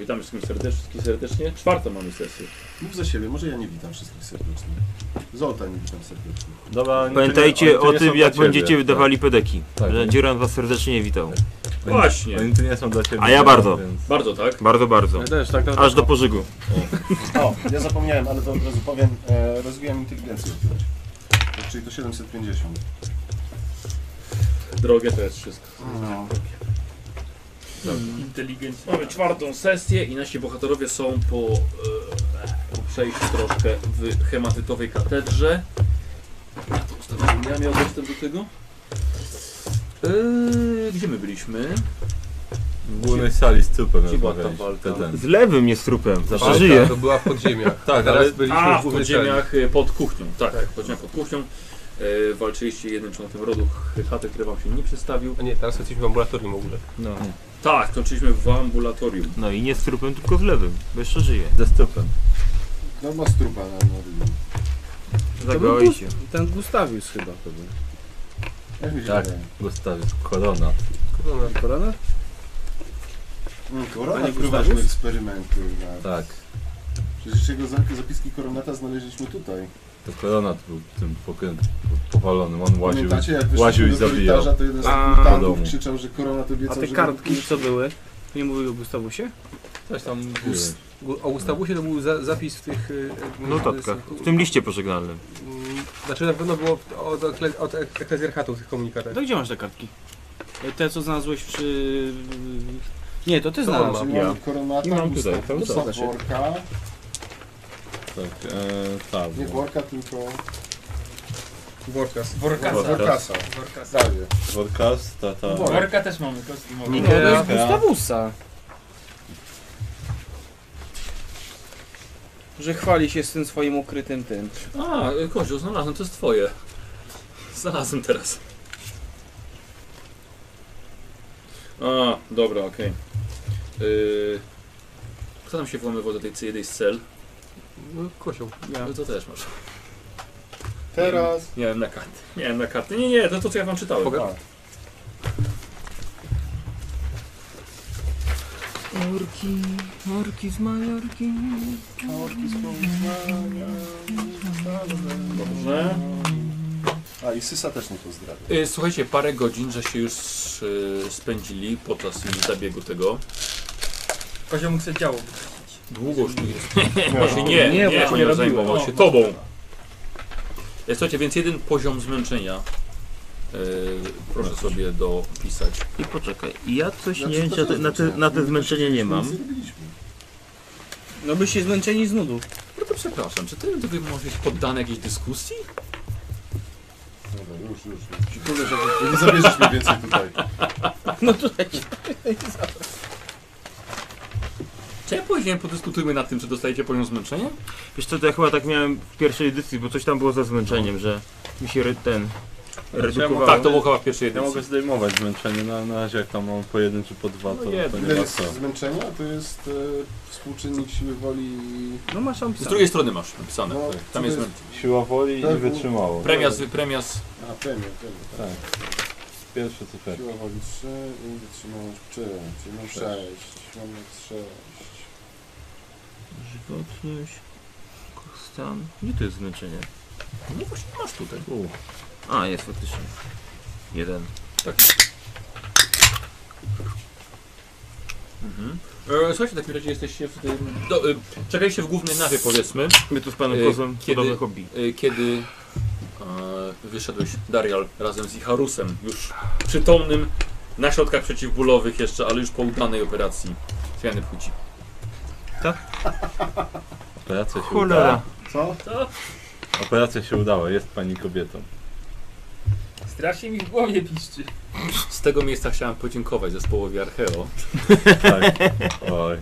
Witam wszystkich serdecznie. wszystkich serdecznie. Czwartą mamy sesję. Mów za siebie, może ja nie witam wszystkich serdecznie. Zoltan nie witam serdecznie. Dobra, oni tu nie- Znaczy, Pamiętajcie oni tu o nie są tym, dla jak ciebie. będziecie wydawali pedeki. Tak. Że Dzieran was serdecznie witał. Oni- Właśnie. Oni tu nie są dla ciebie. A ja bardzo. Więc... Bardzo tak. Bardzo, bardzo. też, tak, Aż do pożygu. O, ja zapomniałem, ale to od razu powiem. E, rozwijam inteligencję. Czyli to 750. Drogie to jest wszystko. No. Inteligencja. Mamy czwartą sesję i nasi bohaterowie są po, e, po przejściu troszkę w hematytowej katedrze. Ja to ustawiam, ja miał dostęp do tego. E, gdzie my byliśmy? W głównej sali z trupem Gdzie była ta rozmawialiśmy. walka? To ten. Z lewym jest trupem. Walka Przeżyje. To była w podziemiach. Tak, Teraz ale byliśmy A, w w głównej celi. podziemiach e, pod kuchnią. Tak, w podziemiach pod kuchnią. E, walczyliście jednym członkiem rodu chaty, który wam się nie przedstawił. A nie, teraz jesteśmy w ambulatorium w ogóle. no. Tak, kończyliśmy w ambulatorium. No i nie z trupem, tylko z lewym. Bo jeszcze żyje. Ze strupem. No ma strupa na, na ryju. Zagoi się. Ten Gustawius chyba to był. Jak mi się Tak. wydaje? Gustawius, korona. Kurwa, Korona? Mm, Korona Panie prowadzimy Gustawius? eksperymenty. Na... Tak. Przecież jego za- zapiski koronata znaleźliśmy tutaj. To korona tu był tym pokręt powalonym. On łaził. Pamiętacie, jak łaził i wyszliśmy do zabijał. korytarza, to jeden z A, do mutantów domu. krzyczał, że koronat A obiecał, te że kartki co były? Nie mówił o Gustawiusie? Coś tam. Gust- Gu- O Gustabusie to był za, zapis w tych. y, y, Notatkach. y, No W tym liście pożegnalnym. mm, Znaczy na pewno było od, ekle- od ek- eklezjarchatu w tych komunikatach. To gdzie masz te kartki? Te co znalazłeś przy... Nie, to ty Co on ma? znalazłeś. Czyli Ja. mamy koronata, I mam Gustaw- tutaj, cały Gustaw czas. worka. Tak, e, tak. Nie worka, tylko Workas. Workasa. Workasa. workasa. Workasa. Prawie. Workas, tata. Work. Worka też mamy, kostki No, to jest Ja. Gustawiusa. Że chwali się z tym swoim ukrytym tym. A, y, Kozio, znalazłem, to jest twoje. Znalazłem teraz. A, dobra, okej. Yy, kto tam się włamywał do tej c- jednej z cel? No, Kosioł. Ja. No to też masz. Teraz. Miałem na karty. Miałem na karty. Nie, nie, to to co ja wam czytałem. Poga- A. Orki, orki z Majorki. Dobrze. A i Sysa też nie pozdrawia. Y, Słuchajcie, parę godzin, że się już y, spędzili podczas zabiegu tego. Kosioł mu się działo. Długo już tu jest. Może nie, nie, nie, właśnie nie robiłem. zajmował się tobą. Y, Słuchajcie, więc jeden poziom zmęczenia. Y, proszę sobie dopisać. I poczekaj, ja coś Znaczy, nie wiem, to czy ja co te- na te, znaczy? na te zmęczenie nie Nic mam. robiliśmy. No byście zmęczeni z nudów. No to przepraszam, czy ty, ty wy może jest poddany jakiejś dyskusji? No Dobra, już, już. Dziękuję, że nie zabierzesz mi więcej tutaj. No tutaj. Czy ja później podyskutujmy nad tym, czy dostajecie poziom zmęczenia? Wiesz co, to ja chyba tak miałem w pierwszej edycji, bo coś tam było ze zmęczeniem, że mi się re, ten redukowało. Tak, to było chyba w pierwszej Ja mogę edycji. zdejmować zmęczenie, no, ale na razie jak tam mam pojedynczy po dwa, No to, nie, to Ile nie ma jest co. zmęczenia? To jest e, współczynnik siły woli i... No masz tam Z drugiej strony masz napisane. No, Tam jest Siła woli Tak, i wytrzymało. premia z, premia z A, premium, premium. Tak. Tak. Pierwsze co pierwsze. Siła woli 3 i wytrzymałość 3. Czyli mam 6. Mamy 6. Żywotność, stan. Gdzie to jest zmęczenie? No właśnie masz tutaj. U, A, jest faktycznie. Jeden. Mhm. E, słuchajcie, w takim razie jesteście w tym... Do, e, czekaliście w głównej nawie, powiedzmy, My tu z panem Y, Yy, Kozłem kiedy- podobne hobby. e, kiedy e, wyszedłeś, Darial, razem z Icharusem, już przytomnym na środkach przeciwbólowych jeszcze, ale już po udanej operacji zmiany płci. operacja się Cholera. udała. Co? Operacja się udała, jest pani kobietą. Strasznie mi w głowie piszczy. Z tego miejsca chciałem podziękować zespołowi Archeo. Tak. Oj.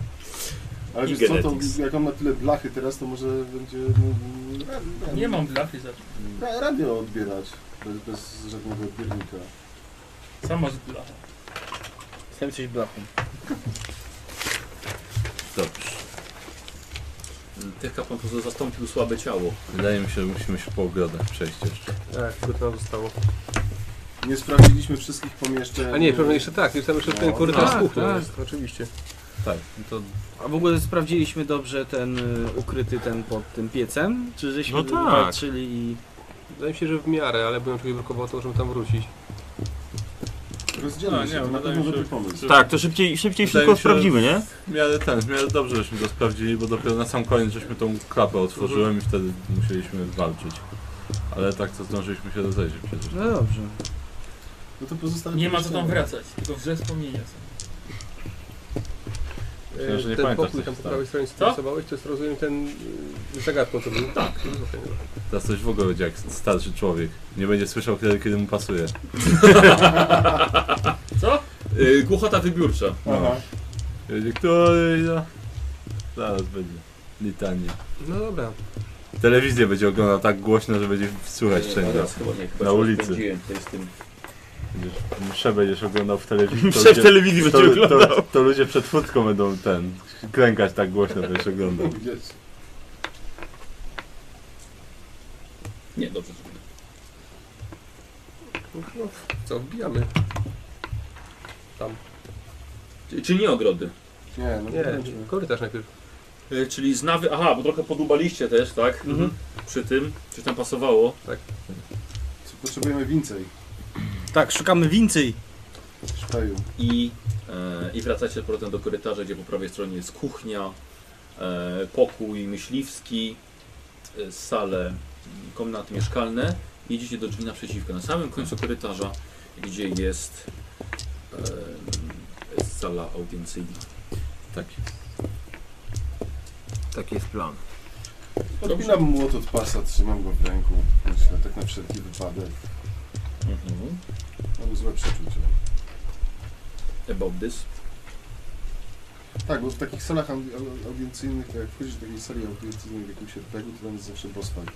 Ale I wiesz co, to, genetics. jak on ma tyle blachy teraz, to może będzie... No, ra- ra- blafy za ra- Radio odbierać. Bez, bez tak żadnego odbiornika. Sam masz blafy. Jestem coś blachą. Dobrze. Tych kapłan po prostu zastąpił słabe ciało. Wydaje mi się, że musimy się po ogrodach przejść jeszcze. Tak, tylko to nam zostało. Nie sprawdziliśmy wszystkich pomieszczeń. A nie, pewnie jeszcze tak, już tam jeszcze No. ten korytarz Tak, z kuchnią tak. jest, oczywiście. Tak, no to A w ogóle sprawdziliśmy dobrze ten y, ukryty ten pod tym piecem? Czy żeśmy No tak. patrzyli i... Wydaje mi się, że w miarę, ale byłem czegoś brakowało to, żeby tam wrócić. Rozdzielmy A, nie, się, to na wydaje pewno mi się, dobry pomysł. Tak, to szybciej, szybciej Wydaje szybko mi się- sprawdzimy, nie? w miarę ten, w miarę dobrze żeśmy to sprawdzili, bo dopiero na sam koniec żeśmy tą klapę otworzyłem i wtedy musieliśmy walczyć. Ale tak to zdążyliśmy się rozejrzeć przecież. No dobrze. No to pozostałe Nie ma co tam pomieszczenia. wracać, tylko wrze wspomnienia są. Myślałem, że nie ten pamiętasz, pokój co tam się po prawej stronie Co? stosowałeś, to jest rozumiem ten y, zagadką to był. Tak. Teraz coś w ogóle będzie jak starszy człowiek. Nie będzie słyszał kiedy, kiedy mu pasuje. Co? Yy, głuchota wybiórcza. Aha. Będzie który no. Zaraz będzie. Litanie. No dobra. Telewizję będzie oglądał tak głośno, że będzie słychać wszędzie. Teraz E, chyba nie, chyba Na się ulicy. rozpędziłem tutaj z tym. Będziesz- Mszę będziesz oglądał w telewizji. to Mszę w ludzie- telewizji to, będzie oglądał. to, to ludzie przed furtką będą ten krękać tak głośno, będziesz oglądał. Gdzieś. Nie, dobrze. że nie. No, co, wbijamy. Czy- Czy nie ogrody? Nie, no nie Nie, będzie. korytarz najpierw. Yy, Czyli znawy. Aha, bo trochę podubaliście też, tak? Mhm. Przy tym, czy tam pasowało. Co Potrzebujemy więcej Tak, szukamy więcej. szpeju. I, e, I wracacie z powrotem do korytarza, gdzie po prawej stronie jest kuchnia, e, pokój myśliwski, e, sale, m, komnaty mieszkalne. Jedziecie do drzwi naprzeciwko, na samym końcu korytarza, gdzie jest e, sala audiencyjna. Tak. Taki jest plan. Odpinam młot od pasa, trzymam go w ręku. Myślę, tak na wszelki wypadek. Mhm. Mam złe przeczucie. About this. Tak, bo w takich salach audi- au- audiencyjnych, jak wchodzisz do takiej sali audiencyjnej w jakimś RPG, to tam jest zawsze boss fight.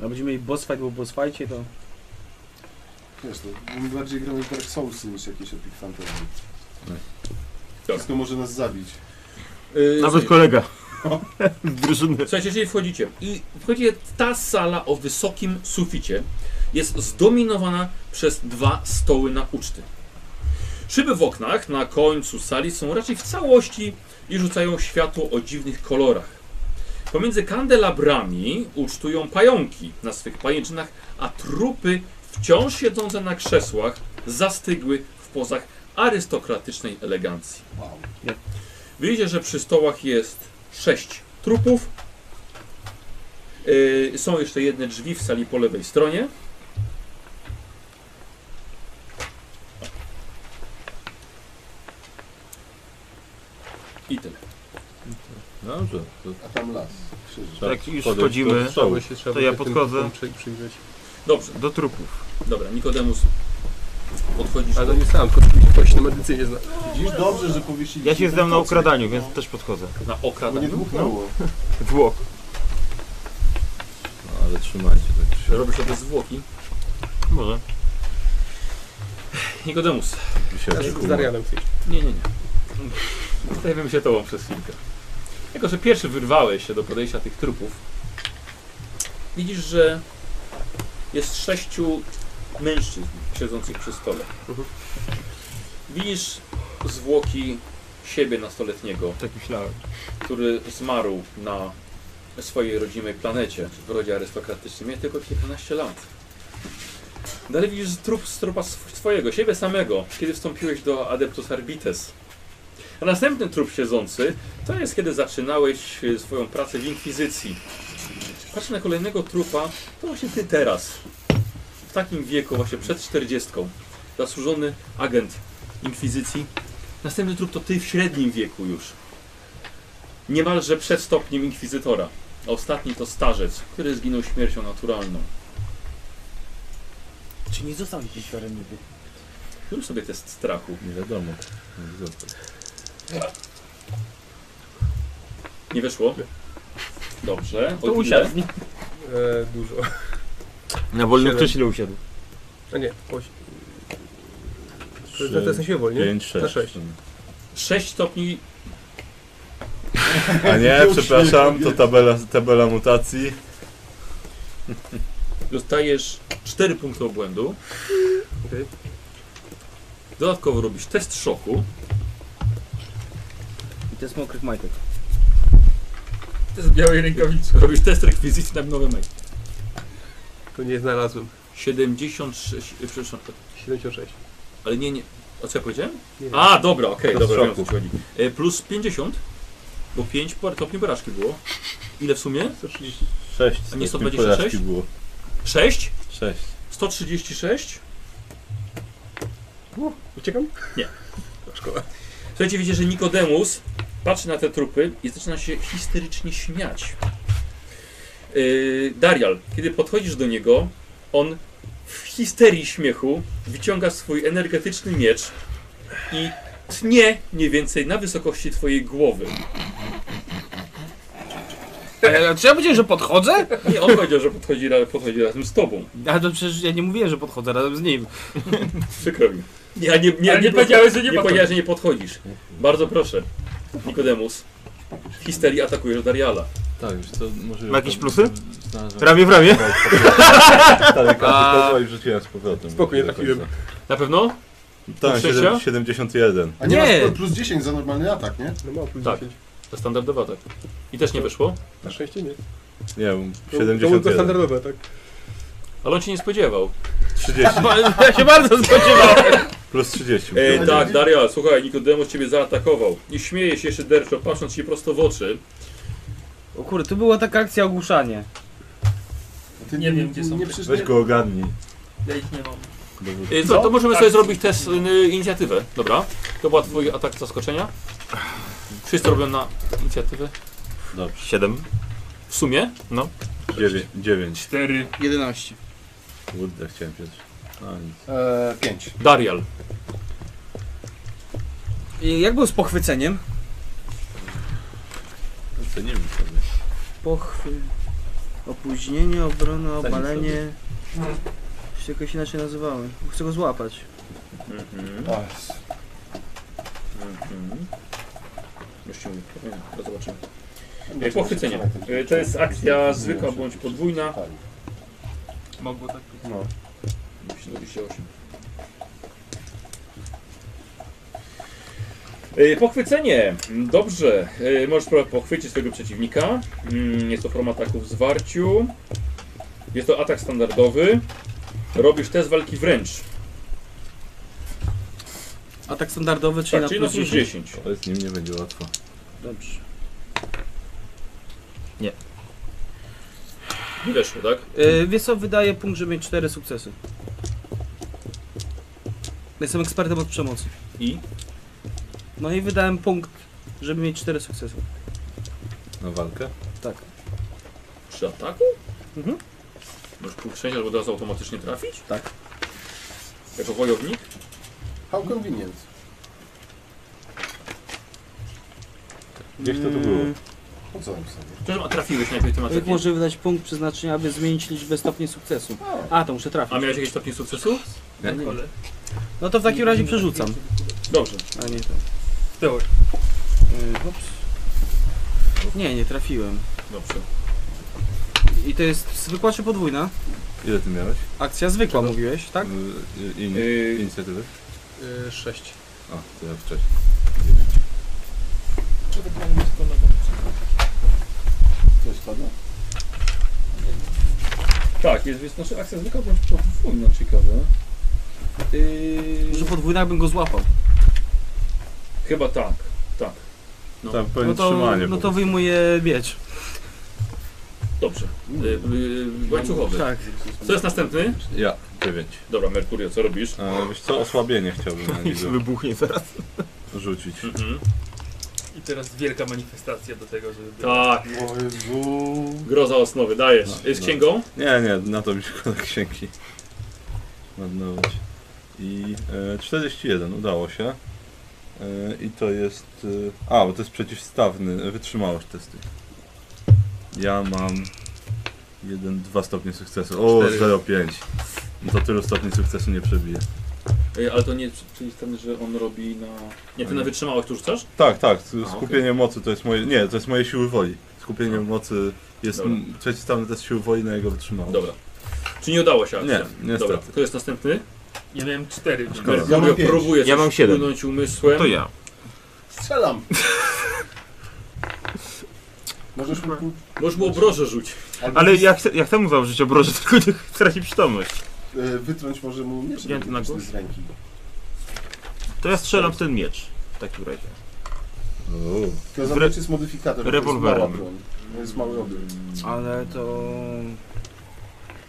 A będziemy mieli boss fight, bo w boss fightie to... Wiesz, to my bardziej gramy w Dark Soulsy niż jakieś Epic Fantasy. Tak. Wszystko może nas zabić. E, Nawet kolega. Z drużyny. Słuchajcie, jeżeli wchodzicie i wchodzicie, ta sala o wysokim suficie jest zdominowana przez dwa stoły na uczty. Szyby w oknach na końcu sali są raczej w całości i rzucają światło o dziwnych kolorach. Pomiędzy kandelabrami ucztują pająki na swych pajęczynach, a trupy wciąż siedzące na krzesłach zastygły w pozach arystokratycznej elegancji. Wow. Widzicie, że przy stołach jest sześć trupów. Yy, są jeszcze jedne drzwi w sali po lewej stronie. I tyle. Dobrze. To, A tam las. Krzyż. Tak, już podejść wchodzimy. do stołu. się trzeba To ja będzie tym podchodzę. chłopom przy- przyjrzeć. Dobrze, Do trupów. dobra, Nikodemus. Podchodzisz Ale do... to nie sam, tylko ktoś na medycynie zna. Widzisz? Dobrze, że powiesili. Ja się znam na ukradaniu, więc też podchodzę. na Bo nie okradanie. dmuchnęło. Włok. No, ale trzymajcie tak się. Robisz to bez zwłoki. Może. Nikodemus. mi się Z przykuło. Darianem chcę iść. Nie, nie, nie. Zostajemy się tobą przez chwilkę. Jako, że pierwszy wyrwałeś się do podejścia tych trupów, widzisz, że jest sześciu mężczyzn siedzących przy stole. Mhm. Widzisz zwłoki siebie nastoletniego, Tak myślałem. który zmarł na swojej rodzimej planecie, w rodzie arystokratycznym, miał tylko kilkanaście lat. Dalej No widzisz trup z trupa sw- swojego, siebie samego, kiedy wstąpiłeś do Adeptus Arbites. A następny trup siedzący to jest kiedy zaczynałeś e, swoją pracę w Inkwizycji. Patrz na kolejnego trupa, to właśnie ty teraz, w takim wieku, właśnie przed 40, zasłużony agent Inkwizycji. Następny trup to ty w średnim wieku już niemalże przed stopniem inkwizytora. A ostatni to starzec, który zginął śmiercią naturalną. Czy nie został jakiś chorobny? Zrób sobie test strachu. Nie wiadomo. Nie wiadomo. Nie wyszło? Dobrze. To O ile? usiadł. E, dużo. Na wolnym Siedem. krześle usiadł. A nie, osiem. To, Trzy, to jest na siebie wolniej. 5, Na 6. sześć. Sześć stopni. A nie, przepraszam, to tabela, tabela mutacji. Dostajesz cztery punkty obłędu. Okej. Dodatkowo robisz test szoku. to jest mokrych majtek. To jest białej rękawicy. Robisz test rekwizycji na nowe majtki. To nie znalazłem. 76, y, przepraszam, 76. ale nie, nie, o co ja powiedziałem? Nie. A, dobra, okej, To z dobra, wiem, o szoku. co ci chodzi. Y, Plus 50, bo 5 por- stopni porażki było. Ile w sumie? 6. A nie 126? porażki było. 6? 6. 136? Uciekam? Słuchajcie, widzicie, że Nikodemus patrzy na te trupy i zaczyna się histerycznie śmiać. Yy, Darial, kiedy podchodzisz do niego, on w histerii śmiechu wyciąga swój energetyczny miecz i tnie mniej więcej na wysokości twojej głowy. E, czy ja powiedziałem, że podchodzę? Nie, on powiedział, że podchodzi, ra- podchodzi razem z tobą. Ale to przecież ja nie mówiłem, że podchodzę razem z nim. Przykro mi. Ja nie, nie, Ale nie podcho- powiedziałeś, że nie nie powiedziałeś, że nie podchodzisz. Bardzo proszę, Nikodemus. W histerii atakujesz Dariala. Tak, wiesz co, może... Ma jakieś plusy? Znalazłem- Tak, Ramię w ramię. Stary karty to tak, i wrzuciłem z powrotem. Spokojnie, Do trafiłem. końca. Na pewno? Tak, Szczęścia? 7- 71. A nie, Nie. masz plus 10 za normalny atak, nie? No ma plus Tak. 10. To standardowa tak. I też nie wyszło? Na szczęście nie. To- Nie wiem, To było to 71. standardowe, tak? Ale on cię nie spodziewał. 30. Ja się bardzo spodziewałem. Plus 30. Ej, musiałem tak, Daria, słuchaj, Nikodemus ciebie zaatakował. I śmieje się jeszcze Derczo, patrząc ci prosto w oczy. O kurde, to była taka akcja ogłuszanie. A Ty Nie wiem, gdzie są Nie te- być. przecież Weź nie- go ogarnij. Ja ich nie mam. Dowód. Ej, E, co, to możemy sobie zrobić test y, inicjatywę. Dobra. To była twój atak zaskoczenia. Wszyscy robią na inicjatywę. Dobrze. 7. W sumie? No. 9. 9. 4. 11. Kurde, chciałem pierwszy. No nic. Eee, 5. Darial. I jak było z pochwyceniem? Cenimy sobie. Pochwy... Opóźnienie, obrona, Cenimy obalenie... Jeszcze jakoś inaczej nazywały. Chcę go złapać. Mhm. Mhm. Już się mówię. Nie, Zobaczymy. Ej, E, Pochwycenie. Ej, To jest akcja zwykła bądź podwójna. Tak. Mogło tak być. No. Musi zrobić się osiem. Yy, Pochwycenie. Dobrze. Yy, Możesz spróbować pochwycić swojego przeciwnika. Mm, Jest to forma ataku w zwarciu. Jest to atak standardowy. Robisz test walki wręcz. Atak standardowy, czyli Tak, na czyli na plus plus 10. 10. Ale z nim nie będzie łatwo. Dobrze. Nie weszło, tak? Yy, wiesz co, wydaje punkt, żeby mieć 4 sukcesy. Jestem ekspertem od przemocy. I? No i wydałem punkt, żeby mieć 4 sukcesy. Na walkę? Przy ataku? Mhm. Możesz punkt szczęścia, żeby od razu automatycznie trafić? Tak. Jako wojownik? How convenient. Gdzieś to tu było. Mm, Po co nam sobie? Przepraszam, a trafiłeś najpierw tym Jak atakiem. może wydać punkt przeznaczenia, aby zmienić liczbę stopni sukcesu? A, to muszę trafić. A miałeś jakieś stopnie sukcesu? No nie. No to w takim razie przerzucam. Dobrze. A nie tak. Teoria. Yy, hops. Nie, nie trafiłem. Dobrze. I to jest zwykła czy podwójna? Ile ty miałeś? Akcja zwykła mówiłeś, tak? Y, y, in- Yy, Inicjatywy? Yy, 6. O, to ja wcześniej. Coś spadło? tak, jest, jest nasza akcja zwykła, bądź podwójna, ciekawe. Że Yy, podwójna bym go złapał. chyba tak, tak. No. Tam pewnie No to, trzymanie no było. to wyjmuję miecz. Dobrze. Yy, yy, łańcuchowy. Mm. Tak. Co jest następny? Ja, 9. Dobra, Merkurio, co robisz? E, wiesz co, osłabienie chciałbym na niego Wybuchnie zaraz. rzucić. Mhm. I teraz wielka manifestacja do tego, żeby... Tak, No. O Jezu. groza osnowy, dajesz. No, Yy, Z no. księgą? Nie, nie, na to mi szkoda księgi. Marnować. I e, 41, udało się. E, I to jest... E, a, bo to jest przeciwstawny, e, wytrzymałość testy. Ja mam 1, 2 stopnie sukcesu. O, Cztery. 0,5. No to tylu stopni sukcesu nie przebiję. Yy, ale to nie jest przeciwstawny, że on robi na... Nie, ty na wytrzymałość tu rzucasz? Tak, tak, s- A, okej. skupienie mocy to jest moje... Nie, to jest moje siły woli. Skupienie mocy jest Dobra. m, przeciwstawny test siły woli na jego wytrzymałość. Dobra. Czy No. nie udało się akcja? Nie, niestety. Dobra, kto jest następny? Ja miałem 4. Szkoda. Merkurio pięć. próbuje Ja mam coś siedem. wpłynąć umysłem. To ja. Strzelam. Możesz mu... Możesz mu obroże rzuć. albo Ale wys- ja chcę, ja chcę mu założyć obroże, tylko nie straci przytomność. e, Wytrąć może mu miecz Ja tu na elektryczny głos? z ręki. To ja strzelam w ten miecz. W takim razie. Uuu. To za Re- miecz jest modyfikator. bo To rewolwerem. jest, mała broń. to jest mały obiekt. Ale to...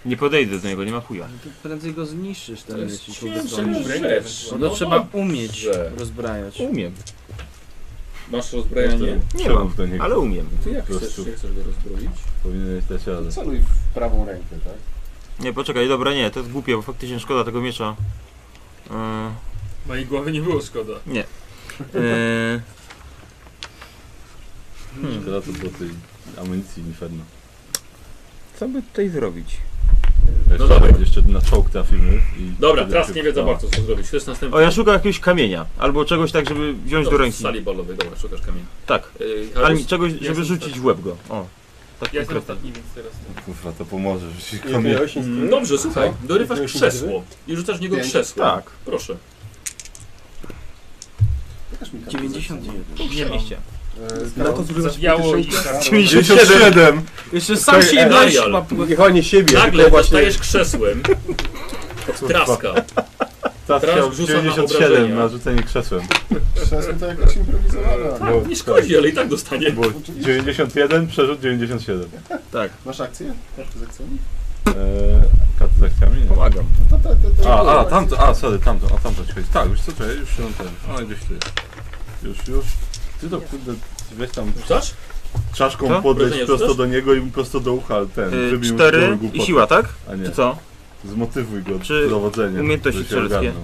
Nie podejdę do niego, nie ma chuja. ale to prędzej go zniszczysz To ten jest jeśli go ciężka wybronisz. rzecz. No, No, trzeba umieć że. rozbrajać. Umiem. Masz rozbrojenie? Nie Czemu mam, do niego ale umiem. Ty jak Po chcesz, prostu. jak chcesz go rozbroić? powinieneś dać radę. Celuj w prawą rękę, tak? Nie, poczekaj, dobra, nie, to jest głupie, bo faktycznie szkoda tego miecza. Yy, Mojej głowy nie było szkoda. E, yy, Szkoda to było tej amunicji Inferno. co by tutaj zrobić? Jeszcze, dawaj. jeszcze na czołg trafimy i... No Dobra, wtedy teraz się- nie wiedzą no. bardzo co zrobić. To jest następny. O, ja szukam jakiegoś kamienia, albo czegoś tak, żeby wziąć do Z ręki. sali balowej, dobra, szukasz kamienia. Tak, Yy, ale mi czegoś, jestem żeby rzucić w łeb go. O, tak Ja jestem konkretnie. ostatni, więc teraz. Kurwa, to pomoże, że się Nie, to kamień... ja się Mm, No, skieruję. Dobrze, słuchaj, Co? dorywasz Jakiegoś krzesło i rzucasz w niego Pięć. krzesło. Tak, Proszę. Pokaż mi kartę 91. nie mieście. zlecenia. E, No, Na to Karol, Zabijało i Karol, 97! Jeszcze sam się Darial. ilość ma Nie chowanie siebie, Nagle tylko właśnie... dostajesz krzesłem. Traska. Teraz Teraz miał wrzucam na 97 obrażenia. na rzucenie krzesłem. Krzesło to jakaś improwizowana. Było- Tak, No, nie szkodzi, ale i tak dostanie. Było 91, przerzut 97. Masz akcję? Karty z akcjami? Eee, karty z akcjami? Nie. Pomagam. To, to, to, to A, tak. a, tamto, a, sorry, tamto, a tamto, czekaj. Tak, już co, czekaj, już mam ten. A, gdzieś tu jest. Już, już. Ty to kurde, weź tam Rzucasz? czaszką Co? podejść Wrażenie prosto rzucasz? do niego i mu prosto do ucha ten. Yy, żeby mu nie cztery robił głupoty. i siła, tak? A nie, Czy co? zmotywuj go Czy do dowodzenia. umiejętności żeby się strzeleckie? ogarnął.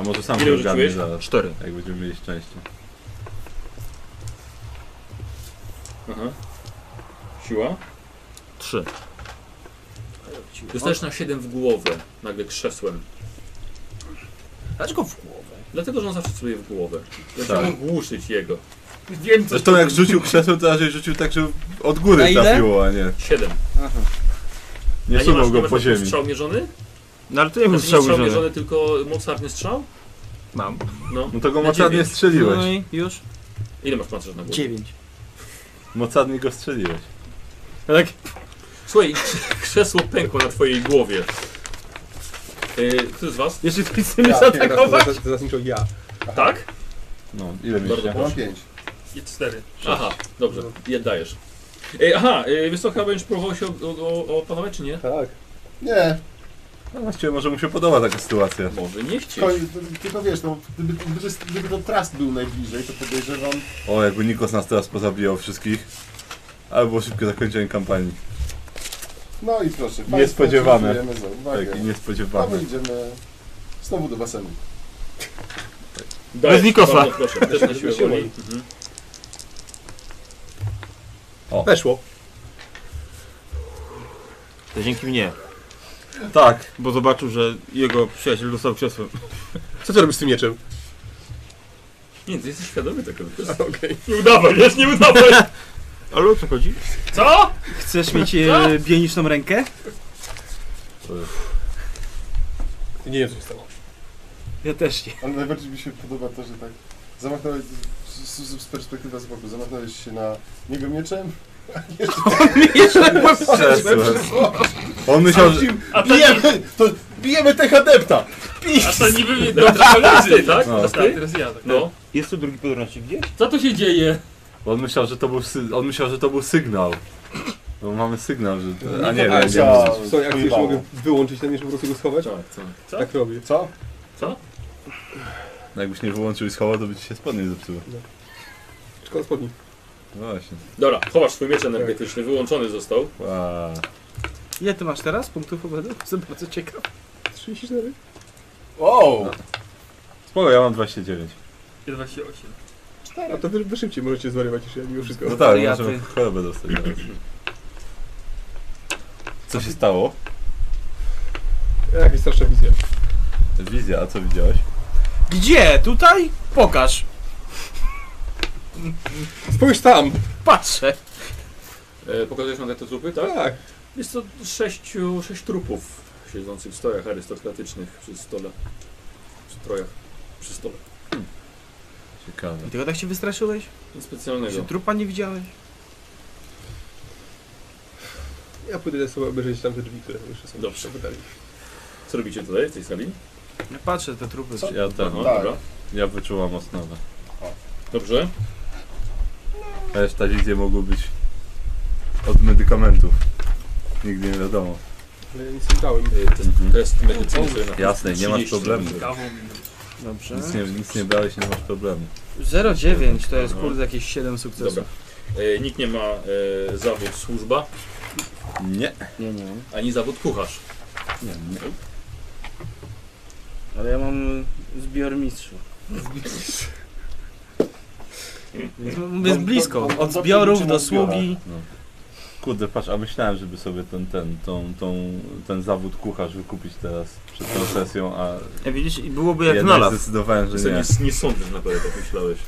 A może sam Ile się ogarnie rzuciłeś? zaraz, Cztery. jak będziemy mieli szczęście. Aha. Siła? Trzy. Dostajesz na 7 w głowę, nagle krzesłem. Dlaczego w głowę? Dlatego, że on zawsze sobie w głowę. Tak. Zaczyna głuszyć jego. Wiem co... Zresztą jak rzucił krzesłem, to raczej rzucił tak, że od Na góry ile? trafiło, a nie. 7. Nie A nie masz, sunął nie go masz po na ziemi. strzał mierzony? No ale to nie Znaczy, był nie strzał strzał żony. mierzony, tylko mocarny strzał? Mam. No. No to go Na mocarnie dziewięć. No strzeliłeś. i już? Ile masz pancerza na głowie? 9. Mocarnie go strzeliłeś. Tak? Słuchaj, krzesło pękło na twojej głowie. Yy, kto z was? Jeszcze ktoś chce mnie Ja, zaatakować? no, To zasadniczo ja. Tak? No, ile Bardzo mieliście? Ja mam pięć. I cztery. Aha, dobrze, je dajesz. Yy, aha, yy, wysoka będziesz próbował się o- o- o- opanować, czy nie? Tak. Nie, No właściwie może mu się podoba taka sytuacja. Może nie chcieć. koń, to- tylko wiesz, no, gdyby, gdyby, gdyby to Trust był najbliżej, to podejrzewam... O, jakby Nikos nas teraz pozabijał wszystkich. Ale było szybkie zakończenie kampanii. No i proszę. Niespodziewane. dziękujemy za uwagę. Tak, i A niespodziewane. my idziemy znowu do basenu. Dajesz, Bez Nikosa. bardzo Proszę, też na siłę Siłą. woli. Mhm. Weszło. To dzięki mnie, Tak, bo zobaczył, że jego przyjaciel dostał krzesłem. Co ty robisz z tym mieczem? Nie, ty jesteś świadomy tego. to jest- Okej. Nie udawaj, wiesz, nie udawaj! Ale o co chodzi? Co? Chcesz mieć e, bioniczną rękę? Nie wiem, co się stało. Ja też nie. Ale najbardziej mi się podoba to, że tak zamachnąłeś, z, z, z perspektywy z boku, zamachnąłeś się na niego mieczem, przesłem. On myślał, że... A to, nie, Bijemy! To bijemy tych adepta! a to niby nie no, teraz ty, tak? No. Teraz ty? Teraz ja tak. No. Jest tu drugi podręcznik gdzieś? Co tu się dzieje? On myślał, że to był, sy... on myślał, że to był sygnał. Bo mamy sygnał, że... A nie, A, nie, tak. nie. ja- Są akcje, że Wpływało. mogę wyłączyć ten miecz, po prostu go schować? Co? Tak robię. Co? No Jakbyś nie wyłączył i schował, to by ci się spodnie zepsuły. Szkoda spodni. No właśnie. Dobra, chowasz swój miecz energetyczny, wyłączony został. Wow. Ile ty masz teraz punktów obrotu? Jestem bardzo ciekaw. 34? Wow! No. Spoko, ja mam 29. 28. A to wy, wy szybciej możecie zwariować niż ja mimo wszystko. No tak, wariaty. możemy chorobę dostać teraz. Co się stało? Jakaś straszna wizja. Wizja, a co widziałeś? Gdzie? Tutaj? Pokaż. Spójrz tam! Patrzę. E, pokazujesz nam te trupy, tak? Tak. Jest to sześciu, sześć trupów siedzących w strojach arystokratycznych przy stole. Przy strojach. Przy stole. Ciekawe. I tego tak się wystraszyłeś? Nic specjalnego. Czy trupa nie widziałeś? Ja pójdę ze sobą obejrzeć tam te drzwi, które jeszcze są. Dobrze. Wydali. Co robicie tutaj w tej sali? Ja patrzę, te trupy. Co? Ja ten, No, Tak. dobra. ja wyczułam osnowę. Dobrze. A jeszcze lizje mogły być od medykamentów. Nigdy nie wiadomo. Ale ja nic nie dałem. Y, Test, Mhm. test medycyny sobie na Jasne, nie masz 30. problemu. Dobrze. Nic nie, nic nie brałeś, nie masz problemu. 0,9 to jest No. kurde jakieś 7 Dobra. sukcesów. Y, Nikt nie ma y, zawód służba, Nie. Nie, nie mam. ani zawód kucharz. nie, nie. Ale ja mam zbiór mistrzu. Jest, jest blisko. Od zbiorów do sługi. No. Kurde, patrz, a myślałem, żeby sobie ten, ten, tą, tą, ten zawód kucharz wykupić teraz przed tą sesją, a Ja widzisz, i byłoby jak jednak znalazł. zdecydowałem, Ty że sobie nie. nie, nie sądzisz na pewno, tak myślałeś.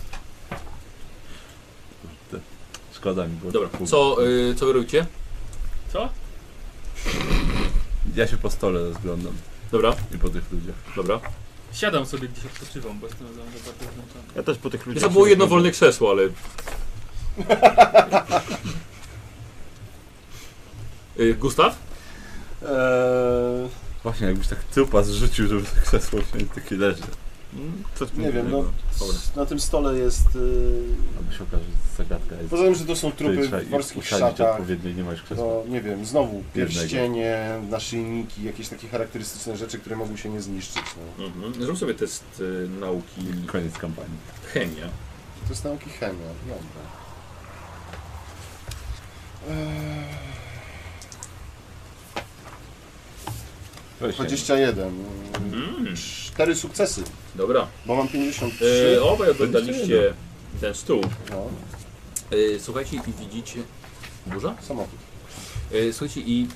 Szkoda mi było. Dobra, Kurde. co, y, co wy robicie? Ja się po stole rozglądam Dobra, i po tych ludziach. dobra. Siadam sobie gdzieś odpoczywam, bo jestem za za bardzo zmęczony. Ja też po tych ludziach. Jest to było się jedno rozglądam. wolne krzesło, ale... Y, Gustaw? Eee, Właśnie, jakbyś tak trupa zrzucił, żeby to krzesło wziąć, takie leży. Mm, Co ty nie wiem, no Dobra. na tym stole jest... Yy, Aby się okaże, że to zagadka jest. poza tym, że to są Tutaj trupy trzeba w i morskich usadzić szatach. odpowiednio i nie masz krzesła. To nie wiem, znowu Jednego. pierścienie, naszyjniki, jakieś takie charakterystyczne rzeczy, które mogą się nie zniszczyć. No. Mhm. Zrób sobie test y, nauki Koniec kampanii. chemia. To jest nauki chemia, dobra. Eee, Weź, 21. Mm. Cztery sukcesy, Dobra. bo mam 53. Y, obaj oglądaliście ten stół. No, Y, słuchajcie i widzicie... Burza? No, samochód. E, Słuchajcie, i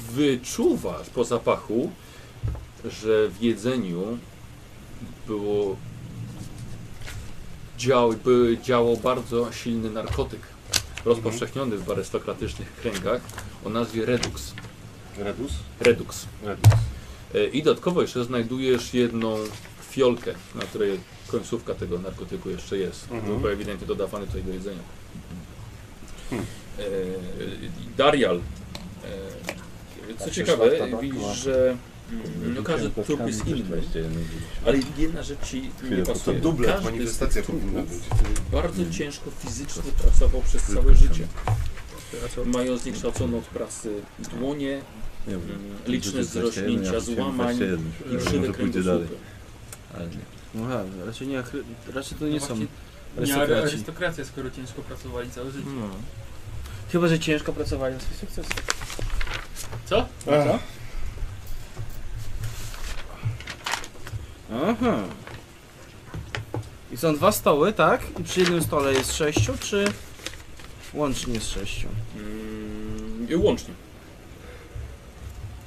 w- wyczuwasz po zapachu, że w jedzeniu było dział, by działał bardzo silny narkotyk rozpowszechniony w arystokratycznych kręgach o nazwie Redux. Redus? Redux. Redus. E, I dodatkowo jeszcze znajdujesz jedną fiolkę, na której końcówka tego narkotyku jeszcze jest. Mhm. Mhm. Był ewidentnie dodawany tutaj do jedzenia. E, i Darial. E, co Tak się ciekawe, szlachta bawiła. widzisz, że mm, no, każdy trup jest inny. Ale jedna rzecz ci nie Chwilę, bo to To pasuje. duble, Każdy z tych manifestacja powinna trupów być. Hmm. bardzo ciężko fizycznie pracował przez całe życie. Mają zniekształconą od pracy dłonie, mm, liczne zrośnięcia, złamań i Może krzywe pójdzie kręgosłupy. dalej. Ale nie. No, tak, raczej, nie, akry- raczej to nie No są właśnie, Nie ale arystokraci. arystokracja, skoro ciężko pracowali całe życie. No. Chyba, że ciężko pracowali na swój sukces. Co? Ech, Aha. I są dwa stoły, tak? I przy jednym stole jest sześciu, czy łącznie jest sześciu? Mm, i łącznie.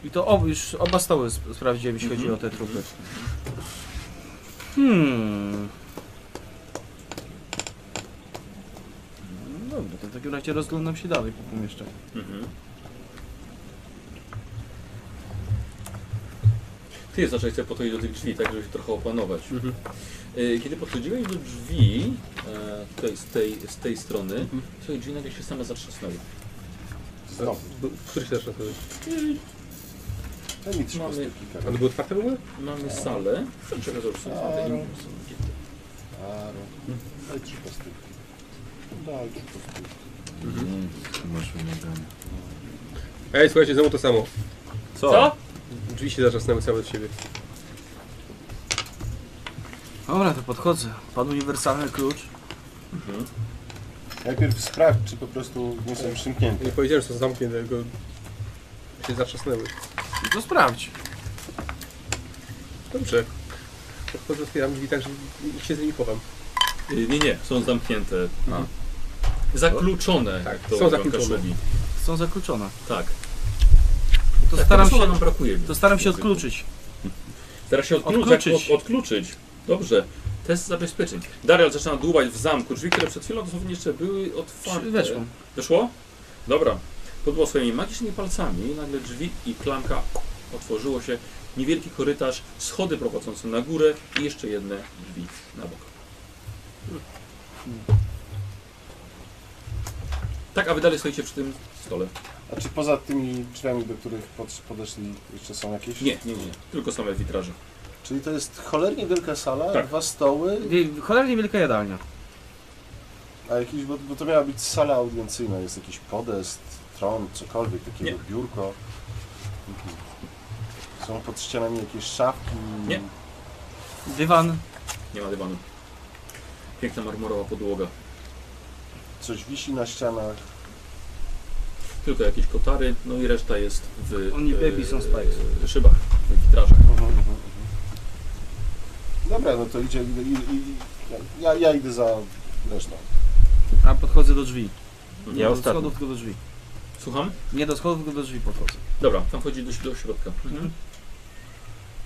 I to ob, już oba stoły sp- sprawdziłem, jeśli chodzi Mhm. o te trupy. Hmm. No Dobra, to w takim razie rozglądam się dalej po pomieszczeniu. Mhm. Ty zacząłeś sobie podchodzić do tych drzwi, tak żeby się trochę opanować. E, Kiedy podchodziłeś do drzwi, e, tutaj z tej, z tej strony, to drzwi nagle się same zatrzasnęły. Znowu. Który się zaczyna sobie? No nic, po Mamy- prostu A kilka. to było otwarte w ogóle? Mamy salę. Czekaj, zobacz, są te inne są gdzie- Aro. Daj trzy kostówki. Daj trzy kostówki. Mhm. Mm, Masz wymagania. Ej, słuchajcie, znowu to samo. Co? Drzwi się zatrzasnęły same od siebie. Dobra, to podchodzę. Pan uniwersalny klucz. Najpierw sprawdź, czy po prostu nie są przymknięte. Nie powiedziałem, że są zamknięte, tylko się zatrzasnęły. I to sprawdź. Dobrze. Podchodzę, otwieram drzwi tak, że się z nimi chowam. Y, Nie, nie, są zamknięte. A. Zakluczone. Tak, to są Blanka zakluczone. mówi. Są zakluczone. Tak. To tak staram tego słowa się, nam brakuje. to staram się odkluczyć. Teraz się odklucz, Odkluczyć. odkluczyć. Od, odkluczyć. Dobrze. Test zabezpieczeń. Darial zaczyna dłubać w zamku. Drzwi, które przed chwilą dosłownie jeszcze były otwarte. Przy- Weszłam. Wyszło? Dobra. Podło swoimi magicznymi palcami i nagle drzwi i klamka otworzyło się. Niewielki korytarz, schody prowadzące na górę i jeszcze jedne drzwi na bok. Tak, a wy dalej stoicie przy tym stole. A czy poza tymi drzwiami, do których pod, podeszli, jeszcze są jakieś? Nie, nie, nie. Tylko same witraże. Czyli to jest cholernie wielka sala, Tak. dwa stoły, Wie- Cholernie wielka jadalnia. a jakiś, bo, bo to miała być sala audiencyjna, jest jakiś podest, tron, cokolwiek, takiego biurko. Mhm. Są pod ścianami jakieś szafki. Nie. Dywan. Nie ma dywanu. Piękna marmurowa podłoga. Coś wisi na ścianach. Tylko jakieś kotary, no i reszta jest w Only babies on spikes. e, szybach, w witrażach. Mhm, mhm, mhm. Dobra, no to idzie, idę, idę, idę, ja, ja idę za resztą. A podchodzę do drzwi. Mhm. Nie Ja do ostatni. schodów, tylko do drzwi. Słucham? Nie do schodów, tylko do drzwi podchodzę. Dobra, tam chodzi do, do środka. Mhm. Mhm.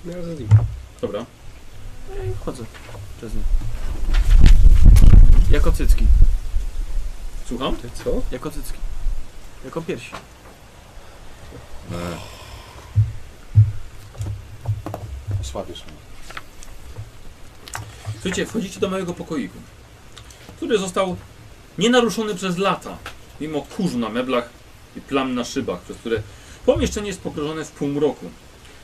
Ja No, za nim. Dobra. Chodzę przez nie. Jako cycki. Słucham? Ty co? Jako cycki. Jako piersi. E, Osłabiesz mnie. Słuchajcie, wchodzicie do mojego pokoiku, który został nienaruszony przez lata, mimo kurzu na meblach i plam na szybach, przez które pomieszczenie jest pokrożone w półmroku.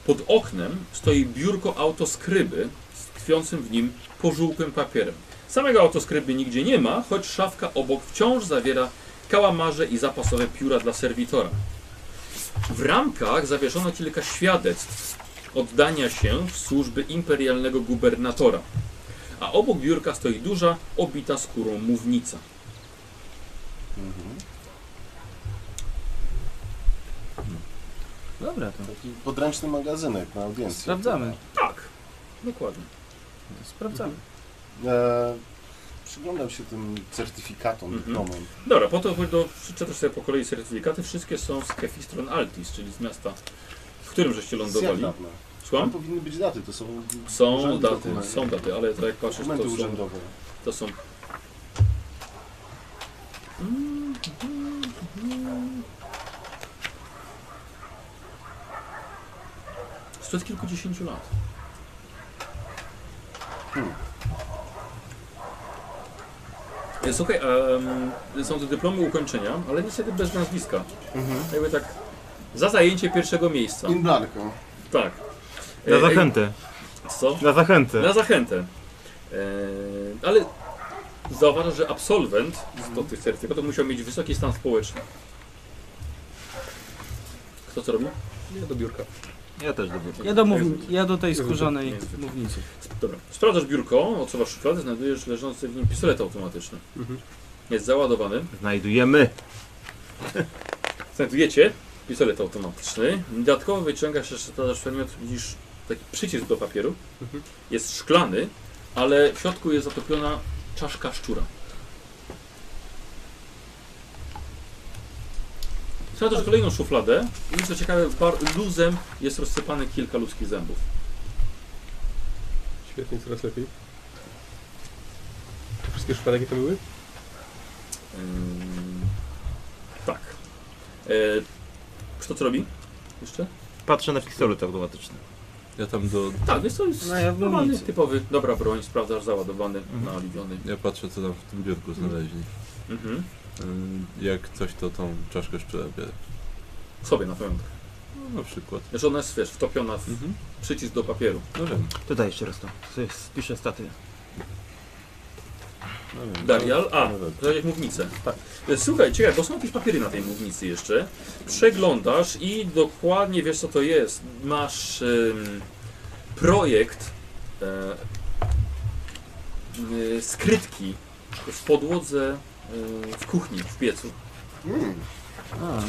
Pod oknem stoi biurko autoskryby z tkwiącym w nim pożółkłym papierem. Samego autoskryby nigdzie nie ma, choć szafka obok wciąż zawiera kałamarze i zapasowe pióra dla serwitora. W ramkach zawieszono kilka świadectw oddania się w służby imperialnego gubernatora a obok biurka stoi duża, obita skórą mównica. Mhm. Dobra, to Taki podręczny magazynek no na audiencję. Sprawdzamy. Tak, dokładnie. sprawdzamy. E, przyglądam się tym certyfikatom, Mhm. dyplomom. Dobra, po to do, przeczytasz sobie po kolei certyfikaty. Wszystkie są z Kefistron Altis, czyli z miasta, w którym żeście Z jak lądowali. dawna? Tam Słucham? no. powinny być daty, to są Są urzędy, daty, dokumenty. są daty, ale tak jak patrzysz, dokumenty to są, urzędowe. to są... Sprzed kilkudziesięciu lat. Jest okej, E, em, są to dyplomy ukończenia, ale niestety bez nazwiska. Jakby tak za zajęcie pierwszego miejsca. In blanco. Tak. Na E, zachętę. e, Co? Na zachętę. Na zachętę. E, ale zauważasz, że absolwent Mhm. z do tych certyfikatów musiał mieć wysoki stan społeczny. Kto co robi? Nie do biurka. Ja też dobrze. Ja do, mów... ja do tej skórzanej Jezu. mównicy. Dobra. Sprawdzasz biurko, odsuwasz szufladę, znajdujesz leżący w nim pistolet automatyczny. Mhm. Jest załadowany. Znajdujemy. Znajdujecie pistolet automatyczny. Dodatkowo wyciągasz jeszcze ten przedmiot, widzisz taki przycisk do papieru. Mhm. Jest szklany, ale w środku jest zatopiona czaszka szczura. Sprawdzasz kolejną szufladę i co ciekawe, bar- luzem jest rozsypane kilka ludzkich zębów. Świetnie, coraz lepiej. To wszystkie szpadaki to były? Ym, tak. E, kto co robi? Jeszcze? Patrzę na pistolet automatyczny. Ja tam do... Tak, jest to jest No, ja w normalny, amunicji. Mhm. typowy, dobra broń, sprawdzasz, załadowany, naoliwiony. Ja patrzę, co tam w tym biurku znaleźli. Mhm. Y, Jak coś, to tą czaszkę szczura biorę. Sobie na pamiątkę. No, na przykład. Znaczy ona jest wiesz, wtopiona w Mhm. przycisk do papieru. No wiem, To daj jeszcze raz to. Sobie Spiszę staty. no wiem. Darial, a, No dobra. znaleźć mównicę. Tak. E, Słuchaj, ciekawe, bo są jakieś papiery na tej mównicy jeszcze. Przeglądasz i dokładnie wiesz co to jest. Masz em, projekt e, e, skrytki w podłodze e, w kuchni, w piecu. Mm. A,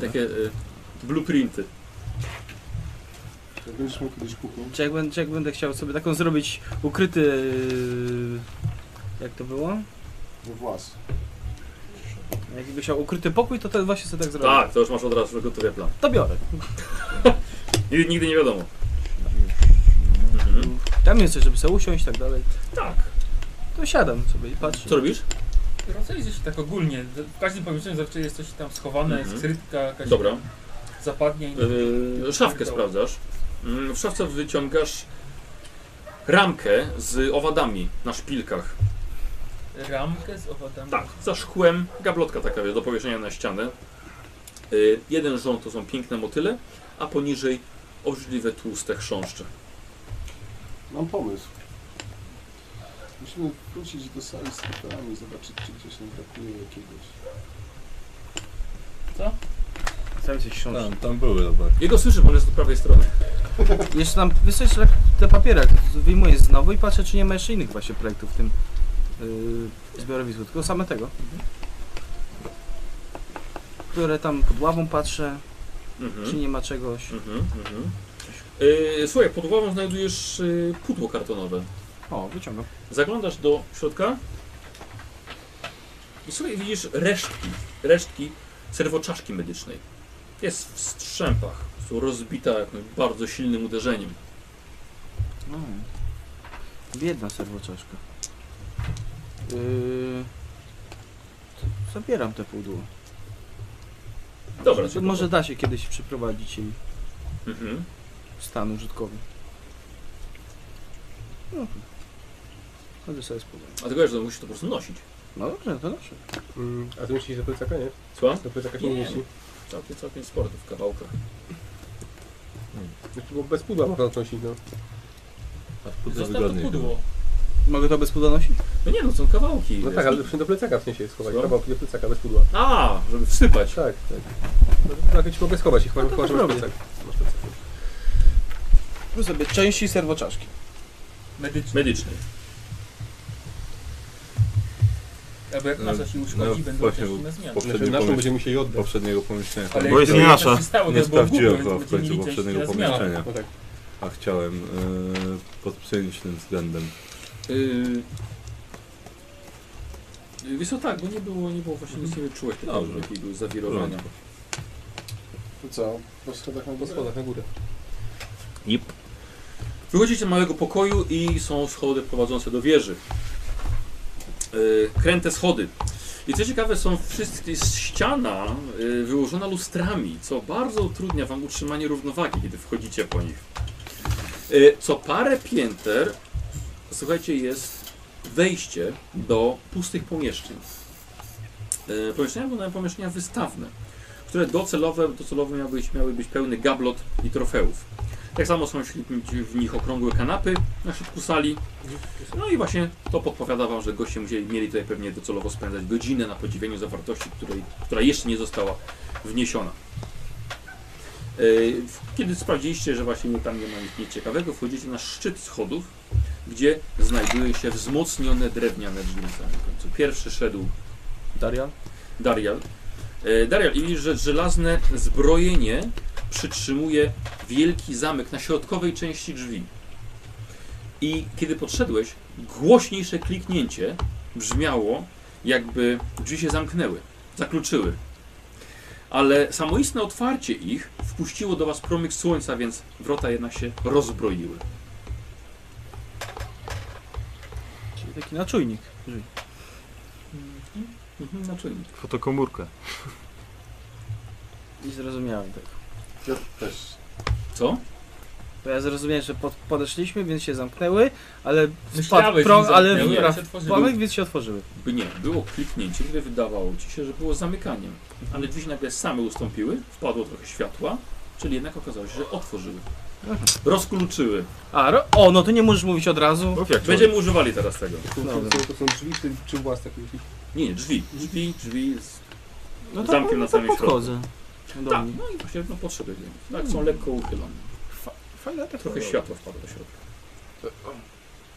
Takie e, blueprinty. Jak będziesz mógł kiedyś kuchnię. czy, jak będę, czy jak będę chciał sobie taką zrobić ukryty... Jak to było? No włas. Jakby chciał ukryty pokój, to, to właśnie sobie tak zrobię. Tak, to już masz od razu gotowy plan. To biorę. Nigdy, nigdy nie wiadomo. Mhm. Tam jest coś, żeby sobie usiąść i tak dalej. Tak. To siadam sobie i patrzę. Co robisz? Rozumiecie się tak ogólnie. W każdym pomieszczeniu zawsze jest coś tam schowane, Mhm. skrytka, jakaś Dobra. zapadnia. i- Yy, szafkę sprawdzasz. Mm, W szafce wyciągasz ramkę z owadami na szpilkach. E, ramkę z owadami? Tak, za szkłem, gablotka taka wiesz, do powieszenia na ścianę. Y, jeden rząd to są piękne motyle, a poniżej obrzydliwe tłuste chrząszcze. Mam pomysł. Musimy wrócić do sali z koperami, zobaczyć, czy gdzieś nam brakuje jakiegoś. Sami coś książki. Tam, tam były no tak. robaki. Jego słyszy, bo on jest od prawej strony. Tak. Jeszcze tam wysłać te papiery, wyjmuję znowu i patrzę, czy nie ma jeszcze innych właśnie projektów w tym yy, zbiorowisku, tylko same tego. Które tam pod ławą patrzę, czy Mhm. nie ma czegoś. Mhm, mhm. Y, słuchaj, pod głową znajdujesz y, pudło kartonowe. O, wyciągam. Zaglądasz do środka i słuchaj, widzisz resztki, resztki serwoczaszki medycznej. Jest w strzępach, są rozbita jakimś bardzo silnym uderzeniem. Mm. Biedna serwoczaszka. Yy, to zabieram te pudło. Dobra, Czy to- może da się kiedyś przeprowadzić jej Mhm. stan użytkowy. No. Chodzę sobie spróbować. A tylko, że musisz to po prostu nosić. No dobrze, to dobrze. Mm, a ty musisz do plecaka, nie? Słucham? Do plecaka się Nie. nie mieści. Całkiem, całkiem sporo to w kawałkach. Znaczy, bo bez pudła można nosić, no. A w pudle Zostaw to wygodniej było. pudło. Mogę to bez pudła nosić? No nie no, są kawałki. No wiesz. tak, ale do- do plecaka w sensie schować. Co? Kawałki do plecaka bez pudła. A, żeby wsypać. Tak, tak. No, tak, ci mogę schować i chyba, No to no, chyba że tak masz robię. plecak. Masz plecak. Tu sobie części serwoczaszki. Medycznie. Medyczny. Albo jak No, masa się uszkodzi, no, będą właśnie, też inne zmiany. Znaczy, Poprzedniego, naszą pomie- będziemy musieli oddać. poprzedniego pomieszczenia. Ale Bo jest to nie nasza. się stało, Nie to było głupio, sprawdziłem więc chyba w będziemy końcu mieli coś poprzedniego na zmianę. pomieszczenia, No tak. a chciałem yy, pod tym względem. Yy... Wiesz co, tak, bo nie było, nie było właśnie nic nie wyczułeś takiego Mhm. Dobrze. jakiegoś zawirowania. Porządku. To co? Po schodach na Po górę? schodach na górę. Wychodzicie z małego pokoju i są schody prowadzące do wieży. Yy, kręte schody. I co ciekawe, są wszystkie, jest ściana yy, wyłożona lustrami, co bardzo utrudnia wam utrzymanie równowagi, kiedy wchodzicie po nich. Yy, co parę pięter, słuchajcie, jest wejście do pustych pomieszczeń. Yy, pomieszczenia wyglądają pomieszczenia wystawne, które docelowe, docelowo miały być, miały być pełny gablot i trofeów. Tak samo są wśród- w nich okrągłe kanapy na środku sali. No i właśnie to podpowiada Wam, że goście musieli, mieli tutaj pewnie docelowo spędzać godzinę na podziwieniu zawartości, której, która jeszcze nie została wniesiona. Yy, w- Kiedy sprawdziliście, że właśnie tam nie ma nic nieciekawego, wchodzicie na szczyt schodów, gdzie znajduje się wzmocnione drewniane drzwi na samym końcu. Pierwszy szedł Daria? Darial. E, Darial, i widzisz, że żelazne zbrojenie przytrzymuje wielki zamek na środkowej części drzwi. I kiedy podszedłeś, głośniejsze kliknięcie brzmiało, jakby drzwi się zamknęły, zakluczyły. Ale samoistne otwarcie ich wpuściło do Was promyk słońca, więc wrota jednak się rozbroiły. Czyli taki naczujnik. drzwi. Mhm, na czujnik. Fotokomórkę. Nie zrozumiałem tego. Ja też. Co? Bo ja zrozumiałem, że pod, podeszliśmy, więc się zamknęły, ale Myślałeś, pro, że ale zamknęły, wra- się otworzyły. pomyk, więc się otworzyły. By nie, było kliknięcie, które wydawało ci się, że było zamykaniem. Ale drzwi się nagle same ustąpiły, wpadło trochę światła, czyli jednak okazało się, że otworzyły. Rozkluczyły. A, ro- o, no to nie możesz mówić od razu. No Mów jak Będziemy używali teraz tego. Dobra. To są- To są drzwi czy, czy własne jakieś? Nie, nie, drzwi. Drzwi, drzwi z No to, zamkiem na no to samym podchodzę. Do Tak, mnie. no i właśnie no, podszedłeś do nich. Tak, są lekko uchylone. Fajna Trochę światła wpadło do środka.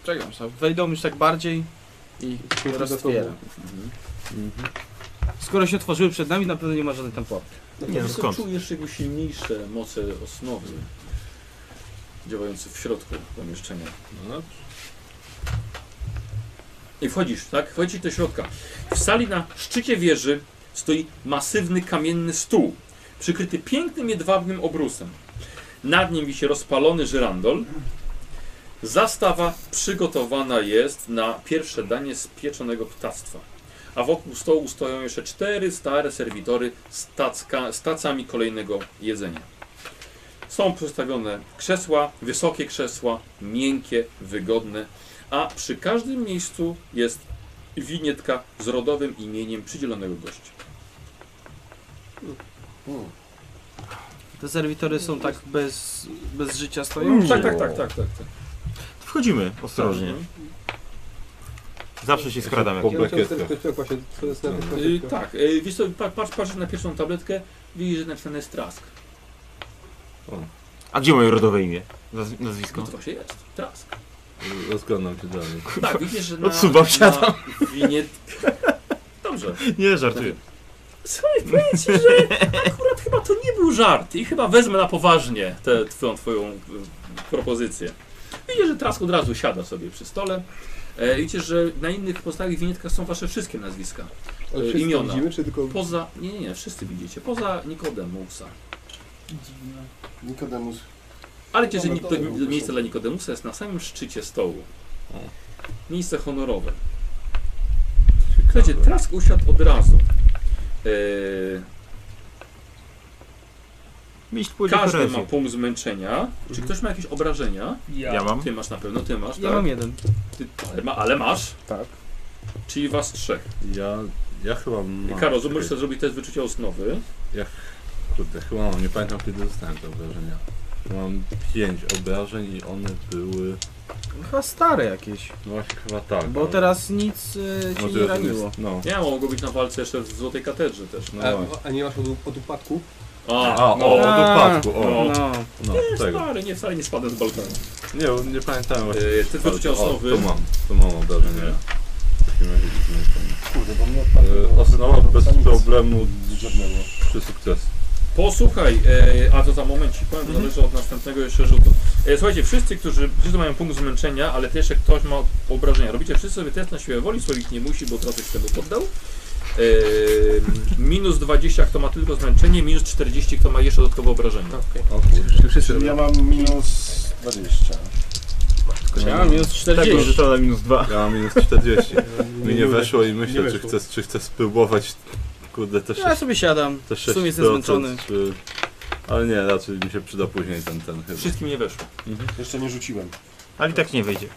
Czekam, sobie. wejdą już tak bardziej i roztwieram. Mhm. Skoro się otworzyły przed nami, na pewno nie ma żadnych tam pułapek. Nie, no Natomiast skąd? czujesz jego silniejsze moce osnowy działające w środku pomieszczenia. No, I wchodzisz, tak? Wchodzisz do środka. W sali na szczycie wieży stoi masywny kamienny stół, przykryty pięknym jedwabnym obrusem. Nad nim wisi rozpalony żyrandol. Zastawa przygotowana jest na pierwsze danie z pieczonego ptactwa. A wokół stołu stoją jeszcze cztery stare serwitory z, tacka, z tacami kolejnego jedzenia. Są przedstawione krzesła, wysokie krzesła, miękkie, wygodne, a przy każdym miejscu jest winietka z rodowym imieniem przydzielonego gościa. Hmm. Te serwitory są tak bez, bez życia No, stoją? Mm. czy- Tak, tak, tak, tak, tak. tak. Wchodzimy ostrożnie. Zawsze się skradam jak Po Ja bym chciał plakietkę. ten kościółek właśnie, co jest na tym Y, kościółku. tak, y, wiesz co, pa- patrz, patrz na pierwszą tabletkę, widzisz, że napisane jest Trask. A gdzie moje rodowe imię? Naz- No Nazwisko? to właśnie jest, Trask. Rozglądam się dalej. Tak, widzisz, że na, Odsuwam się na winietkę... Dobrze. Nie, żartuję. Słuchaj, powiem ci, że akurat chyba to nie był żart i chyba wezmę na poważnie tę twoją, twoją y, propozycję. Widzisz, że Trask od razu siada sobie przy stole. E, widzisz, że na innych pozostałych winietkach są wasze wszystkie nazwiska. Ale y, wszyscy imiona. widzimy, czy tylko... Poza, nie, nie, nie, wszyscy widzicie, poza Nikodemusa. Dziwne. Nikodemus. Ale cieszę, że Mamy nik- to, dobre mi- opisy. miejsce dla Nikodemusa jest na samym szczycie stołu. Miejsce honorowe. Słuchajcie, Trask usiadł od razu. Eee, Mieć pójdzie każdy ma punkt zmęczenia. Czy ktoś ma jakieś obrażenia? Ja mam. Ty masz na pewno, ty masz, Ja tak? mam jeden. Ty, ale, ma, ale masz. Tak. Czyli was trzech. Ja, ja chyba mam... Karol, możesz sobie zrobić test wyczucia osnowy. Kurde, chyba mam, nie pamiętam kiedy dostałem te obrażenia. Mam pięć obrażeń i one były... Chyba stare jakieś. No właśnie chyba tak. Bo ale- teraz nic y, cię Może nie to jest- raniło. No. Ja mogę być na walce jeszcze w Złotej Katedrze też. no A, właśnie. a nie masz od, od upadku? A, A, no. o, od A, upadku, o. No. No, tego. Stary, nie, wcale nie spadłem z balkonu. Nie, nie pamiętałem właśnie. Eee, test wyczucia O, osnowy. To mam, to mam obrażenia. W takim razie nic nie pamiętam. Kurde, bo mnie odpadło. E, Osnowa bez Nic problemu nie żadnego. przy sukcesie. Posłuchaj, e, a to za moment ci powiem, zależy od następnego jeszcze rzutu. E, słuchajcie, wszyscy, którzy wszyscy mają punkt zmęczenia, ale też jak ktoś ma obrażenia, robicie wszyscy sobie test na siłę woli, słowik nie musi, bo trochę się temu poddał. E, minus 20, kto ma tylko zmęczenie, minus 40, kto ma jeszcze dodatkowe obrażenia. O kurde. Czyli ja mam minus 20. Ja mam minus Tak, 40. została na minus dwa. Ja mam minus 40. Mi nie Nie weszło i myślę, czy weszło. chcę, czy chcę spróbować kurde te Ja 6, sobie siadam. te W 6 sumie jestem zmęczony. Czy... Ale nie, raczej mi się przyda później ten, ten chyba. Wszystkim nie weszło. Jeszcze nie rzuciłem. Ale i tak nie wyjdzie.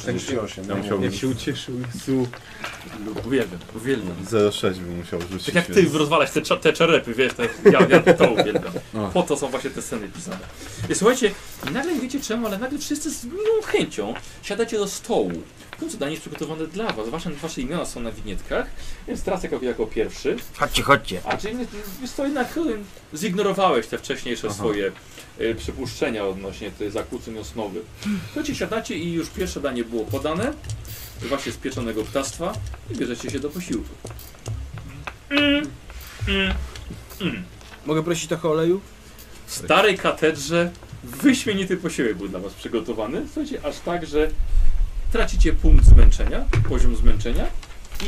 48. Ja nie musiałbym Jak się ucieszył, Jezu. Uwielbiam, uwielbiam. 0,6 bym musiał rzucić. Tak jak ty więc- rozwalasz te, cza- te czerepy, wiesz, tak, ja, ja to uwielbiam. O. Po to są właśnie te sceny pisane. I słuchajcie, nagle nie wiecie czemu, ale nagle wszyscy z miłą chęcią siadacie do stołu. W końcu danie jest przygotowane dla was, wasze, wasze imiona są na winietkach, więc teraz jako, jako pierwszy. Chodźcie, chodźcie. A czyli jest to jednak y, zignorowałeś te wcześniejsze Aha. swoje y, przypuszczenia odnośnie tych zakłóceń osnowy. Słuchajcie, siadacie i już pierwsze danie było podane, właśnie z pieczonego ptactwa i bierzecie się do posiłku. Mogę prosić trochę oleju? W starej katedrze wyśmienity posiłek był dla Was przygotowany. Słuchajcie, aż tak, że tracicie punkt zmęczenia, poziom zmęczenia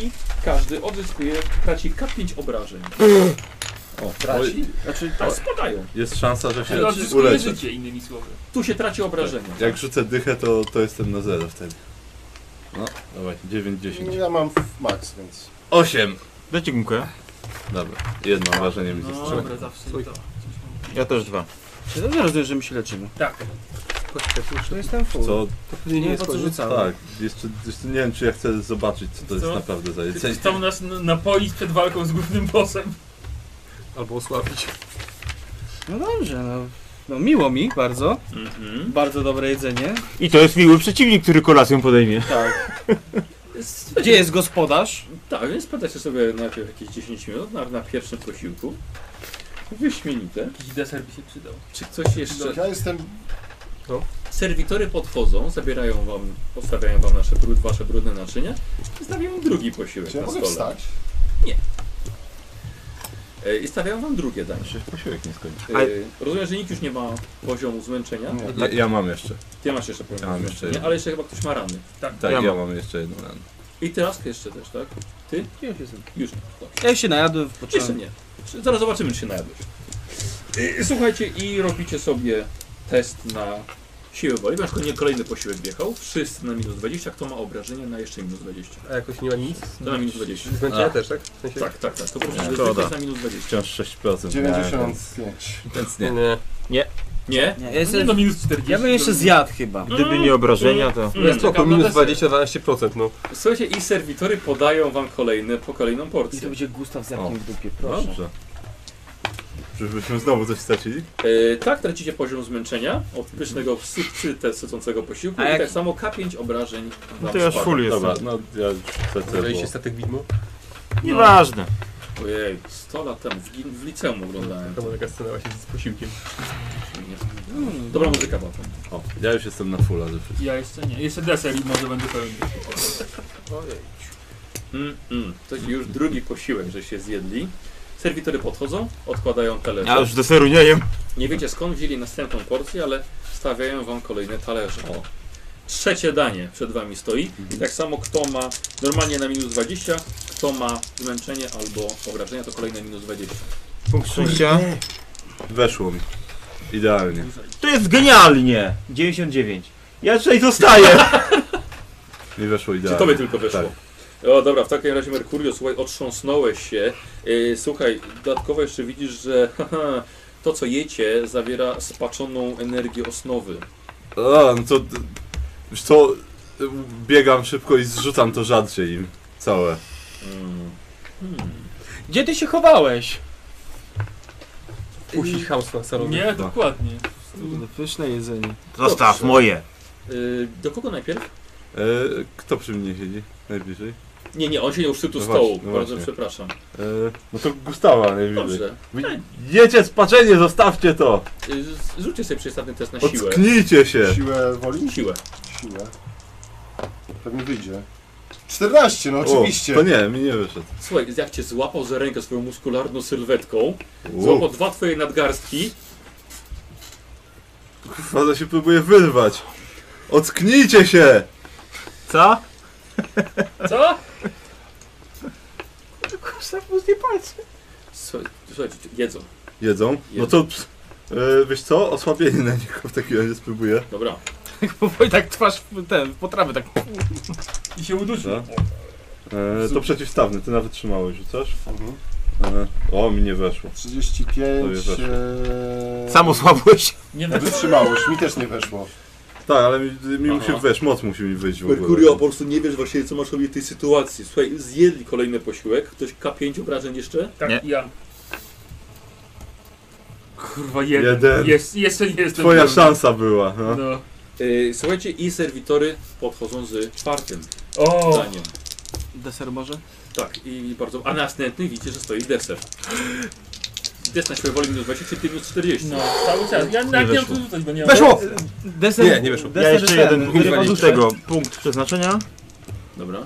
i każdy odzyskuje, traci K5 obrażeń. O, oj, Traci? Znaczy, tak, spadają. jest szansa, że się Ale odzyskuje uleczę. życie, innymi słowy. Tu się traci obrażenia. Tak. Jak rzucę dychę, to, to jestem na 0 wtedy. No, dawaj, 9, 10. Ja mam f- max, więc. 8! Dajcie gumkę. Dobra, jedno obrażenie mi No, zostało. dobra, zawsze to. Ja też dwa. Czy to rozumiem, że my się leczymy? Tak. To jestem full. Co? To pewnie nie Nie wiem, jest po co koniec. rzucałem. Tak, jeszcze, jeszcze nie wiem, czy ja chcę zobaczyć, co to jest Co? naprawdę za jedzenie. Chcą nas n- napoić przed walką z głównym bossem. Albo osłabić. No dobrze, no. No miło mi bardzo. Mhm. Bardzo dobre jedzenie. I to jest miły przeciwnik, który kolacją podejmie. Tak. Jest- Gdzie jest gospodarz? Tak, więc spadacie sobie najpierw jakieś 10 minut na, na pierwszym posiłku. Wyśmienite. Jakiś deser by się przydał. Czy coś jeszcze? Ja jestem Serwitory podchodzą, zabierają wam, postawiają wam nasze, brud- wasze brudne naczynia i stawiają drugi posiłek Czy ja na mogę stole. wstać? E, I stawiają wam drugie danie. Się Znaczy, posiłek nie skończy. E, Rozumiem, że nikt już nie ma poziomu zmęczenia. Nie. Ja, ja mam jeszcze. Ty masz jeszcze poziom Ja mam jeszcze zmęczenia, jeden. ale jeszcze chyba ktoś ma rany. Tak, Ja ja, mam. mam jeszcze jedną ranę. I teraz jeszcze też, tak? Gdzie już jestem? Już. Dobrze. Ja się najadłem w Jeszcze początku. nie. Czy- Zaraz zobaczymy, czy się najadłeś. E, Słuchajcie, i robicie sobie test na siłę woli, bo nie kolejny posiłek wjechał. Wszyscy na minus 20, kto ma obrażenia na jeszcze minus 20. A jakoś nie ma nic? To na minus 20. Zmęczenia A. też, tak? W sensie... Tak, tak, tak. To proszę, Nie, żeby szkoda. zwykle jest na minus 20. Tak, Wciąż 6%. miałem, więc- 95. Więc nie. Nie. Nie? Nie, ja, jestem, Nie no, minus Hmm. 40. ja bym jeszcze zjadł chyba. Gdyby nie obrażenia, to... Mm, Spoko, czekam na minus deser. 20, 12%, no. Słuchajcie, i serwitory podają wam kolejne, po kolejną I porcję. to będzie Gustaw zerknij O. w dupie, proszę. No, Dobrze. Czyżbyśmy znowu coś stracili? E, tak, tracicie poziom zmęczenia od pysznego sypcy te sycącego posiłku A i jak- tak samo K5 obrażeń No wam to ja już spada. full Dobra, jestem. no ja już CC Zajęliście było. statek widmo? Nieważne. Ojej, 100 lat temu, w, gim- w liceum oglądałem. To była taka scena właśnie z posiłkiem. Nie. Mm, Dobra muzyka była. O, ja już jestem na fulla ze wszystkim. Ja jeszcze nie. Jeszcze deser i może będę pełny. Mm, mm. To już drugi posiłek, że się zjedli. Serwitory podchodzą, odkładają talerze. Ja już deseru nie jem. Nie wiecie skąd wzięli następną porcję, ale stawiają wam kolejne talerze. O. Trzecie danie przed wami stoi. I tak samo kto ma normalnie na minus 20, kto ma zmęczenie albo obrażenia, to kolejne minus 20. Punkt szczęścia. Weszło mi. Idealnie. To jest genialnie! 99. Ja tutaj zostaję! Mi weszło Czy idealnie. tobie tylko wyszło? Tak. O dobra, w takim razie Merkurio, słuchaj, otrząsnąłeś się. Yy, słuchaj, dodatkowo jeszcze widzisz, że haha, to co jecie zawiera spaczoną energię osnowy. A, no to... Wiesz co, biegam szybko i zrzucam to rzadziej im. Całe. Mm. Gdzie ty się chowałeś? Puścić hamstwo na salon. Nie, dokładnie. No, Pyszne jedzenie. Zostaw Dobrze. moje. Yy, do kogo najpierw? E, kto przy mnie siedzi najbliżej? Nie, nie, on się nie uszczytu No stołu. właśnie, no Bardzo właśnie. przepraszam. E, no to Gustawa najbliżej. Dobrze. Wy- Jecie spaczenie, zostawcie to! Yy, z- Zrzućcie sobie przystawny test na siłę. Ocknijcie się! Siłę woli? Siłę. Siłę. Pewnie wyjdzie. 14, no oczywiście. O, to nie, mi nie wyszedł. Słuchaj, jak cię złapał za rękę swoją muskularną sylwetką, Uuu, złapał dwa twoje nadgarstki, faza się próbuje wyrwać. Ocknijcie się! Co? Co? Kurczę, pusty palce. Słuchaj, słuchajcie, jedzą. Jedzą? No to... pst, E, wiesz co? Osłabienie na nich w takim razie spróbuję. Dobra. Bo i tak twarz, w ten, w potrawy tak... I się udusił. Dobra. E, to przeciwstawny, ty na wytrzymałość rzucasz. Mhm. E, o, mi nie weszło. 35. To nie E... Sam osłabłeś. Nie No Wytrzymałość, mi też nie weszło. Tak, ale mi, mi Aha. musi, wiesz, moc musi mi wyjść w ogóle. Merkurio, po prostu nie wiesz właściwie, co masz robić w tej sytuacji. Słuchaj, zjedli kolejny posiłek. Ktoś K5 obrażeń jeszcze? Tak, Nie. ja. Kurwa, jeden. Jeden. Jest, jeszcze nie jestem. Twoja pewny. szansa była. No. No. Yy, słuchajcie, i serwitory podchodzą z czwartym O! daniem. Deser może? Tak, i bardzo... A następny widzicie, że stoi deser. Des na siłę woli minus 20, czyli ty minus 40. No, cały czas. Ja nawet nie mam weszło. co rzucać, bo nie mam. Weszło! Deser... Nie, nie wyszło. Ja jeszcze jeden kurwa, nie punkt tego. Punkt przeznaczenia. Dobra.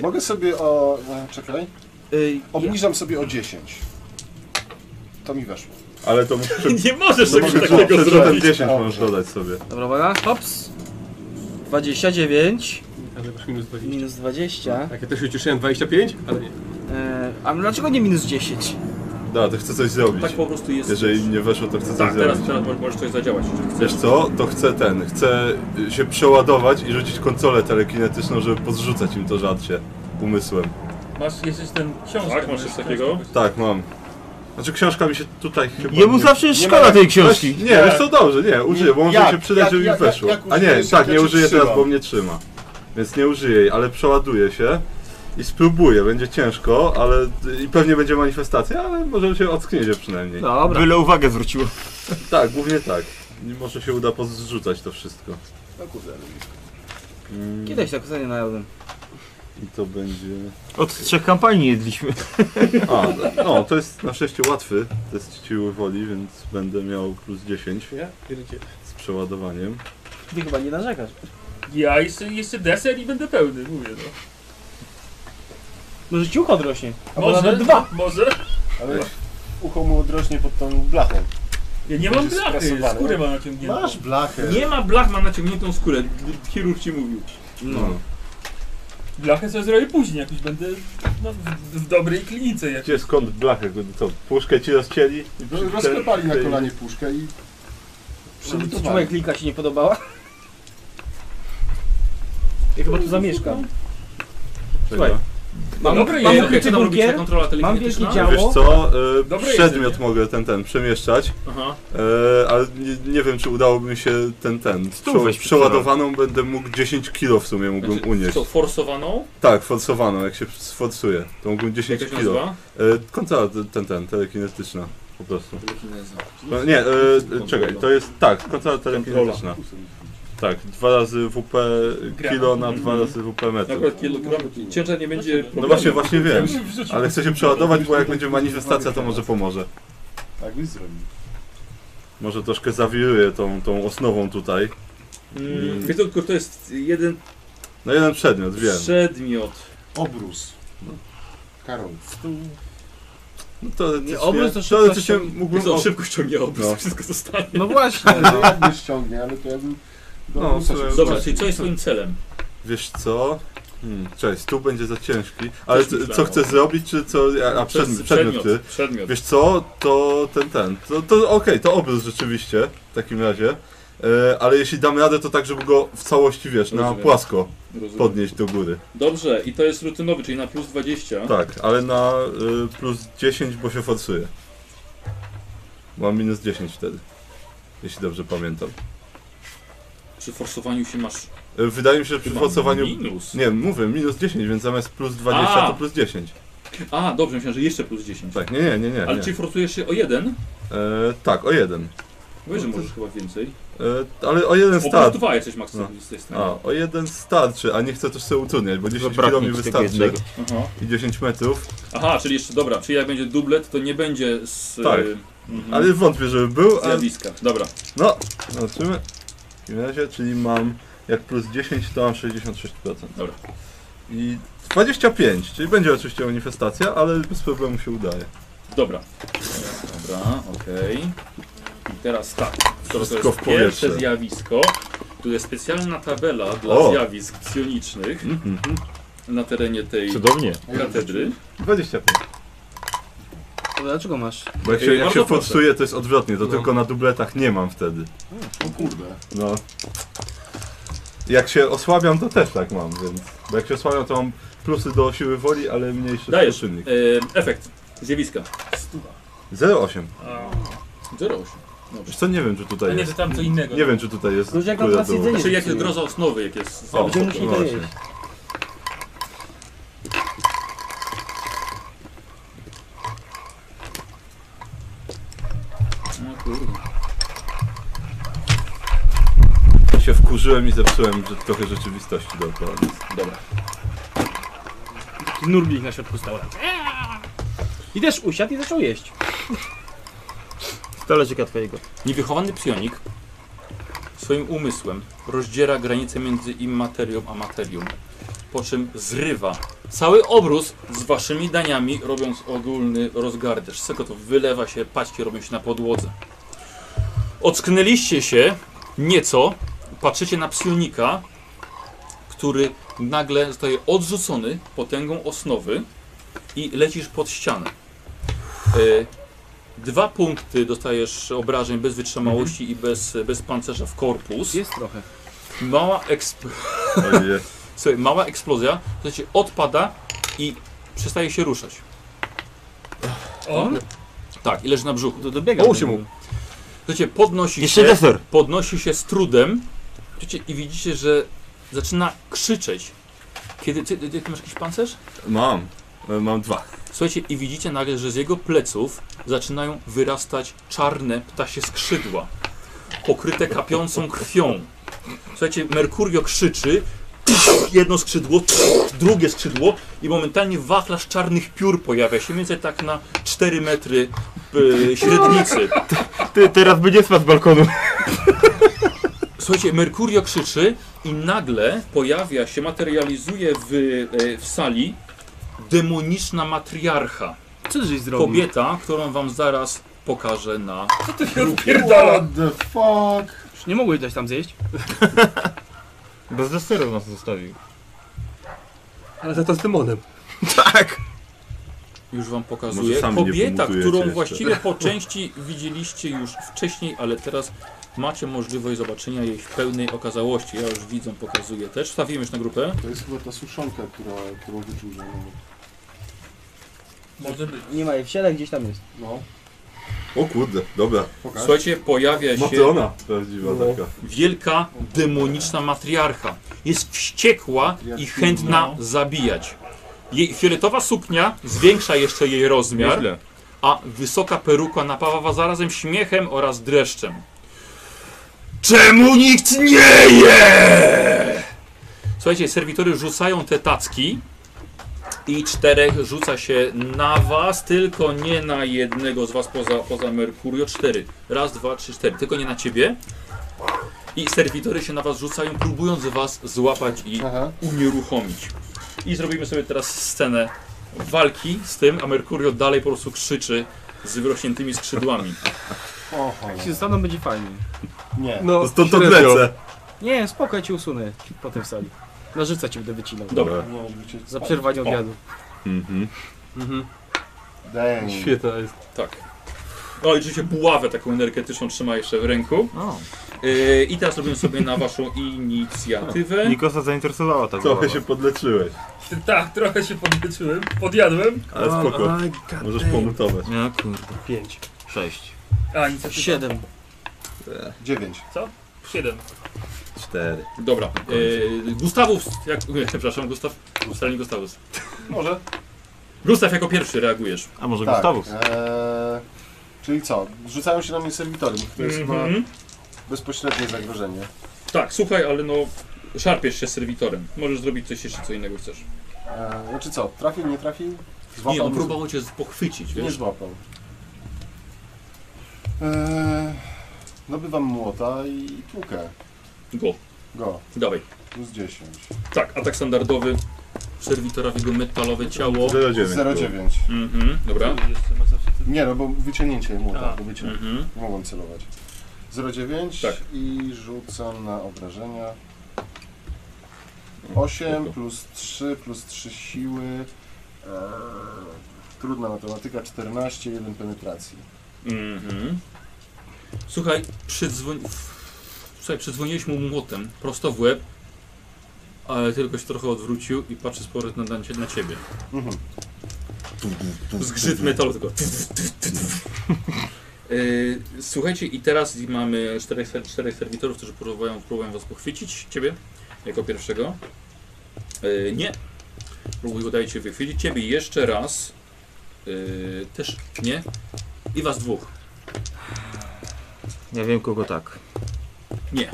Mogę sobie o. e, Czekaj. Y, Obniżam sobie o 10. To mi weszło. Ale to muszę... nie możesz No, czegoś muszę takiego przed rzutem Tak zrobić. 10 możesz dodać sobie. Dobra, uwaga, hops. 29 Ale masz minus 20. minus 20. Tak, ja też się cieszyłem 25, ale nie. E, a dlaczego nie minus 10? Da, to chcę coś zrobić. Tak po prostu jest. Jeżeli im nie weszło, to chcę coś Tak, zrobić. teraz, teraz możesz- możesz coś zadziałać, jeżeli chcesz. Wiesz co, to chcę ten, chcę y, się przeładować i rzucić konsolę telekinetyczną, żeby pozrzucać im to żarcie umysłem. Masz jeszcze ten książkę. Tak, masz coś takiego? Tak, mam. Znaczy książka mi się tutaj chyba Jemu nie... zawsze jest nie szkoda ma- tej książki. Nie, wiesz co, dobrze, nie, użyję, bo może Jak? mi się przydać, Jak- żeby mi jak- weszło. jak- jak A nie, użyjesz, tak, jak nie cię użyję trzyma? teraz, bo mnie trzyma. Więc nie użyję jej, ale przeładuję się i spróbuję, będzie ciężko, ale i pewnie będzie manifestacja, ale może się ockniecie przynajmniej. Tak. Dobra. Byle uwagę zwróciło. Tak, głównie tak. I Może się uda pozrzucać to wszystko. No kurde, ale Mm, Kiedyś tak ostatnio najadłem. I to będzie... Od trzech kampanii jedliśmy. A, no, to jest na szczęście łatwy test siły woli, więc będę miał plus 10 Ja? Pierdzie. z przeładowaniem. Ty chyba nie narzekasz. Ja jeszcze, jeszcze deser i będę pełny, mówię no. Może ci ucho odrośnie. Albo Może? nawet dwa. Może? Ale ucho mu odrośnie pod tą blachą. Ja nie mam Będzie blachy, sprasowany. skórę mam naciągniętą. Masz blachę. no. Nie ma blach, mam naciągniętą skórę. Chirurg ci mówił. No. Blachę sobie zrobię później, jak już będę no, w, w dobrej klinice. Jak... Gdzie skąd blachę? Co, puszkę ci rozcięli? I No, przy- Rozklepali na tej- kolanie puszkę i. Czy moja Przywitowali. klika ci nie podobała? Ja chyba tu zamieszkam. Czego? Mam, Mam- dobre mam jest, ukryty okej, to nam robić bunkier, na kontrola mam telekinetyczna? wielki No, dział. Działo? Wiesz co, e, Dobre przedmiot jedzenie. mogę ten, ten przemieszczać, Aha. e, ale nie, nie wiem czy udałoby mi się ten, ten. Stół weź przeładowaną będę mógł 10 kilo w sumie mógłbym Znaczy, unieść. Co, forsowaną? Tak, forsowaną, jak się sforsuje, to mógłbym 10 Jak to się kilo. nazywa? E, kontrola te- ten, ten, telekinetyczna po prostu. Telekineza. No, nie, e, e, czekaj, to jest, tak, kontrola telekinetyczna. Tak, dwa razy WP kilo na dwa razy WP Na metr. Akurat kilogram ciężar nie będzie problemu. No właśnie, właśnie wiem. Jakby w życiu- Ale chcę się przeładować, bo jak będzie manifestacja, to może pomoże. Tak byś zrobił. Może troszkę zawiruję tą, tą osnową tutaj. Mm, wiesz co, to jest jeden No jeden przedmiot, wiem. przedmiot. Obrus. Karol. Stół. No to Nie, obrót to szybko teoretycznie ściągnie. mógłbym... Wiesz co, o- szybko ściągnie obraz, No. wszystko zostanie. No właśnie. To ja bym ściągnie, ale to ja bym... do No, Obrusa się słuchaj, wzmocnił. Dobra, czyli co jest twoim celem? Wiesz co? Hmm, cześć, tu będzie za ciężki. Ale ty, myślałem co o- chcesz zrobić, czy co? A, a To jest przedmiot, przedmiot ty. Przedmiot. Wiesz co, to ten, ten. To, to okej, to obrót rzeczywiście w takim razie. E, ale jeśli dam radę, to tak, żeby go w całości, wiesz, na Rozumiem. płasko Rozumiem. podnieść do góry. Dobrze, i to jest rutynowy, czyli na plus 20. Tak, ale na y, plus 10, bo się forsuje. Mam minus 10 wtedy. Jeśli dobrze pamiętam. Przy forsowaniu się masz Y, wydaje mi się, że przy chyba forsowaniu. minus. Nie, mówię, minus 10, więc zamiast plus 20 A! to plus 10. A, dobrze, myślałem, że jeszcze plus 10. Tak, nie, nie, nie, nie. Ale nie. czy forsujesz się o jeden? E, tak, o jeden. Wiesz, że No to- możesz chyba więcej. E, ale o jeden O plus start. No. 2 jesteś maksymalny z tej strony. A, o jeden starczy, a nie chcę też sobie utrudniać, bo 10 braknie kilo mi ci tego wystarczy jednego. Aha. i 10 metrów, Aha, czyli jeszcze, dobra, czyli jak będzie dublet, to nie będzie z... Tak. y, mhm, ale wątpię, żeby był, ale Zjawiska, dobra. no, zobaczymy. W takim razie, czyli mam, jak plus 10, to mam 66%. Dobra. I 25, czyli będzie oczywiście manifestacja, ale bez problemu się udaje. Dobra. Dobra, okej. I teraz tak. To, to Wszystko jest w powietrze. pierwsze zjawisko. Tu jest specjalna tabela dla O. zjawisk psionicznych Mhm. na terenie tej Cudownie. katedry. 25. To dlaczego masz? Bo jak się, Ej, jak bardzo No. się proszę. forsuje, to jest odwrotnie, to tylko na dubletach nie mam wtedy. O kurde. No. Jak się osłabiam, to też tak mam, więc... Bo jak się osłabiam, to mam plusy do siły woli, ale mniejszy Dajesz współczynnik. y, efekt zjawiska. 0,8. A, 0,8. Wiesz co, nie wiem, czy to tutaj nie, to jest. tam co innego. Nie wiem, czy tutaj jest... Ludzie jak na które placu było. jedzenia. Czyli Znaczy, jak jest groza osnowy, jak jest. O, no Będziemy musieli to właśnie. jeść. No kurde. Się wkurzyłem i zepsułem że trochę rzeczywistości dookoła. więc- Dobra. Taki nurbik na środku staura. I też usiadł i zaczął jeść. Stale ciekawka jego. Niewychowany psionik swoim umysłem rozdziera granicę między immaterią a materią, po czym zrywa cały obrus z waszymi daniami, robiąc ogólny rozgardiasz. Z tego to wylewa się, paćki robią się na podłodze. Ocknęliście się nieco, patrzycie na psionika, który nagle zostaje odrzucony potęgą osnowy i lecisz pod ścianę. Y, Dwa punkty dostajesz obrażeń bez wytrzymałości i bez, bez pancerza w korpus. Jest trochę. Mała, eksp... Ojej. Słuchaj, mała eksplozja, to ci odpada i przestaje się ruszać. O, Tak, i leży na brzuchu. To dobiega. Połóż się mu. Słuchajcie, podnosi Jeszcze się, deser. podnosi się z trudem Słuchajcie, i widzicie, że zaczyna krzyczeć. Kiedy ty, ty, ty masz jakiś pancerz? Mam. E, Mam dwa. Słuchajcie, i widzicie nagle, że z jego pleców zaczynają wyrastać czarne ptasie skrzydła, pokryte kapiącą krwią. Słuchajcie, Merkurio krzyczy, jedno skrzydło, drugie skrzydło i momentalnie wachlarz czarnych piór pojawia się, mniej więcej tak na 4 metry e, średnicy. Ty teraz by nie spadł z balkonu. Słuchajcie, Merkurio krzyczy i nagle pojawia się, materializuje w, e, w sali demoniczna matriarcha. Co żeś zrobił? kobieta, którą wam zaraz pokażę na. pierdala. What the fuck? Już Nie mogłeś dać tam zjeść? Bez deseru nas zostawił. Ale za to z demonem. Już wam Może pokazuję. sami nie Kobieta, pomutujecie którą jeszcze. właściwie po części widzieliście już wcześniej, ale teraz macie możliwość zobaczenia jej w pełnej okazałości. Ja już widzą pokazuję też. Wstawiłem już na grupę. To jest chyba ta suszonka, która, którą wyczuł, że no, Może być. Nie ma jej w siele, gdzieś tam jest. No, O kurde, dobra. pokaż. Słuchajcie, pojawia No się Matrona prawdziwa taka. wielka demoniczna matriarcha. Jest wściekła i chętna zabijać. Jej fioletowa suknia zwiększa jeszcze jej rozmiar. Nieźle. a wysoka peruka napawa was zarazem śmiechem oraz dreszczem. Czemu nikt nie je? Słuchajcie, serwitory rzucają te tacki i czterech rzuca się na was, tylko nie na jednego z was poza, poza Merkurio. Cztery. Raz, dwa, trzy, cztery. Tylko nie na ciebie. I serwitory się na was rzucają, próbując was złapać i Aha. unieruchomić. I zrobimy sobie teraz scenę walki z tym, a Merkurio dalej po prostu krzyczy z wyrośniętymi skrzydłami. O, cholera. Jak się zostaną, będzie fajnie. Nie. No, Stąd to średnio. lecę. Nie, spoko, ja cię usunę potem w sali. Nożyca cię będę wycinał. Dobra. No, wiecie- Za przerwanie obiadu. Mhm. Mhm. Dang. Świetna jest. Tak. O, i oczywiście buławę taką energetyczną trzyma jeszcze w ręku. O. Yy, I teraz robimy sobie na waszą inicjatywę. Nikosa zainteresowała ta Trochę zabawa. się podleczyłeś, Tak, trochę się podleczyłem, podjadłem. ale spoko. Możesz pomutować. Ja kurde. Pięć. No, Sześć. A, nic Siedem. Dziewięć. 7. Cztery. Dobra. Yy, Gustawus, jak, nie, przepraszam, Gustaw, wcale nie Gustawus. Może. Gustaw jako pierwszy reagujesz. A może Tak. Gustawus? Eee, czyli co? Rzucają się na mnie serwitorem, to jest chyba Mhm. bezpośrednie zagrożenie. Tak, słuchaj, ale no szarpiesz się z serwitorem. Możesz zrobić coś jeszcze, co innego chcesz. Eee, znaczy co? Trafił, nie trafił? Złapał, Nie, on nie próbował cię z- pochwycić, Nie wiesz? złapał. Eee, nabywam młota i tłukę Go, go. dawaj. Plus 10. Tak, atak standardowy. Serwitorowi go metalowe ciało. Zero dziewięć. 0,9. Mhm, dobra. Nie no, bo wyciągnięcie młota, A. bo wycią... Mhm. nie mogą celować. 0,9 Tak. i rzucam na obrażenia. Mhm. 8 plus 3 plus 3 siły. Eee, trudna matematyka, 14, 1 penetracji. Mhm. Słuchaj, przydzwoń... Słuchaj, przydzwoniłeś mu młotem prosto w łeb, ale tylko się trochę odwrócił i patrzy z powrotem na, na ciebie. Mhm. Zgrzyt metalu tylko. Yy, Słuchajcie, i teraz mamy czterech, ser- czterech serwitorów, którzy próbują, próbują was pochwycić. Ciebie jako pierwszego. Yy, nie. Próbuj udaje się wychwycić. Ciebie jeszcze raz. Yy, też nie. I was dwóch. Ja wiem kogo tak.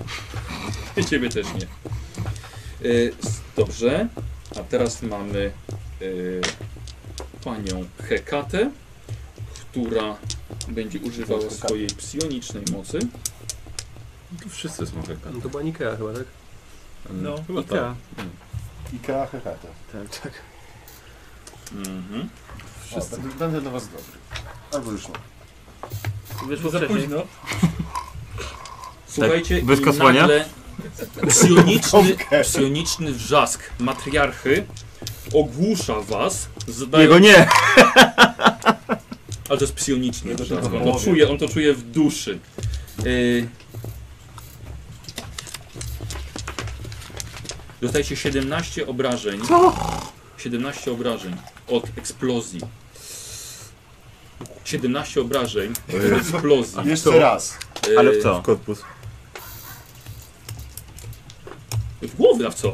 Ciebie też nie. Yy, s- dobrze. A teraz mamy yy, panią Hekatę, która będzie używała swojej psionicznej mocy. Tu wszyscy są tak. heka. No, to była Nikea chyba, tak? No. Chyba tak. Ikea Hehete. Tak, tak. Mhm. O, będę- Będę dla was dobry. Albo już nie. Wyszło Za wcześniej. późno. Słuchajcie, Tak, bez i kasłania? nagle psioniczny, psioniczny wrzask matriarchy ogłusza was, zadaje, Jego nie! ale to jest psioniczny Jego wrzask, tylko on to połowie. czuje, on to czuje w duszy. Yy, dostajecie 17 obrażeń, 17 obrażeń od eksplozji. 17 obrażeń od Ojej. eksplozji. Jeszcze raz. Yy, Ale w co? Korpus. Y, W głowy, a w co?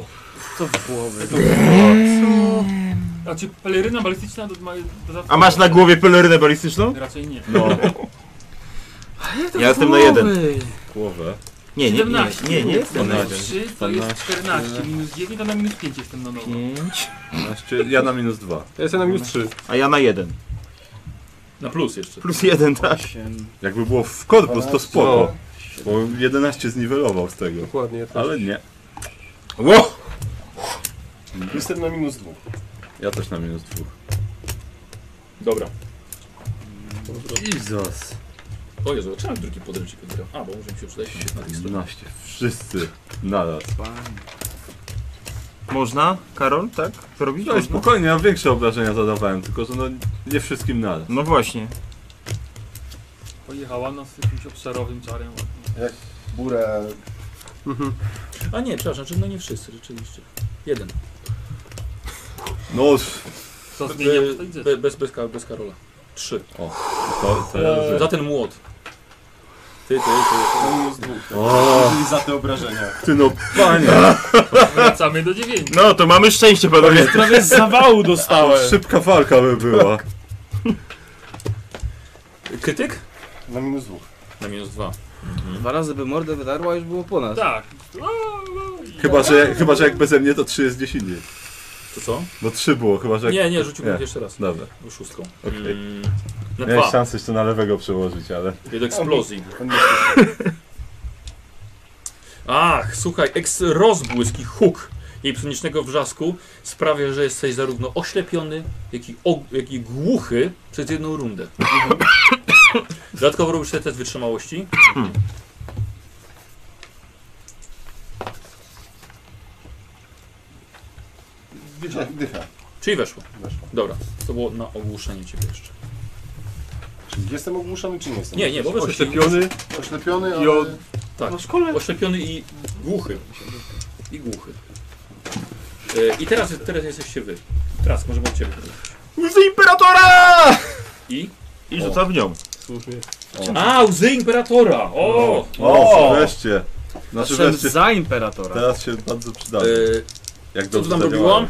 Co w głowy? A czy peleryna balistyczna do, ma, do A masz na głowie pelerynę balistyczną? Raczej nie. No. Ja jestem na jeden. Głowę. Nie, nie, nie, 17. nie, nie, To jestem na jeden. jest 3, to jest 14. Minus 9, to na minus 5 jestem na nowo. Pięć. 12, ja na minus 2. Ja jestem na minus 3. A ja na jeden. Na plus jeszcze. Plus jeden, tak. Osiem. Jakby było w korpus, to spoko. No. Bo 11 zniwelował z tego. Dokładnie. ja też. Ale nie. Ło! Jestem na minus dwóch. Ja też na minus 2. Dobra. Jezus. O Jezu, czemu drugi podręcznik odbieram? A, bo może mi się przydać na tych stronach. 17. Wszyscy. Naraz. Można, Karol, tak? Zrobić? No i Można? spokojnie, ja większe obrażenia zadawałem, tylko że no nie wszystkim naraz. No właśnie. Pojechała nas jakimś obszarowym czarem. Burę Mhm. A znaczy, nie, przepraszam, czy no nie wszyscy, rzeczywiście. Jeden. No, s- To Be- zmienia be, postać bez, bez, Ka- bez Karola. Trzy. E, To, to ja Za żyję. ten młot. Ty, ty, ty. No minus dwóch, tak? O, Czyli za te obrażenia. ty no panie! Wracamy do dziewięciu. No to mamy szczęście panowie. Prawie z zawału dostałem. Szybka walka by była. Krytyk? Na minus dwóch. Na minus dwa. Dwa razy by mordę wydarła, już było po nas. Tak. O, o, i- Chyba że, chyba, że jak beze mnie to 3 jest 10. To co? Bo 3 było, chyba Tak. że. Jak... Nie, nie, rzuciłbym Nie. jeszcze raz. No. Dobra. Był szóstką. Okej. Mm, na Miałeś dwa. szansę jeszcze na lewego przełożyć, ale. Od eksplozji. On nie słyszy. Ach, słuchaj, eks rozbłysk i huk jej psonicznego wrzasku sprawia, że jesteś zarówno oślepiony, jak i, og- jak i głuchy przez jedną rundę. Dodatkowo robisz sobie test wytrzymałości. Dycha. No, Dycha. Czyli weszło. Weszło. Dobra, to było na ogłuszenie ciebie jeszcze. Czyli jestem ogłuszony, czy nie jestem? Nie, nie, bo weszło ci- Oślepiony. Oślepiony, I od- ale... Tak. No szkole. Oślepiony i głuchy. I głuchy. E, I teraz, teraz jesteście wy. Teraz możemy od ciebie. Łzy imperatora! I? I rzuca w nią. A, łzy imperatora! O! O, wreszcie! Znaczy Znaczy wreszcie za Tak. imperatora. teraz się bardzo przyda. Y, E, Jak co tu dobrze tam zadziałało. robiłam?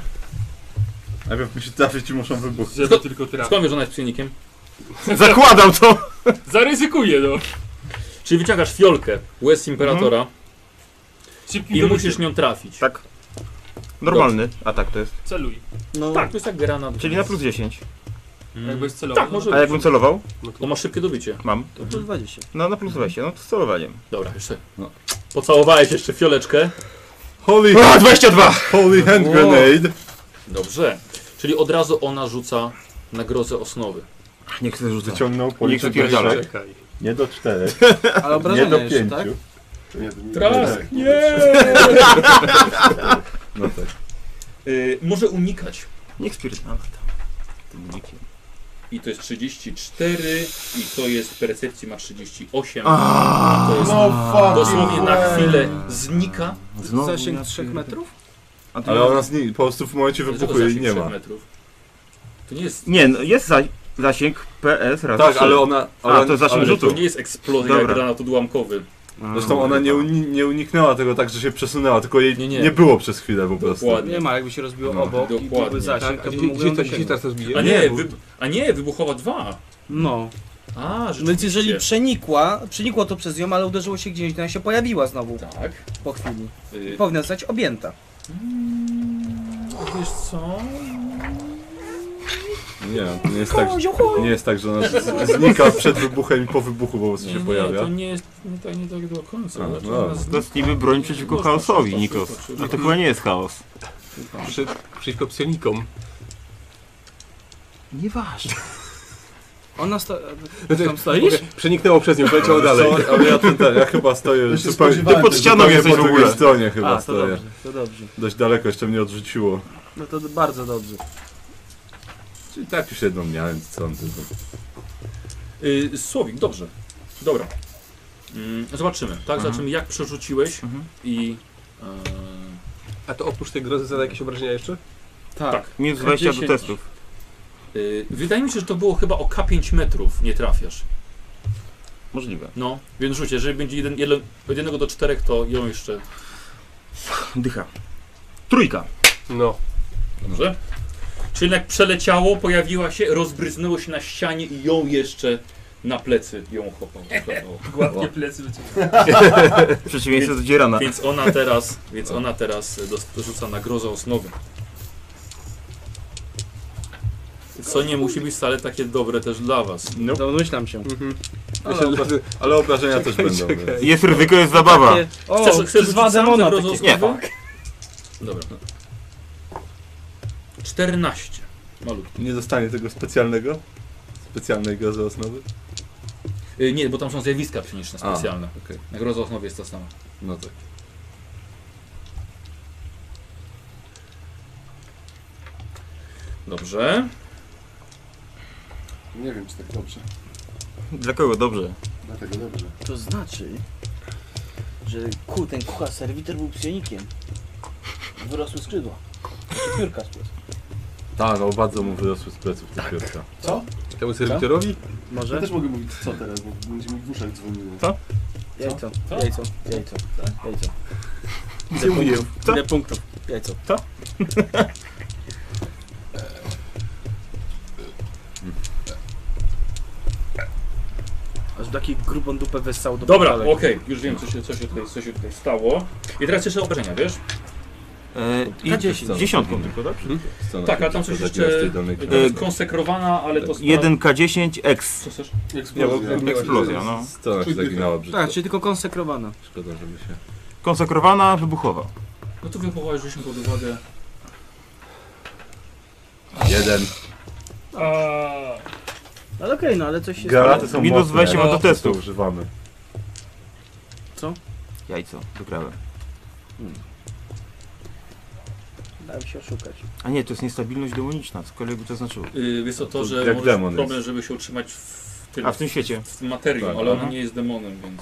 Najpierw mi się trafić i muszą wybuchnąć. Żeby tylko trafić. Skąd wiesz, że ona jest przyjemnikiem? Zakładał to. Zaryzykuję, no. Czyli wyciągasz fiolkę łez imperatora Szybkim i dobyciem. musisz nią trafić. Tak. Normalny atak to jest. Celuj. No. Tak, to jest jak granat. Czyli na plus 10. Mm. Jakbyś celował. no Tak, może A jakbym celował? To masz szybkie dobicie. Mam. To plus 20. No na plus 20, no to z celowaniem. Dobra, jeszcze. No. Pocałowałeś jeszcze fioleczkę. Holy, A, 22! holy hand grenade! Dobrze. Czyli od razu ona rzuca na grozę osnowy. Nie chcę rzucać. Wyciągnął policzek do zapierdziala. trzech, nie do czterech, Ale nie obrażenia do jeszcze, pięciu. tak? Nie, to nie- Trask, nie. No tak. Yy, może unikać. Niech spierdala tam. Tym unikiem. I to jest 34 i to jest percepcji ma 38. Aaaa! To jest No dosłownie fucking na way. chwilę znika. Zasięg 3 metrów? A ty Ale ona zni- po prostu w momencie Dlaczego wybuchuje i zasięg nie trzech ma. metrów? To nie jest. Nie, no jest za... zasięg PS raz Tak, trzy. ale ona... A, Ale, to jest zasięg ale- rzutu. To nie jest eksplozja jak Dobra. granat odłamkowy. Zresztą ona nie, uni nie uniknęła tego tak, że się przesunęła, tylko jej Nie, nie, nie. było przez chwilę po prostu. Dokładnie. Nie ma, jakby się rozbiło No, obok i dokładnie. byłby zasięg, Tak, to a by gdzie, mogły gdzie, ją to, gdzie dosięgnąć. teraz to zbije? A nie, nie, bo- wyb- a nie, wybuchowa dwa. No. A, że. No więc jeżeli przenikła, przenikło to przez nią, ale uderzyło się gdzieś, ona się pojawiła znowu Tak. po chwili. Y, Powinna zostać objęta. wiesz co? Nie, to nie jest tak, nie jest tak, że ona z- znika przed wybuchem i po wybuchu po prostu się nie, pojawia. to nie jest nie, tak, nie tak do końca. A, Znaczy, no. ona z- To jest niby broń przeciwko chaosowi, Oczywiście, Nikos. oczywiście. A No to chyba nie jest chaos. Przy, przeciwko psionikom. Nieważne. Ona sta... tam Mówię, stoisz? Przeniknęło przez nią, poleciało dalej. Sorry, ale ja, ten, ten, ja chyba stoję się zupełnie, spodziewałem Ty pod ścianą zupełnie jesteś po w drugiej ogóle. stronie chyba A, to stoję. dobrze, to dobrze. Dość daleko jeszcze mnie odrzuciło. No to bardzo dobrze. Czyli tak już jedną miałem, co on tylko. Y, Słowik, dobrze. Dobra. Mm, Zobaczymy, tak? Mhm. Zobaczymy jak przerzuciłeś Mhm. i... e, A to oprócz tej grozy zada jakieś obrażenia jeszcze? tak. Minus 20 do 10. testów. Y, wydaje mi się, że to było chyba o K5 metrów nie trafiasz. Możliwe. No, więc rzuć, jeżeli będzie jeden, jeden, od jednego do czterech, to ją jeszcze... Dycha. Trójka. No. Dobrze? Czyli jak przeleciało, pojawiła się, rozbryznęło się na ścianie i ją jeszcze na plecy ją chopało. chopało. Gładkie plecy wyciągnął. W przeciwieństwie do dzierana. Więc ona teraz, więc ona teraz dos- rzuca na grozę osnowy. Co nie musi być wcale takie dobre też dla was. No. Domyślam się. Mhm. Ale, obra- ale obrażenia też będą. czekaj. więc- Jest ryzyko, jest zabawa. Takie- O, Chcesz- chcesz przez dwa rzucić sam na demona grozę takie. osnowy? Nie, Dobra. 14. Malutko. Nie dostanie tego specjalnego? Specjalnej grozy osnowy? Y, nie, bo tam są zjawiska psioniczne A, specjalne. okej. Na grozę osnowy jest to samo. No tak. Dobrze. Nie wiem, czy tak dobrze. Dla kogo dobrze? Dlatego dobrze. To znaczy, że ku, ten kucharz serwiter był psionikiem. Wyrosły skrzydła. Piórka z płot. Tak, no bardzo mu wyrosły z pleców te piórka. Co? Temu serwitorowi? Ja Może? też mogę mówić co teraz, bo będzie mi w uszach dzwoniło. Co? Jajco, Co? jajco, jajco, jajco. Nic nie mówiłem. Co? Ile punktów? Jajco. Aż taki grubą dupę wessał do Dobra, portale. okej, już wiem, co się, co, się tutaj, co się tutaj stało. I teraz jeszcze obrażenia, wiesz? Tak. E, I Tak, dziesięć. co? dziesiątką tylko, tak? Co na Tak, a tym tam coś zasadzie jeszcze- e, jest tej danej To książce? jest konsekrowana, ale tak. to sprawa... 1K10 X. Co chcesz? Eksplozja. Nie, bo- Eksplozja, no. Strona się zaginała brzydko. Tak, czyli tylko konsekrowana. Szkoda, żeby się... Konsekrowana, wybuchowa. No to wywołałeś, żeśmy pod uwagę... Jeden. A, No Ale okej, no ale coś się Garaty są Minus mocne. 20 mam do Po prostu testu. używamy. Jajco, wygrałem. stało. Dałem się oszukać. A nie, to jest niestabilność demoniczna, cokolwiek by to znaczyło. Yy, wiesz co, to, To że jak możesz demon problem, jest. żeby się utrzymać w tyle, A w tym świecie. w materii, Tak, ale aha. on nie jest demonem, więc...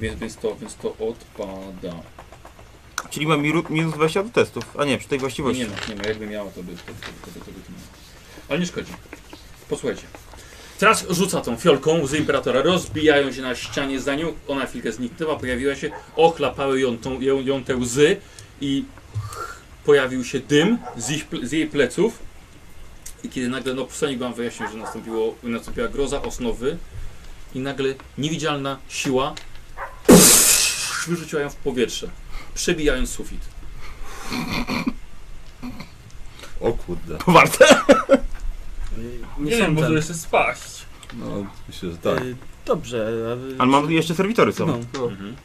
Więc, więc, to, więc to odpada. Czyli mam miru- minus 20 do testów. A nie, przy tej Nie, właściwości. nie ma, nie ma. Jakby miała, to by to, to, to, to, by to miało. Ale nie szkodzi. Posłuchajcie. Teraz rzuca tą fiolką z imperatora, rozbijają się na ścianie za nią, ona chwilkę zniknęła, pojawiła się, ochlapały ją, tą, ją, ją te łzy i pojawił się dym z, ich, ple- z jej pleców. I kiedy nagle, no przynajmniej wam wyjaśnił, że nastąpiło, nastąpiła groza osnowy i nagle niewidzialna siła wyrzuciła ją w powietrze, przebijając sufit. O kurde. To warte. nie wiem, może jeszcze spaść. No, myślę, że tak. E, Dobrze, a- Ale mam jeszcze serwitory są. No. Mhm.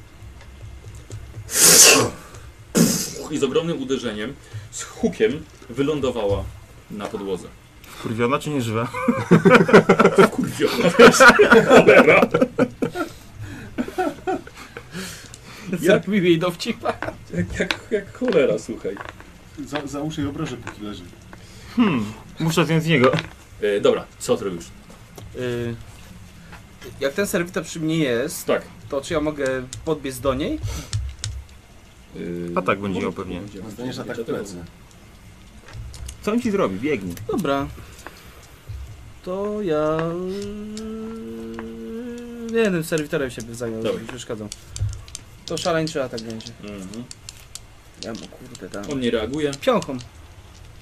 i z ogromnym uderzeniem, z hukiem wylądowała na podłodze. Kurwiona czy nie żywa? Kurwiona też, cholera. Jak, mi jej dowcipa. jak, jak, jak cholera, słuchaj. Za, za uszy i obrażę póki leży. Muszę zjąć z niego. E, dobra, co ty robisz? Y, jak ten serwitor przy mnie jest, Tak. to czy ja mogę podbiec do niej? E, A tak będzie miał pewnie. No Zdaniesz tak atak w tak plecy. Co on ci zrobi? Biegnij. Dobra. To ja... Nie wiem, serwitorem się by zajął, Dobra. żeby przeszkadzał. To szaleńczy atak będzie. Mhm. Ja mu kurde tam. On nie reaguje. Piąchą.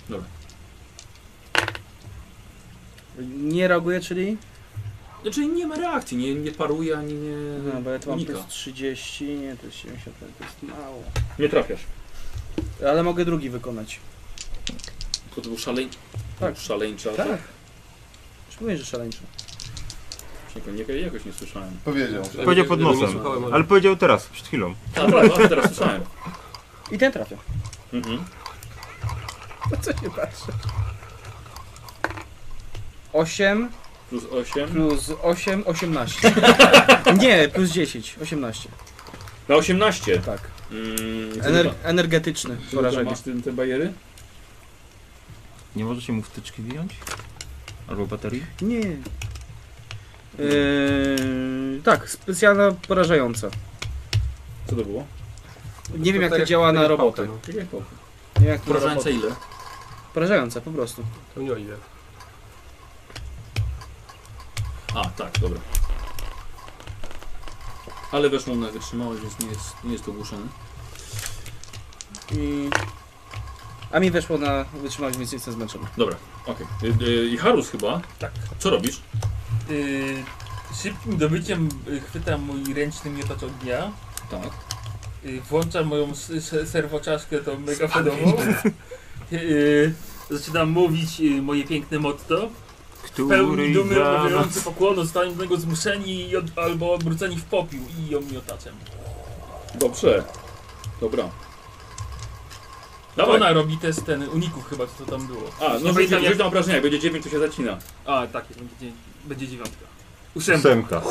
Dobra. Nie reaguje, czyli? Znaczy nie ma reakcji, nie, nie paruje ani nie. No, bo ja tu mam Mhm. unika. plus 30, nie, to jest 70, to jest mało. Nie trafiasz. Ale mogę drugi wykonać. To był szaleń... Tak. szaleńcza. Tak. Już mówię, że szaleńczy. Nie, jakoś nie słyszałem. Powiedział. Powiedział pod Nie nosem. słuchałem, ale- Ale powiedział teraz, przed chwilą. A tak, a teraz słyszałem. I ten trafia. Mhm. No co się patrzy? 8 Plus 8. plus 8, 18. nie, plus 10, 18. Na 18. Tak. Mm, Ener energetyczny Zurażenie. porażenie. Masz te, te bajery? Nie możecie mu wtyczki wyjąć? Albo baterii? Nie. Yy, tak, specjalna porażająca. Co to było? Nie wiem jak tak to działa na jak roboty. pałka, no. Czekaj, po. Nie wiem, jak to na Porażająca roboty. ile? Porażająca po prostu. To nie o ile. A, tak, dobra. Ale weszło na wytrzymałość, więc nie jest, nie jest ogłuszony. I... A mi weszło na wytrzymałość, więc jestem zmęczony. Dobra, okej. Y, y, I Harus chyba? Tak. Co robisz? Y, szybkim dobyciem y, chwytam mój ręczny miotacz ognia. Tak. Y, włączam moją s- s- serwoczaszkę tą megafonową. Y, zaczynam mówić y, moje piękne motto. W pełni dumy za odmawiający nas- pokłonu zostają do niego zmuszeni i od, albo obróceni w popiół i ją miotaczem. Dobrze. Dobra. Dawaj. Ona robi test ten uników chyba, co to tam było. A, Nie no rzuć pamiętam, rzuć jak- na obrażenia, jak będzie 9 to się zacina. A, tak, będzie, będzie dziewiątka. Ósemka. Ósemka.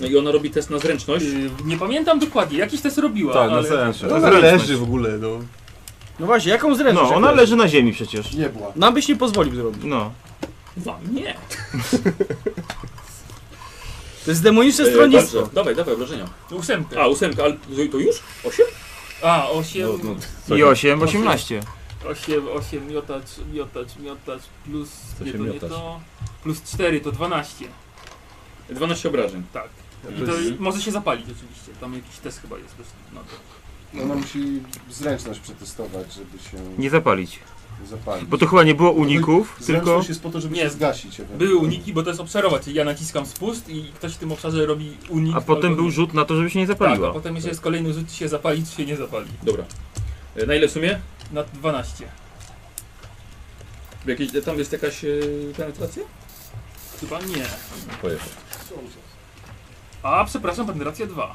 No i ona robi test na zręczność. Y, nie pamiętam dokładnie, jakiś test robiła, Tak, na ale... zręczność. To zręczność. leży w ogóle, no. No właśnie, jaką zręczę? No, ona leży na ziemi przecież. Nie była. Nam byś nie pozwolił zrobić. No. Wam nie. To jest demoniczne E, stronnictwo. dobrze. Dawaj, dawaj obrażenia. Ósemkę. A, ósemka, ale to już? Osiem? A, osiem... no, no I 8, 18. 8, 8 miotacz, miotacz, miotacz, plus Co nie się to, nie miotasz? to, plus 4 to 12, 12 obrażeń. tak. I To to jest- może się zapalić oczywiście, tam jakiś test chyba jest bez, na to. No Ona musi zręczność przetestować, żeby się Nie zapalić. zapalić. No Bo to chyba nie było uników, tylko... Zręczność jest po to, żeby Nie. się zgasić. Były uniki, bo to jest obserwować, czyli ja naciskam spust i ktoś w tym obszarze robi unik. A potem albo był nie. rzut na to, żeby się nie Tak, a zapaliła. potem jeszcze jest kolejny rzut, czy się zapali, czy się nie zapali. Dobra. E, Na ile w sumie? Na 12. Jakieś, tam jest jakaś e, penetracja? Chyba nie. Pojechał. A, przepraszam, penetracja 2.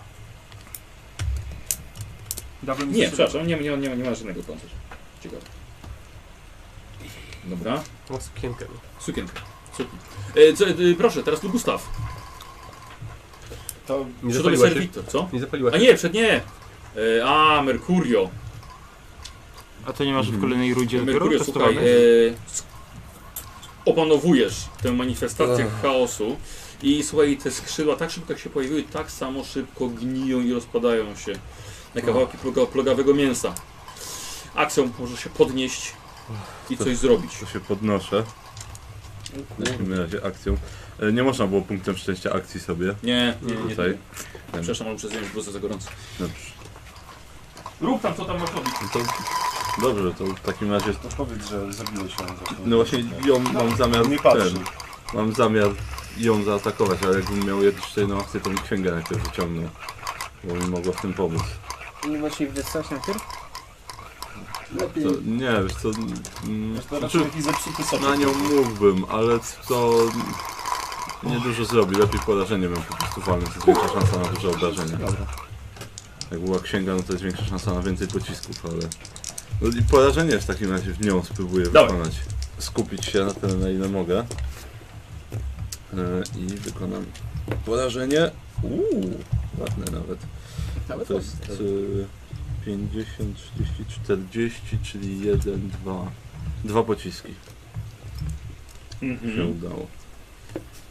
Dawno Nie, strzelałem. przepraszam, nie, nie, nie, nie ma żadnego pancerza. Ciekawe. Dobra. Ma sukienkę. Sukienka. Sukien. E, co, e, proszę, teraz tu Gustaw. To Nie Przed tobą zapaliła się? serwitor, co? Nie zapaliła A się? nie, przed nie. E, a, Mercurio. A to nie masz w kolejnej rundzie dopiero Merkurio, słuchaj, e, testowane? s- opanowujesz tę manifestację chaosu i słuchaj, te skrzydła tak szybko jak się pojawiły, tak samo szybko gniją i rozpadają się na kawałki ploga, plogawego mięsa. Akcją możesz się podnieść i coś zrobić. To się podnoszę. W takim razie akcją. E, Nie można było punktem szczęścia akcji sobie. Nie, nie, nie. No Tutaj. nie. Przepraszam, ale przez bo za gorąco. No Dobrze. Rób tam, co tam masz robić. No to, dobrze, to w takim razie. to powiedz, że zabiłeś ją. za to. No właśnie ją mam zamiar. Nie patrzy. ten, mam zamiar ją zaatakować, ale jakbym miał jeszcze jedną akcję, to bym księgę najpierw wyciągnął. Bo mi mogło w tym pomóc. Nie właśnie wystać najpierw? Lepiej. To, nie, wiesz co. Mm, To znaczy, raczej jakiś zepsuty soczek. na nią mógłbym, ale to niedużo zrobi. Lepiej porażenie bym po prostu walnął, to jest większa szansa na duże obrażenie. Jak była księga, no to jest większa szansa na więcej pocisków, ale... No i porażenie w takim razie w nią spróbuję Dawaj. wykonać. Skupić się na tyle, na ile mogę. E, I wykonam porażenie. Uuu, ładne nawet. To jest e, 50, 30, 40, czyli 1, 2, dwa pociski się Mhm. udało.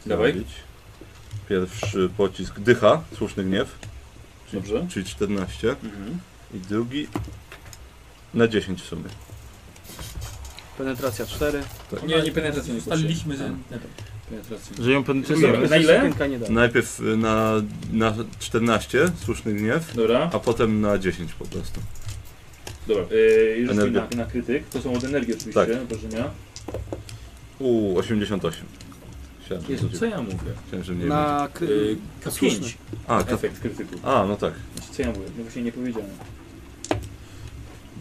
Dawaj. zrobić. Pierwszy pocisk dycha, słuszny gniew, Dobrze. czyli 14. Mhm. I drugi na 10 w sumie. Penetracja 4. Nie, nie penetracja nie słyszy. Ustaliliśmy, że... Penetracja. Że ją penetrujemy. Na ile? Sukienka nie da. Najpierw y, na, na 14 słuszny gniew, Dobra, a potem na 10 po prostu. dobra. Yy, rzucaj Energia. na, na krytyk. To są od energii oczywiście, Tak. obrażenia. Uuu, 88. Chciałem, że Jezu, co będzie- ja mówię? Y, chciałem, że mniej będzie. Na E, kry... K5. Słuszny. A, ka- Efekt krytyku. a, no tak. Znaczy, Co ja mówię? No właśnie nie powiedziałem.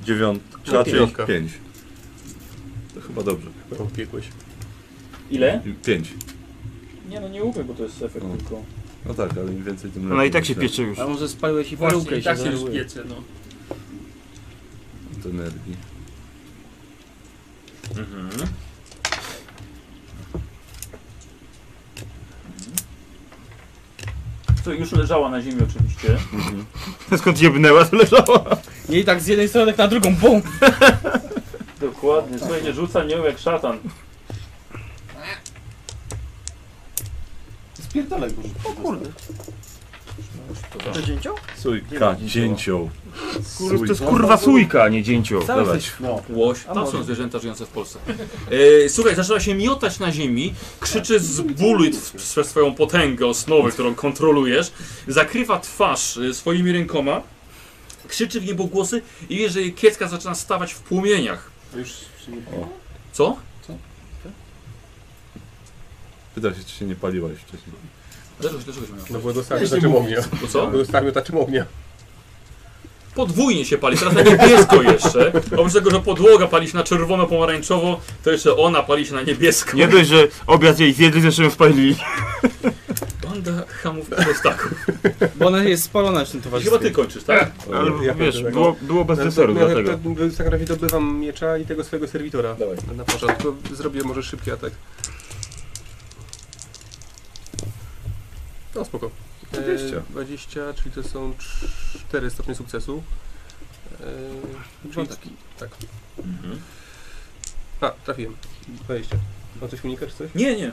9, No, raczej piątka. 5. To chyba dobrze. Upiekłeś. Ile? 5. Nie no nie łupię, bo to jest efekt O. tylko. No tak, ale im więcej tym lepiej. Ona i tak się myślę. piecze już. A może spaliłeś i Właśnie, perukę i i tak się się już zajmuje. piecze, no. Od energii. Mhm. Co już leżała na ziemi oczywiście. Skąd jebnęła, to leżała. Nie i tak z jednej strony tak na drugą, bum! Dokładnie, słuchaj, nie rzuca nią jak szatan. Spierdalaj go. O kurde. Sójka, dzięcioł. Kurwa, to jest Sójka. kurwa sójka, a nie dzięcioł. Cały Dawać. jesteś No. Łoś, A tam może. są zwierzęta żyjące w Polsce. E, słuchaj, zaczęła się miotać na ziemi, krzyczy z bólu i tw- przez swoją potęgę osnowę, którą kontrolujesz, zakrywa twarz e, swoimi rękoma, krzyczy w niebo głosy i wiesz, że jej kiecka zaczyna stawać w płomieniach. Już się nie Co? Pytał się, czy się nie paliła już wcześniej. Dlaczego, dlaczego się miała? No bo dostałem Jeśli taczym ognia. Bo Bo No co? dostałem taczym ognia. Podwójnie się pali, teraz na niebiesko jeszcze. Oprócz tego, że podłoga pali się na czerwono-pomarańczowo, to jeszcze ona pali się na niebiesko. Nie dość, że obiad jej zjedli, jeszcze ją spalili. Banda hamów i prostaków. Bo ona jest spalona w tym I Chyba towarzystwie. ty kończysz, tak? Ale ja wiesz, pierdolę. było, było bez deseru, ja, dlatego. w takim razie dobywam miecza i tego swojego serwitora. Dawaj. Na początku zrobię może szybki atak. No spoko. E, 20. 20, czyli to są 4 stopnie sukcesu. E, czyli taki. Tak. Mhm. A, trafiłem. 20. Mam coś unika czy coś? Nie, nie.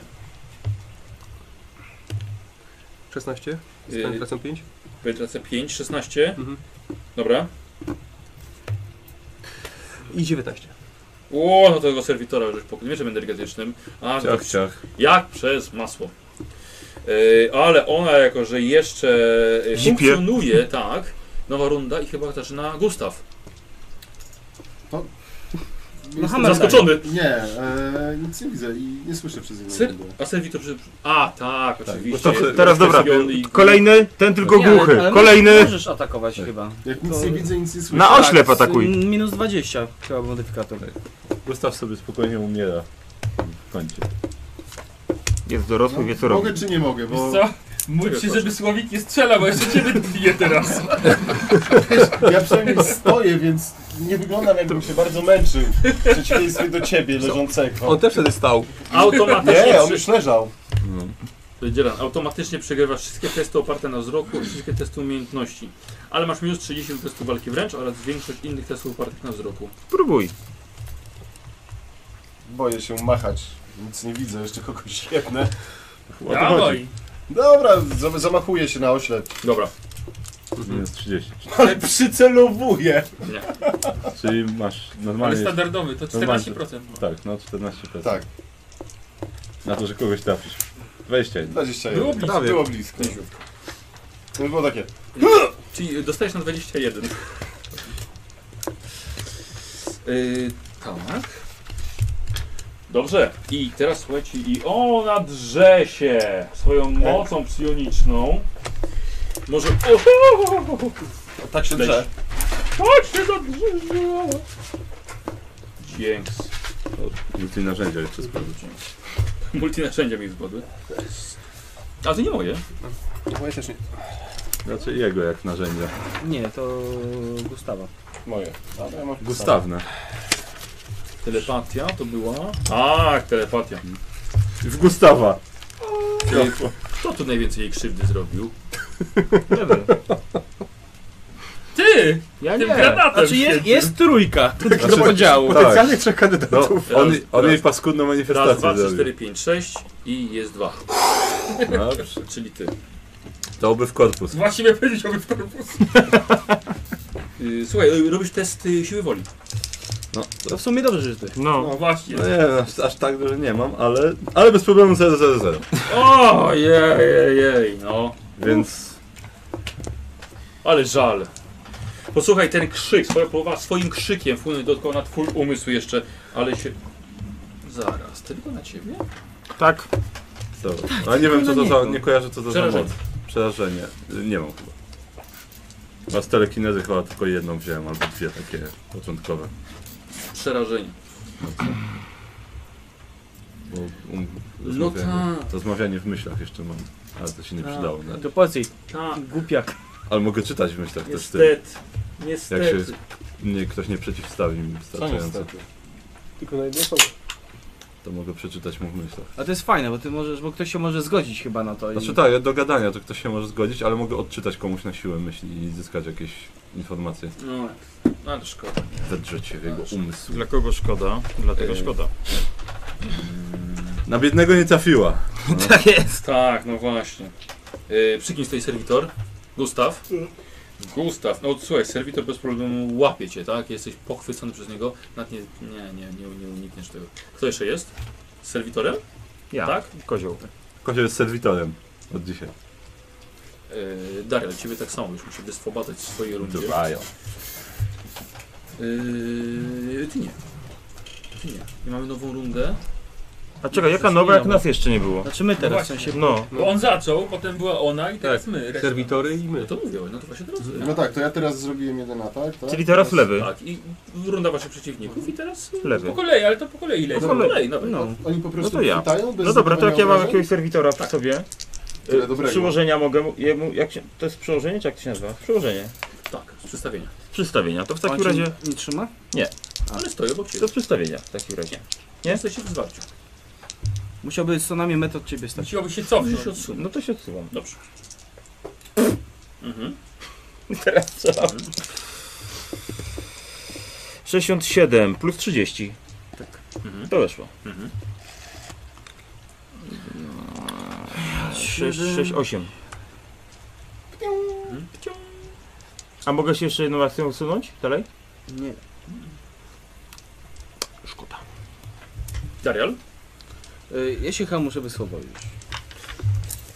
16? Z Yy. penetracją 5? Penetracja 5, 16. Mhm. Dobra. I 19. O, no tego serwitora żeś pokrył mieczem energetycznym. A, Ciach, ciach. jak przez masło. Yy, ale ona jako, że jeszcze yy, Zipie. funkcjonuje, tak, nowa runda i chyba zaczyna Gustaw. No, hammer Zaskoczony. Nie, e, nic nie widzę i nie słyszę przez inną Sy- rundę. A serwitor przy... A, tak, oczywiście. Gustaw, Teraz dobra, Zastawiony i- kolejny, ten tylko Nie, ale- głuchy, ale kolejny. Możesz atakować chyba. Jak nic To- nie widzę, nic nie słyszę. Na oślep Tak, z- atakuj. Minus 20 chyba modyfikator. Gustaw sobie spokojnie umiera. W kącie. Jest dorosły, wie co robi. No, Mogę czy nie mogę, Wiesz bo co? Módl się, żeby Słowik nie strzelał, bo jeszcze cię wytnie teraz. ja przynajmniej stoję, więc nie wyglądam jakbym się bardzo męczył. W przeciwieństwie do ciebie, leżącego. On też wtedy stał. Automatycznie, Nie, on przy... już leżał. No. Dzielan, automatycznie przegrywasz wszystkie testy oparte na wzroku i wszystkie testy umiejętności. Ale masz minus 30 do testu walki wręcz oraz większość innych testów opartych na wzroku. Spróbuj. Boję się machać. Nic nie widzę, jeszcze kogoś jedne. Dawaj. Dobra, zam- zamachuję się na oślep. Dobra, Mhm. Minus 30. Ale przycelowuję! Czyli masz Ale normalnie... Jest, standardowy, to 14%. tak, no 14%. Tak, Na to, że kogoś trafisz. 21. 21. Było blisko. Było blisko. To było takie. czyli dostajesz na 21. Yy, tak. Dobrze. I teraz słuchajcie, i ona drze się swoją mocą psioniczną. Może... O! Tak się Leś. drze. Chodź się zadrzeźniała! Dzięks. Rzucij narzędzia jeszcze sprawdzę. Multinarzędzia mi zbodły. A to nie moje. No ja też nie. Raczej Znaczy jego jak narzędzia. Nie, to Gustawa. Moje. Ale ja mam Gustawne. Telepatia to była. Tak, telepatia. W Gustawa. Ej, Kto tu najwięcej jej krzywdy zrobił? Ty! Ja Tym granatem Znaczy jest, świetnym. jest trójka do Znaczy- podziału. Tak. trzech kandydatów. No, on, on raz. jej paskudną manifestację Raz, dwa, trzy, zrobił. cztery, pięć, sześć i jest dwa. Dobrze. Czyli ty. To oby w korpus. Właściwie powiedziałbym w korpus. Yy, słuchaj, yy, robisz test yy, siły woli. To w sumie dobrze, że ty. No. No właśnie. No nie wiem, aż, aż tak dużo nie mam, ale, ale bez problemu 000. O, jej, jej, jej, no. Więc Ale żal. Posłuchaj, ten krzyk, swoja połowa swoim krzykiem wpłynąć dodatkowo na twój umysł jeszcze, ale się... Zaraz, tylko na ciebie? Tak. dobra. Ale nie wiem co to na za, niego. nie kojarzę co to za Przerażenie. moc. Przerażenie. Y, Nie mam chyba. A z telekinezy chyba tylko jedną wziąłem, albo dwie takie początkowe. Przerażenie. Bo um, No rozmawianie- tak. Rozmawianie w myślach jeszcze mam, ale to się nie Tak. przydało. Nie? To powiedz jej, Tak, głupiak. Ale mogę czytać w myślach też ty. niestety. Jak Niestety. się- Nie, ktoś nie przeciwstawi mi wystarczająco. Tylko na jedną To mogę przeczytać mu w myślach. A to jest fajne, bo ty możesz, bo ktoś się może zgodzić chyba na to. i- Znaczy tak, do gadania to ktoś się może zgodzić, ale mogę odczytać komuś na siłę myśli i zyskać jakieś informacje. No, ale szkoda. Y, Wedrzeć się w jego umysł. Dla kogo szkoda? Dlatego Ej. szkoda. Na biednego nie trafiła. Tak jest. Tak, no właśnie. Yy, przy kim stoi serwitor? Gustaw? Gustaw, no słuchaj, serwitor bez problemu łapie cię, tak? Jesteś pochwycony przez niego. Nawet nie, nie, nie, nie, nie unikniesz tego. Kto jeszcze jest? Z serwitorem? Ja. Tak? Kozioł. Kozioł jest serwitorem od dzisiaj. Yy, Daria, ciebie tak samo, już muszę wyswobadzać w swojej rundzie. Dbają. Yy, ty nie. Ty nie. I mamy nową rundę. A czekaj, jaka nowa, jak nas jeszcze nie było? Znaczy my teraz, w Właśnie. sensie No. Bo on zaczął, potem była ona i teraz my. reszta. Serwitory i No my. to mówiłeś, no to właśnie teraz. No tak, to ja teraz zrobiłem jeden atak, tak? Czyli teraz lewy. Tak, i runda waszych przeciwników i teraz yy, Lewy. Po kolei, ale to po kolei po leci. kolei. kolei, dobra. No. Oni po prostu No to ja. chwytają bez No dobra, to jak ja zadawania Tak. mam obrażeń? jakiegoś serwitora w sobie, Tyle y, dobrego. przyłożenia mogę, mu- jemu, jak się, to jest przyłożenie czy jak to się nazywa? Przyłożenie. Tak, z przedstawienia. Z Przystawienia, to w On takim cię razie, Nie trzyma? Ale stoję obok ciebie. to z przystawienia w takim razie. Nie jesteście w zwarciu. Musiałby co najmniej metr od ciebie stać. Musiałoby się Musisz się cofnąć. odsunąć. No to się odsuwam. Dobrze. Mhm. Teraz co? 67 plus 30. Tak. Mhm. To weszło. Mhm. 6, 6, 8. A mogę się jeszcze jedną akcją usunąć? Dalej? Nie. Darial? Y, Ja się chyba muszę wyswobodzić.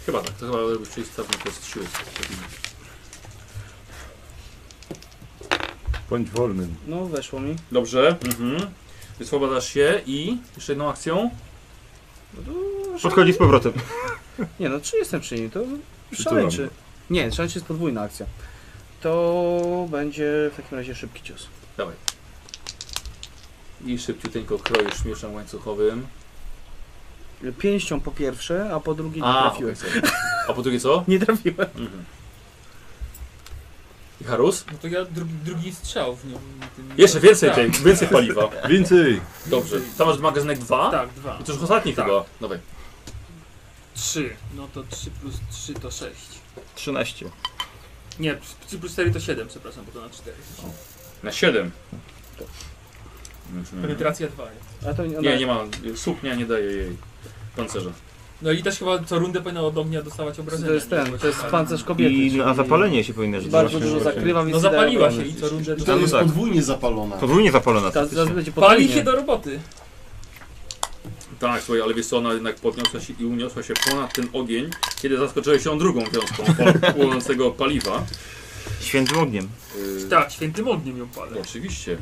Chyba tak, to chyba robisz czyli stawny test siły. Bądź wolnym. No, weszło mi. Dobrze, mhm. Wyswobadasz się i jeszcze jedną akcją. Podchodzi z powrotem. No, Nie no, czy jestem przy nim, to Przytulam szaleńczy. Nie, szaleńczy jest podwójna akcja. To będzie w takim razie szybki cios. I szybciuteńko kroisz mieczem łańcuchowym. Pięścią po pierwsze, a po drugie nie A, trafiłem. okej, co? A po drugie co? Nie trafiłem. Mhm. I Harus? No to ja drugi, drugi strzał w nią. tym- Jeszcze więcej, tak, tej, więcej paliwa. Więcej! Dobrze. Tam masz magazynek 2? Tak, dwa. I to już ostatni Tak. chyba. Dawaj. Trzy. No to trzy plus trzy to sześć. 13. Nie, trzy plus cztery to siedem, przepraszam, bo to na cztery. Mhm. Na 7. Penetracja dwa. A to ona, Nie, nie ma. Suknia nie daje jej pancerza. No i też chyba co rundę powinna od ognia dostawać To obrażenia. jest nie? ten, to jest Ale- pancerz kobiety. I czyli na zapalenie się powinna rzucić. Bardzo Właśnie, dużo właśnie. zakrywa, więc No nie daje zapaliła się obrony. i co rundę I dostaje. to jest tak. podwójnie zapalona. Podwójnie zapalona. Teraz, teraz będzie Pali podwójnie. się do roboty. Tak, słuchaj, ale wiesz co, ona jednak podniosła się i uniosła się ponad ten ogień, kiedy zaskoczyłeś ją drugą wiązką pol- płonącego paliwa. Świętym ogniem. Yy, Tak, świętym ogniem ją palę. Oczywiście.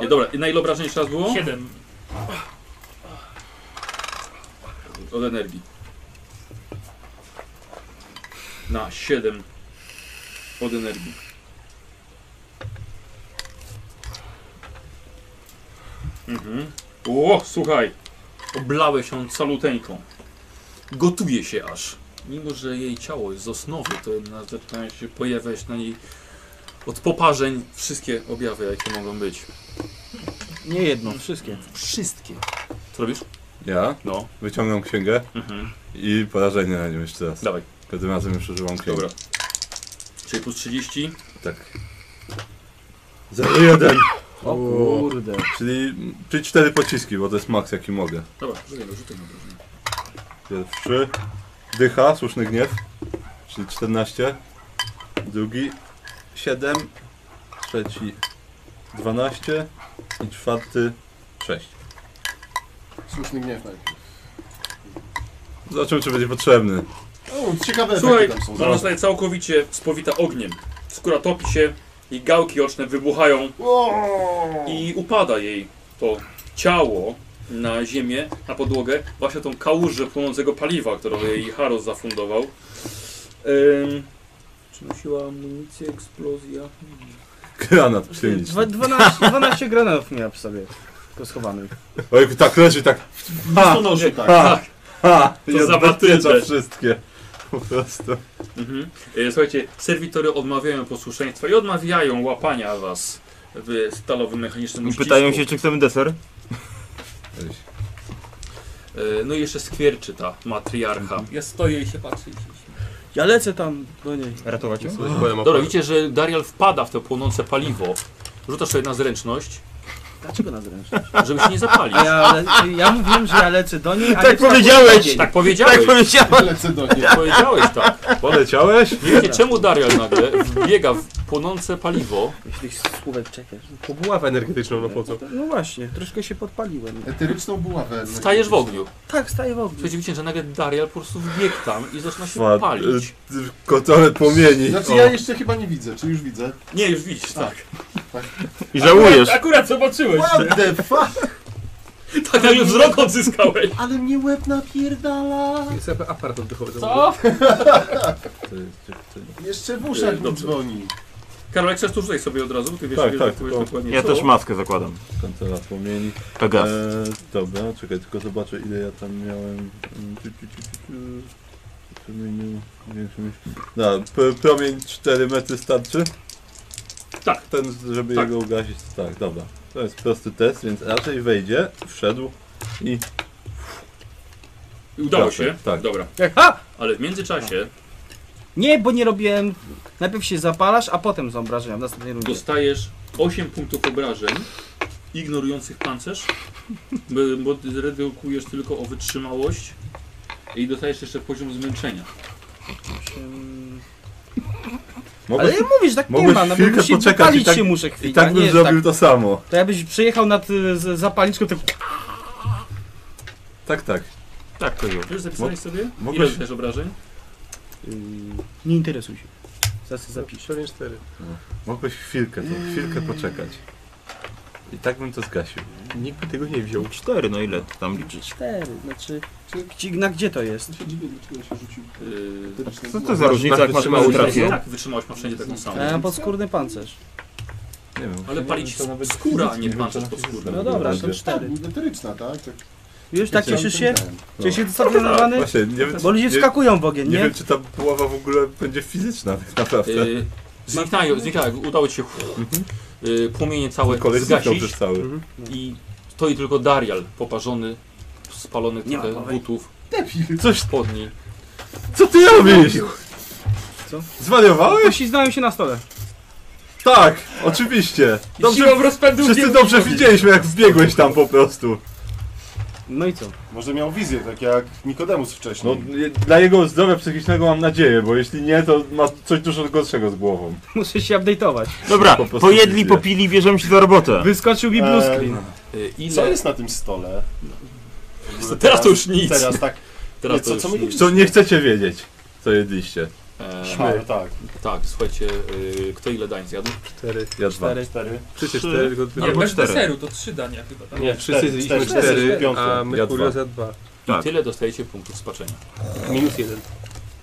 Nie, dobra, i na ile obrażeń jeszcze raz było? Siedem. Od energii. Na 7 od energii. Mhm. O, słuchaj. Oblałeś się saluteńką. Gotuje się aż. Mimo, że jej ciało jest z osnowy, to jednak zaczynają się pojawiać na niej od poparzeń wszystkie objawy, jakie mogą być. Nie jedno, wszystkie. Wszystkie. Co robisz? Ja No. wyciągam księgę Mhm. i porażenie na nią jeszcze raz. Dawaj. Każdym razem już używam księgi. Dobra. Czyli plus 30. Tak. 01! O kurde. Czyli, czyli 4 pociski, bo to jest maks jaki mogę. Dobra, rzucaj, no, rzucaj na obrażenia. Pierwszy. Dycha, słuszny gniew. Czyli 14. Drugi. 7. Trzeci. 12. I czwarty. 6. Słuszny gniew najpierw. Zobaczymy, czy będzie potrzebny. O, ciekawe Słuchaj, no- efekty tam są. ona zostaje całkowicie spowita ogniem. Skóra topi się, jej gałki oczne wybuchają O! i upada jej to ciało na ziemię, na podłogę, właśnie tą kałużę płonącego paliwa, którą jej Haros zafundował. Ym, przynosiła amunicję, eksplozja. Granat przyjemniczy. Dwa- 12, 12 granatów miałem przy sobie. Tylko schowanych. Oj, tak leży, tak. Ha! Listonoszy, tak. Ha! Ha! To I zabatyczne. odbezpiecza wszystkie. Po prostu. Mhm. E, Słuchajcie, serwitory odmawiają posłuszeństwa i odmawiają łapania was w stalowym mechanicznym I uścisku. pytają się, czy chcemy deser. Weź. E, No i jeszcze skwierczy ta matriarcha. Ja stoję i się patrzę. i się- Ja lecę tam do niej. Ratować ją? Słuchajcie, bo ja mam Dobra, parę. widzicie, że Darial wpada w to płonące paliwo. Rzucasz sobie na zręczność, Dlaczego na zręczność? żeby się nie zapalić. A ja, le- ja mówiłem, że ja lecę do niej, a Tak nie trzeba powiedziałeś! było do niej. Tak powiedziałeś, Tak tak, powiedziałem! Lecę do niej. powiedziałeś tak. Poleciałeś? Nie wiecie, czemu Darial nagle wbiega w płonące paliwo. Jeśli słówek czekasz. Po buławę energetyczną, no po co? No właśnie, troszkę się podpaliłem. Eteryczną buławę. Stajesz w ogniu. Tak, staję w ogniu. Słuchajcie, widzicie, że nagle Darial po prostu wbiegł tam i zaczyna się Fa- palić. y, y, Kotole płomieni. Znaczy O. ja jeszcze chyba nie widzę, czy już widzę? Nie, już widzisz, tak. I żałujesz. Akurat zobaczyłeś. What the fuck? Tak, nagle wzrok odzyskałeś. Ale mnie łeb napierdala! Jest jakby aparat oddechowy. Co? To jest dziewczyna. Jeszcze w uszach mi Dobrze. dzwoni. Karol, chcesz tu rzucaj sobie od razu, bo ty wiesz, Tak, wiesz, tak, jak to jest to- dokładnie Ja co. też maskę zakładam. Kantela płomieni. Pegas. Eee, dobra, czekaj, tylko zobaczę ile ja tam miałem. Mm, ciu, ciu, ciu, ciu, ciu. W promieniu większym niż- No, p- promień 4 metry starczy? Tak. Ten, żeby Tak. jego ugasić, to tak, dobra. To jest prosty test, więc raczej wejdzie, wszedł i I Udało Jasne, się? tak. Dobra. Jak, ha! Ale w międzyczasie Nie, bo nie robiłem... Najpierw się zapalasz, a potem z obrażenia w następnej rundzie. dostajesz 8 punktów obrażeń ignorujących pancerz, by- bo ty redukujesz tylko o wytrzymałość i dostajesz jeszcze poziom zmęczenia. Ym, mogę. Ale ja mówisz, tak nie mogłeś ma, no bo chwilkę musi poczekać i palić tak- się muszę I chwilę. tak nie bym jest zrobił to samo. To jakbyś przyjechał nad y, z- zapalniczką, to Tak, tak. Tak, to już. Już zapisałeś sobie? Mogę Ile się- też obrażeń? Nie interesuj się. Zaraz zapisz. Pewnie cztery. Mogłeś chwilkę, to, chwilkę poczekać. I tak bym to zgasił. Nikt by tego nie wziął. Cztery, no ile tam liczyć? Cztery, znaczy... Gdzie, na gdzie to jest? Ja się dziwię, dlaczego się rzucił Yy, literyczny Co to znak. za różnica, jak masz mało wytrzymałość- trafię? tak, wytrzymałość ma wszędzie taką samą. E, podskórny pancerz. Nie wiem. Ale pali palić skóra, a nie pancerz podskórny. No dobra, to cztery. Tak, literyczna, tak? tak Już tak Chciałem cieszysz się? ten, ten. Cieszysz się zadowolony? no. Właśnie, nie wiem, Bo ludzie nie, wskakują w ogień, nie nie? wiem, czy ta buława w ogóle będzie fizyczna tak naprawdę. Yy, znikają, znikają, udało ci się Mhm. yy, płomienie całe Kolej zniknął zgasić przez cały. i stoi tylko Darial poparzony, spalony Nie ma trochę kolei. butów, Debil. coś spodni. Co ty robisz? Co? Zwariowałeś? Jeśli znają się na stole. Tak, oczywiście. Dobrze, Siłą rozpędu wszyscy wielki dobrze ogień. widzieliśmy, jak wbiegłeś tam po prostu. No i co? Może miał wizję, tak jak Nikodemus No, wcześniej. je- dla jego zdrowia psychicznego mam nadzieję, bo jeśli nie, to ma coś dużo gorszego z głową. Muszę się update'ować. Dobra, Po prostu pojedli, wizję. popili, bierzemy się za Tak. robotę. Wyskoczył mi blue screen. Yy, Eee, ile, co jest na tym stole? W ogóle No, Teraz to już nic. Teraz tak. Teraz nie, to co- już co my nic. Co nie chcecie wiedzieć, co jedliście. Eee, A, no tak, tak, słuchajcie, yy, kto ile dań zjadł? Cztery. Ja dwa. Cztery. cztery. Wszyscy Trzy. cztery, tylko Nie, tylko... Albo bez cztery. deseru, to trzy dania chyba. Tam. Nie, wszyscy zjedliśmy cztery, cztery, piąty. a Ja dwa. Merkurio za dwa. I Tak. tyle dostajecie punktów spaczenia. Minus jeden.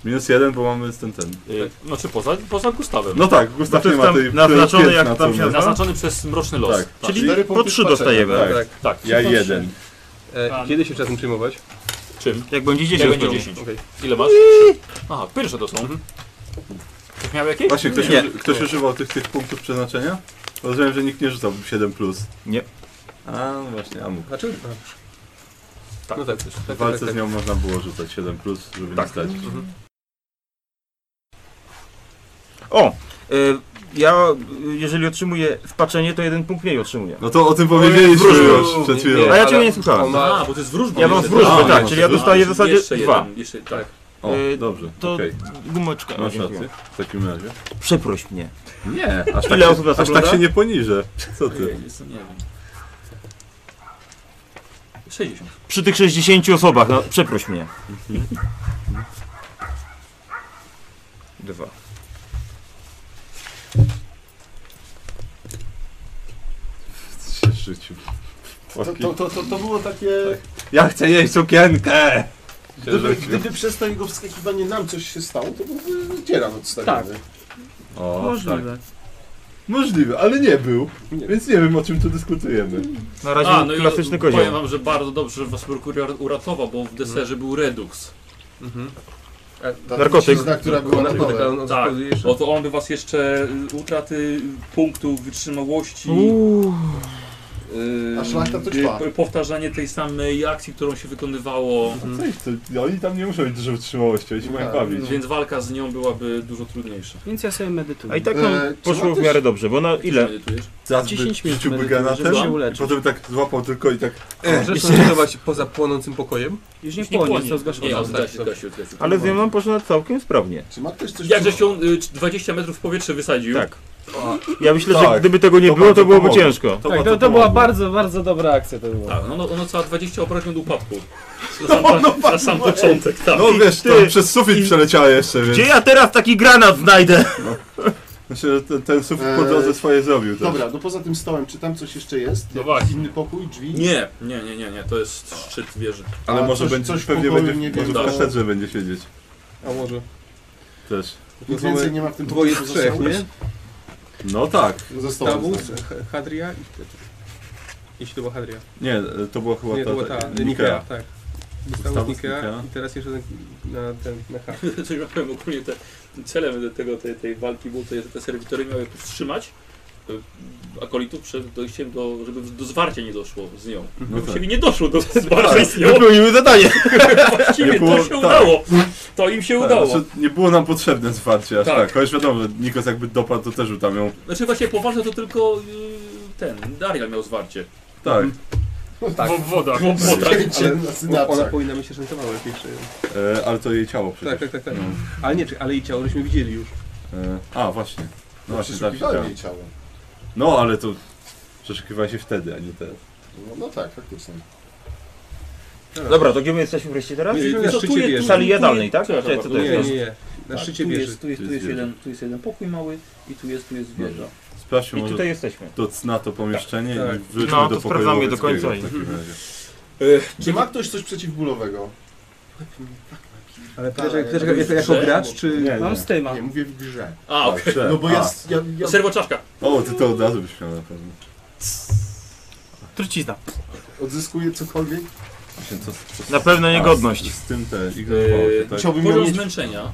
Minus jeden, bo mamy ten ten. Yy, Znaczy poza, poza Gustawem. Tak. No tak, Gustaw to nie jest ma tam tej naznaczone, tej jak piętna, tam co się my- nazywa. Naznaczony przez mroczny los. Tak. Tak. Czyli Cztery po punkty trzy spaczenia, dostajemy. tak. Tak. Tak, Ja jeden. E, Tak. A. kiedy się czasem przyjmować? czym? Jak będzie Jak 10 będzie to 10. Okej. Ile masz? Aha, pierwsze to są. Ktoś miał jakieś? Właśnie, ktoś, Nie. uży, ktoś używał tych, tych punktów przeznaczenia? Rozumiem, że nikt nie rzucał 7 plus. Nie. A no właśnie, a mógł. Znaczy? Tak. Tak. No tak też. Tak, W tak, walce tak, z nią można było rzucać 7 plus, żeby Tak. nie stracić. O! y, Ja, y, jeżeli otrzymuję wpaczenie, to jeden punkt mniej otrzymuję. No to o tym powiedzieliśmy Wróżby. już przed chwilą. A ja cię ale- nie słuchałem. ma- tak. A, bo to jest wróżba. Ja mam jeszcze, wróżbę, tak. A, tak, no, czyli ja to dostaję w jeszcze zasadzie jeden, dwa. Jeszcze, tak. O, y, dobrze, To okej. gumeczka. Masz dziękuję. rację w takim razie. Przeproś mnie. Nie, aż tak, Ile osób nas się, aż tak ogląda? się nie poniżę. Co ty? Ojej, jestem, nie wiem. 60. Przy tych 60 osobach, no, przeproś mnie. Dwa. Się rzucił. To, to, to, to, to było takie. Ja chcę jej sukienkę! Tak, Się Gdyby, rzucił. gdyby przez to jego wskakiwanie nam coś się stało, to byłby dzieran odstawiony. O, tak. Możliwe. Możliwe, ale nie był, Nie. więc nie wiem o czym tu dyskutujemy. Na razie A, no klasyczny i kozioł. powiem wam, że bardzo dobrze, że was prokurier uratował, bo w deserze był redux. Mhm. Ta Narkotyk. trucizna, która była Była na narkotyk, ale dole. Tak. on zachodzi no, jeszcze. Oto on by was jeszcze y, utraty punktu wytrzymałości, Uuu. y, A szlachta to trwa. y, powtarzanie tej samej akcji, którą się wykonywało, Mhm. Co ich to, oni tam nie muszą mieć dużo wytrzymałości, oni się mają Mhm. Tak. No. bawić. więc walka z nią byłaby dużo trudniejsza. Więc ja sobie medytuję. A i tak no, E, poszło czy w ma miarę dobrze, bo na ile? Medytujesz? Zazby 10 minut rzuciłby medytuję, granatem żeby się i uleczyć. potem tak złapał tylko i tak... Możesz medytować poza płonącym pokojem? Już nie Już nie płonie, płonie. co Tak, zgaszone. Nie, on tak Dobra, zgasił, dobra. zgasił, zgasił. Ale z nią nam poszło całkiem sprawnie. Czy ma ktoś coś Jakże się on y, 20 metrów w powietrze wysadził. Tak. Ja myślę, że Tak. gdyby tego nie To było, bardzo to byłoby pomogło. ciężko. To, Tak, ma to, to pomogło. była bardzo, bardzo dobra akcja to była. Tak, ono, ono cała 20 obrażeń do upadku. Na sam, No na sam początek, tak. No wiesz, to ty- przez sufit przeleciała jeszcze, więc... Gdzie ja teraz taki granat znajdę? Myślę, że ten, ten sufit po Eee, drodze swoje zrobił też. Dobra, no poza tym stołem, czy tam coś jeszcze jest? No Jakiś właśnie. Inny pokój, drzwi? Nie, nie, nie, nie, nie, to jest szczyt wieży. Ale A może coś- będzie, coś w pewnie pokoju będzie nie w- może wiem, w bo- katedrze będzie siedzieć A może. też. Nic Mamy więcej nie ma w tym Dwoje z pokoju, trzech, poza nie? tak. No tak. stołem. Za stołem. Tabus, znaczy. H- Hadria i... Jeśli to była Hadria. Nie, e, to była chyba Nie, to była ta, ta, ta Nikea, tak. Dostała Dostała z Nikea Nikea. i teraz jeszcze na ten, na H. Coś wam powiem ogólnie, te, celem tego, tej, tej walki było to, że te serwitory miały powstrzymać y, akolitów przed dojściem do, żeby do zwarcia nie doszło z nią. No tak. Właściwie nie doszło do zwarcia z nią, Wypełniły zadanie. właściwie Nie było- to się tak. udało. To im się Tak, udało. znaczy, nie było nam potrzebne zwarcie aż Tak. tak. tak. Chociaż wiadomo, że Nikos jakby dopadł, to też by tam ją. Znaczy właśnie poważne to tylko y, ten, Darial miał zwarcie. Tak. Tak. W wodach. W wodach. Cięcie na Ona, ona synapsach. powinna mi się szantowała lepiej przy... E, ale to jej ciało przecież. Tak, tak, tak, tak. No. Ale nie, czy- ale i ciało żeśmy widzieli już. E, a, właśnie. No właśnie, tak. Przeszukiwałem jej ciało. No ale to przeszukiwała się wtedy, a nie teraz. No, no tak, faktycznie. Dobra, to gdzie my jesteśmy wreszcie teraz? Nie, Czyli na szczycie wieży. Szali jadalnej, tak? Tak, Czy tak, co to Nie, jest? nie, nie. Na Tak, szczycie Tu wieży. jest, tu jest, tu jest, jeden, tu jest jeden pokój mały i tu jest, tu jest No. wieża. Sprawdźmy I może tutaj jesteśmy. to cna to pomieszczenie Tak. i wróćmy No, to do pokoju sprawdzamy do końca Łoweckiego w takim razie. Czy ma ktoś coś przeciwbólowego? Ale Ale- też jako, jako, jako Że? gracz, czy... Nie, Mam nie. styma. Nie, mówię w grze. A, okej. Dobrze. No bo Tak. A. ja... ja, ja... Okay. Serwoczaszka. O, ty to od razu byś miał na pewno. Trucizna. Odzyskuję cokolwiek? Właśnie, co, co, Na pewno a, niegodność. Z, z tym te Yy, ignowało tak? Chciałbym ją Poziom mieć... zmęczenia.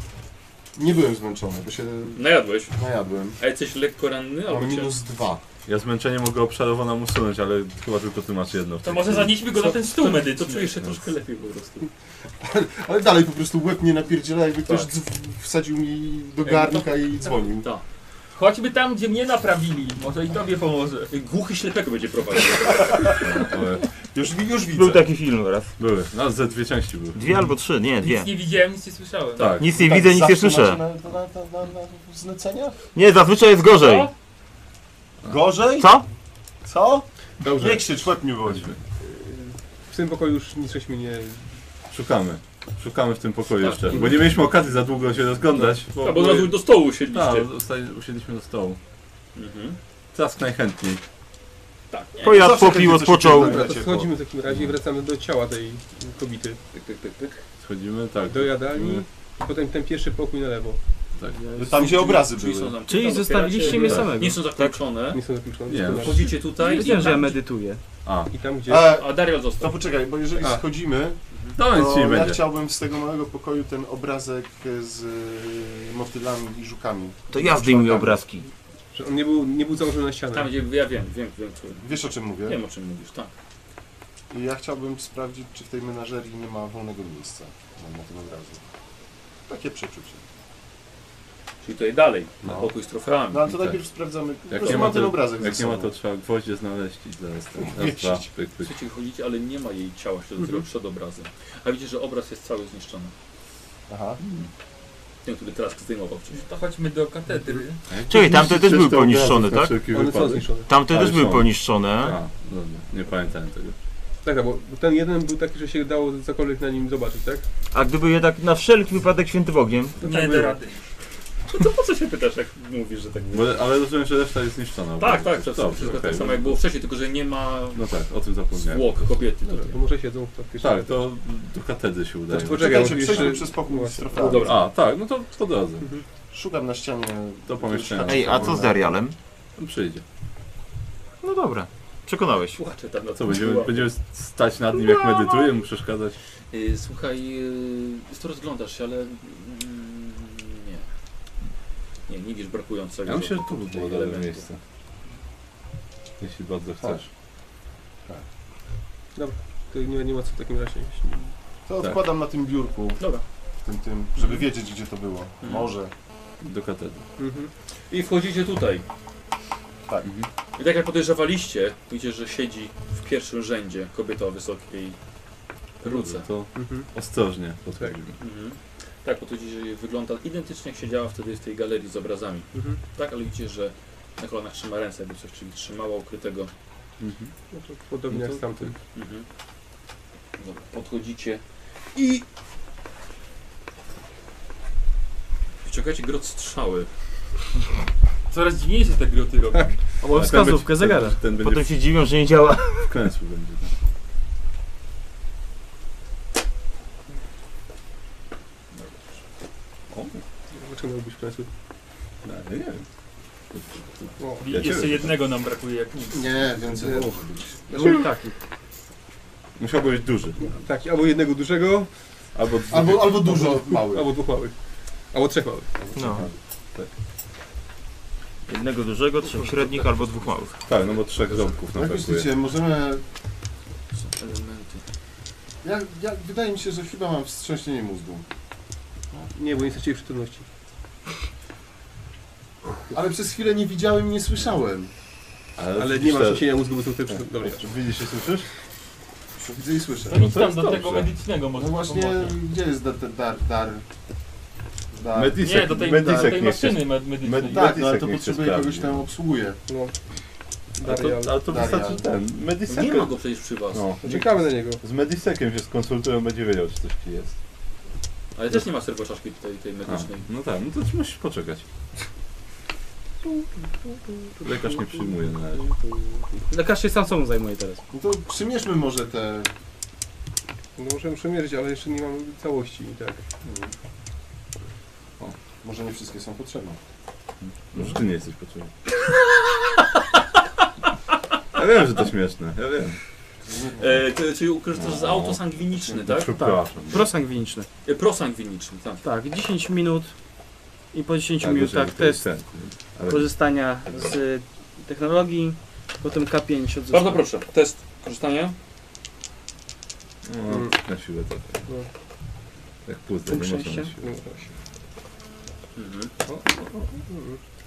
Nie byłem zmęczony, bo się Najadłeś. najadłem. A jesteś lekko ranny? Mam Albo cię... minus dwa. Ja zmęczenie mogę obszarowo nam usunąć, ale chyba tylko ty masz jedno. w To tej może chwili. zanieśmy go na ten Tak. stół To medyczny. czujesz się No. troszkę lepiej po prostu. Ale dalej po prostu łeb mnie napierdziela, jakby ktoś Tak. dzw- wsadził mi do garnka i dzwonił. Tak. Chodźmy tam, gdzie mnie naprawili. Może i tobie pomoże. Głuchy ślepego będzie prowadził. Ale Już, już Był widzę. taki film raz. były, no ze dwie części Tak. były. Dwie albo trzy, nie, dwie. Nic nie widziałem, nic nie słyszałem. Tak. Nic nie widzę, nic nie zawsze macie słyszę. Na, na, na, na, na zlecenia? Nie, zazwyczaj jest gorzej. Co? Gorzej? Co? Co? Dobrze. Nie krzycz, łeb mnie wodzi. W tym pokoju już niczegśmy nie... Szukamy. Szukamy w tym pokoju Tak. No. jeszcze. Bo nie mieliśmy okazji za długo się rozglądać. Bo, A bo od razu do stołu siedliście. Tak, zostali- usiedliśmy do stołu. Mhm. Teraz najchętniej. Tak, nie. Pojadł, Zawsze popił, będzie coś odpoczął. ciekawego. Dobra, to schodzimy w takim razie i wracamy do ciała tej kobiety. Pyk, pyk, pyk, pyk. Schodzimy, tak. Do jadalni, Mm. i potem ten pierwszy pokój na lewo. tak. Tam gdzie obrazy Czyli, były. są zamknięte, Czyli otwieracie, zostawiliście mnie nie- samego. Nie są zakończone. Nie są zapiszone. Tak. Nie, doskonale. Wchodzicie tutaj i Wiedziałem, że ja tam, medytuję. A, I tam, gdzie... E, Tak. a Dariel to został. poczekaj, bo jeżeli A. schodzimy, no nic to nie ja będzie. chciałbym z tego małego pokoju ten obrazek z y, motylami i żukami. To ja zdejmuję obrazki. Że on nie był, nie był założony na ścianę. Tam gdzie ja wiem, wiem, wiem, co, Wiesz o czym mówię? wiem o czym mówisz, tak. I ja chciałbym sprawdzić, czy w tej menażerii nie ma wolnego miejsca na tym obrazie. Takie przeczucie. Czyli tutaj dalej, No. na pokój z trofeami. No ale to Tak. najpierw sprawdzamy, po Jak prostu nie ma ma ten to- obrazek Jak ze nie ma, sobą. to trzeba gwoździe znaleźć i zaraz ten. Raz, Wiesić. dwa, pyk, pyk. Słuchajcie, chodzicie, ale nie ma jej ciała się Mhm. dopiero przed obrazem. A widzicie, że obraz jest cały zniszczony. Aha. Ten, który teraz zdejmował wcześniej. To chodźmy do katedry. Czyli tamte też były Czyste obrazy poniszczone, na tak? wszelki One są wypadek. zniszczone. Tamte Ale też były są. A, poniszczone. dobra, nie pamiętałem tego. Tak, tak, bo ten jeden był taki, że się dało cokolwiek na nim zobaczyć, tak? A gdyby je tak na wszelki wypadek świętym ogniem, To Nie tak da było. rady. No to po co się pytasz, jak mówisz, że tak było? Bo, ale rozumiem, że reszta jest zniszczona. Tak, Bo- tak, to Dobrze, wszystko okej. tak samo jak było wcześniej, tylko że nie ma No tak, o tym zapomniałem. zwłok kobiety Dobra, tutaj. to może siedzą w faktycznie. Tak, to do katedry się udaje. Znaczy, poczekaj, Czekajcie, bo tu przejdźmy jeszcze- przez pokój z Właśnie. trofeami. Dobra. A, tak, no to po drodze. Szukam na ścianie... Do pomieszczenia. Ej, a co z Darialem? On przyjdzie. No dobra, przekonałeś. Płacze tam na A co, tym będziemy, tyłu. będziemy stać nad nim jak medytuje, mu przeszkadzać? Y, Słuchaj, y, to rozglądasz się, ale mm, nie. Nie, nie widzisz brakującego. Ja myślę, że tu by było dobre elementu. miejsce. Jeśli bardzo chcesz. To nie, nie ma co w takim razie. To Tak. odkładam na tym biurku, Dobra. tym, tym, żeby wiedzieć, gdzie to było. Mhm. Może. Do katedry. Mhm. I wchodzicie tutaj. Tak. Mhm. I tak jak podejrzewaliście, widzicie, że siedzi w pierwszym rzędzie kobieta o wysokiej peruce. To Mhm. ostrożnie podchodzimy. Mhm. Tak, bo to widzicie, że wygląda identycznie jak siedziała wtedy w tej galerii z obrazami. Mhm. Tak, ale widzicie, że na kolanach trzyma ręce, jakby coś, czyli trzymała ukrytego Mhm. No to Podobnie No jak to- z tamtym. Mhm. Dobra, podchodzicie i... Wyciągacie grot strzały. Coraz dziwniejsze te groty robią. Tak, O, A ten będzie- wskazówkę zegara. Ten, ten będzie Potem się dziwią, że nie działa. wklęsły będzie. tak. O, Dlaczego miałbyś presję? no, ja nie wiem. O, Ja cię Jeszcze wiem. jednego nam brakuje jak nic. Nie, więcej nie może być. znaczy, taki. Musiał być duży. Taki, albo jednego dużego, Albo dwóch. Albo, albo dużo małych. albo dwóch małych. Albo trzech małych. No. Jednego dużego, trzech średnich albo dwóch małych. Tak, no bo trzech ząbków nam Jak brakuje. myślicie, możemy... Są elementy. Ja, ja, wydaje mi się, że chyba mam wstrząśnienie mózgu. Nie, bo nie straciłem przytomności. Ale przez chwilę nie widziałem i nie słyszałem. Ale nie ma myślę- trzęsienia mózgu, bo są te przytom- Dobra. Widzisz i słyszysz? Widzę i słyszę. To nic No to tam jest do tego dobrze. medycznego może No właśnie, pomoże. gdzie jest dar, dar, dar? dar. Medisek, Nie, do tej, do medisek tej nie chce. maszyny med- medycznej. tak, Med- no, ale medisek to nie chce potrzebuję kogoś, sprawdzić. kto ją obsługuje. No. Ale Darial. to, ale to Darial. wystarczy ten. No No Nie ma Medisek. go przecież przy was. No. Czekamy na niego. Z Medisekiem się skonsultują, będzie wiedział, czy coś ci jest. Ale też nie ma serwoczaszki tej, tej A, medycznej. no tak, no to musisz poczekać. Lekarz nie przyjmuje na razie. Lekarz się sam sobą zajmuje teraz. No to przymierzmy może te... No możemy przemierzyć, ale jeszcze nie mamy całości i tak. mm, O, może nie wszystkie są potrzebne. Może ty nie jesteś potrzebny. Ja wiem, że to śmieszne, ja wiem. E, ty- czyli korzystasz No. z autosangwiniczny, tak? Przepraszam. Prosangwiniczny. E, prosangwiniczny, tak. Tak, 10 minut i po 10 Tak, minutach to jest test ten. Ale korzystania z y, technologii, potem K5 odzyskał. Bardzo proszę, test korzystania. no, na siłę to tak. No. Jak puzdę, nie Punkt można na szczęścia? siłę. Mhm.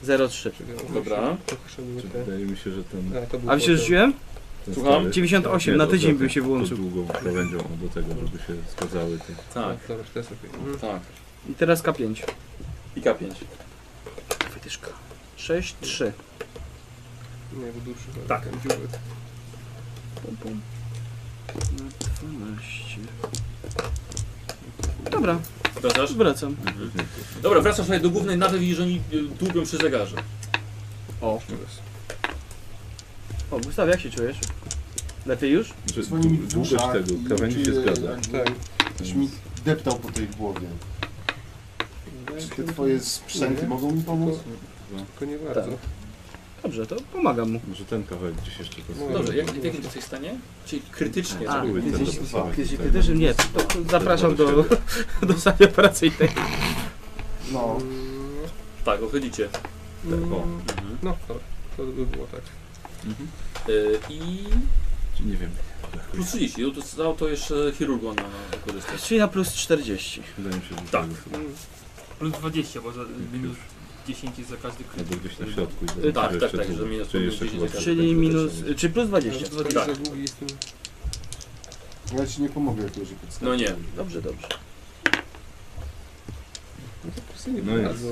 0,3. No Dobra. Czy Wydaje mi się, że ten, A, to był A wiecie, potem. że rzuciłem? ten Słucham? 98 Nie, na to- tak tydzień to- bym się To włączył. długą krawędzią do tego, żeby się zgadzały te... Tak, A, Dobra, to Mhm. jest okej. tak. I teraz K5. I K5. Wytyszka. 6, 3. Nie, bo dłuższy. Tak. ten dziubek. Pum, pum. Na 12. Dobra, Wracasz? wracam. Dobra, wracasz sobie do głównej nawy, widzisz, że oni y, dłubią przy zegarze. O. O, Gustaw, jak się czujesz? Lepiej już? Czy Dzwoni mi długość dusza znaczy, tego i krawędzi się czuję, zgadza. jakby Tak. Ktoś mi deptał po tej głowie. Czy te twoje sprzęty Nie. mogą mi pomóc? Tak. Tylko nie bardzo. Dobrze, to pomagam mu. Może ten kawałek gdzieś jeszcze No. pozostał. Dobrze, jak, w jakim jesteś stanie? Czyli krytycznie. A, zrobił. ten kiedyś- dopasować kiedyś- tutaj. kiedyś- Nie, to, to zapraszam do, do sali operacyjnej. No. Mm, tak, wychodzicie. Tak, o. Mhm. No, dobra. To by było tak. Y, I Czy nie wiem. plus 30, no to zostało to jeszcze chirurgo na na korzystać. Czyli na plus 40. Wydaje mi się, że Tak. tego- Plus 20, bo za, minus 10 za każdy krytyk. Albo no gdzieś na środku. i tak, zobaczę, tak, jeszcze tak, tu- że minus- czy jeszcze minus chyba 10, tutaj Czyli będzie minus. też- Czy plus 20. Ale to Tak. za długi jest ten... Ja ci nie pomogę, jak leży pod No nie. Dobrze, dobrze. No i, Bardzo.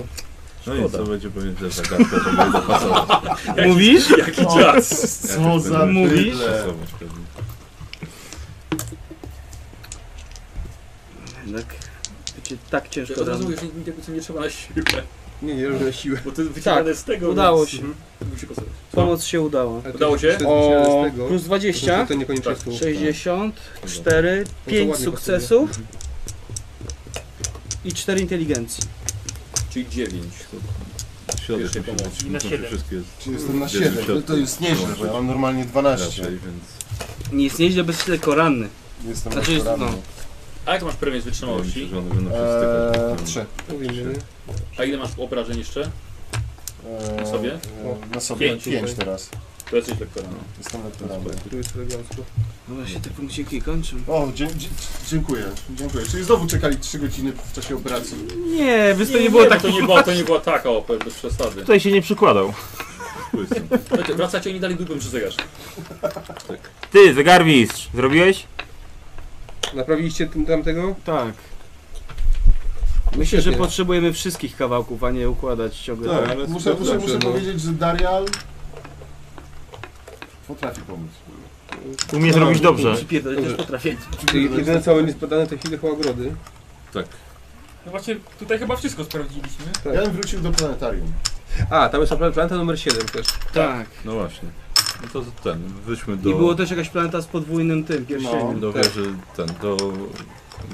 no i co będzie pomiędzy zagadką, żeby je dopasować. Mówisz? Jaki czas? Co za mówisz? Tak. Wiecie, tak ciężko Od razu rano. mówię, że nie- jakby co nie trzeba na siłę, Nie, nie, że na siłę. bo to jest wyciągane z tego. Tak, Udało więc- się. Mhm. Musi pasować. Pomoc się udała. Ale to Udało jest się? wtedy O, z tego, plus że 20, To niekoniecznie Tak. stół. 64, to 5 ładnie sukcesów i 4 inteligencji. Czyli 9. Środek Jeszcze musi pomoc. być, I na muszą się siedem. wszystkie Czy jestem na Gdzie 7? jest No to jest nieźle, środek? bo ja mam normalnie 12. raczej, więc... Nie jest nieźle, bez tylko ranny. Jestem Znaczy jest- lekko no. ranny. A jak masz premię z Wydaje mi się, wytrzymałości? że one będą się Eee, stykać. trzy. Mówimy. nie? A ile masz obrażeń jeszcze? Eee, Na sobie? e, Na sobie Pięć. 5 teraz. To jesteś lektorem. Jestem lekko ranny. Tu jest elegancko. No właśnie, te punkciki kończą. O, dzie- dzie- dziękuję. Dziękuję. Czyli znowu czekali 3 godziny w czasie operacji. Nie, więc to nie no było tak. To nie była, to nie była taka opowiem, bez przesady. Tutaj się nie przykładał. Trzy. Słuchajcie, wracacie i nie dali długim przy zegarze. Ty, zegarmistrz, zrobiłeś? Naprawiliście tym- tamtego? Tak. Myślę, że Świetnie. potrzebujemy wszystkich kawałków, a nie układać ciągle. Tak, ale Muszę, muszę, dobrze, znaczy, muszę no. powiedzieć, że Darial potrafi pomóc. Umie zrobić dobrze. Przypierdolę, też Dobrze. potrafię. Czyli jedyne całe niespadane to chwile chyba ogrody. Tak. No właśnie, tutaj chyba wszystko sprawdziliśmy. Ja bym wrócił do planetarium. A, tam jest plan- planeta numer 7 też. Tak. No. No właśnie. No to to ten, wyjdźmy do... I było też jakaś planeta z podwójnym tym pierścieniem. Do tak. wieży, ten, do Do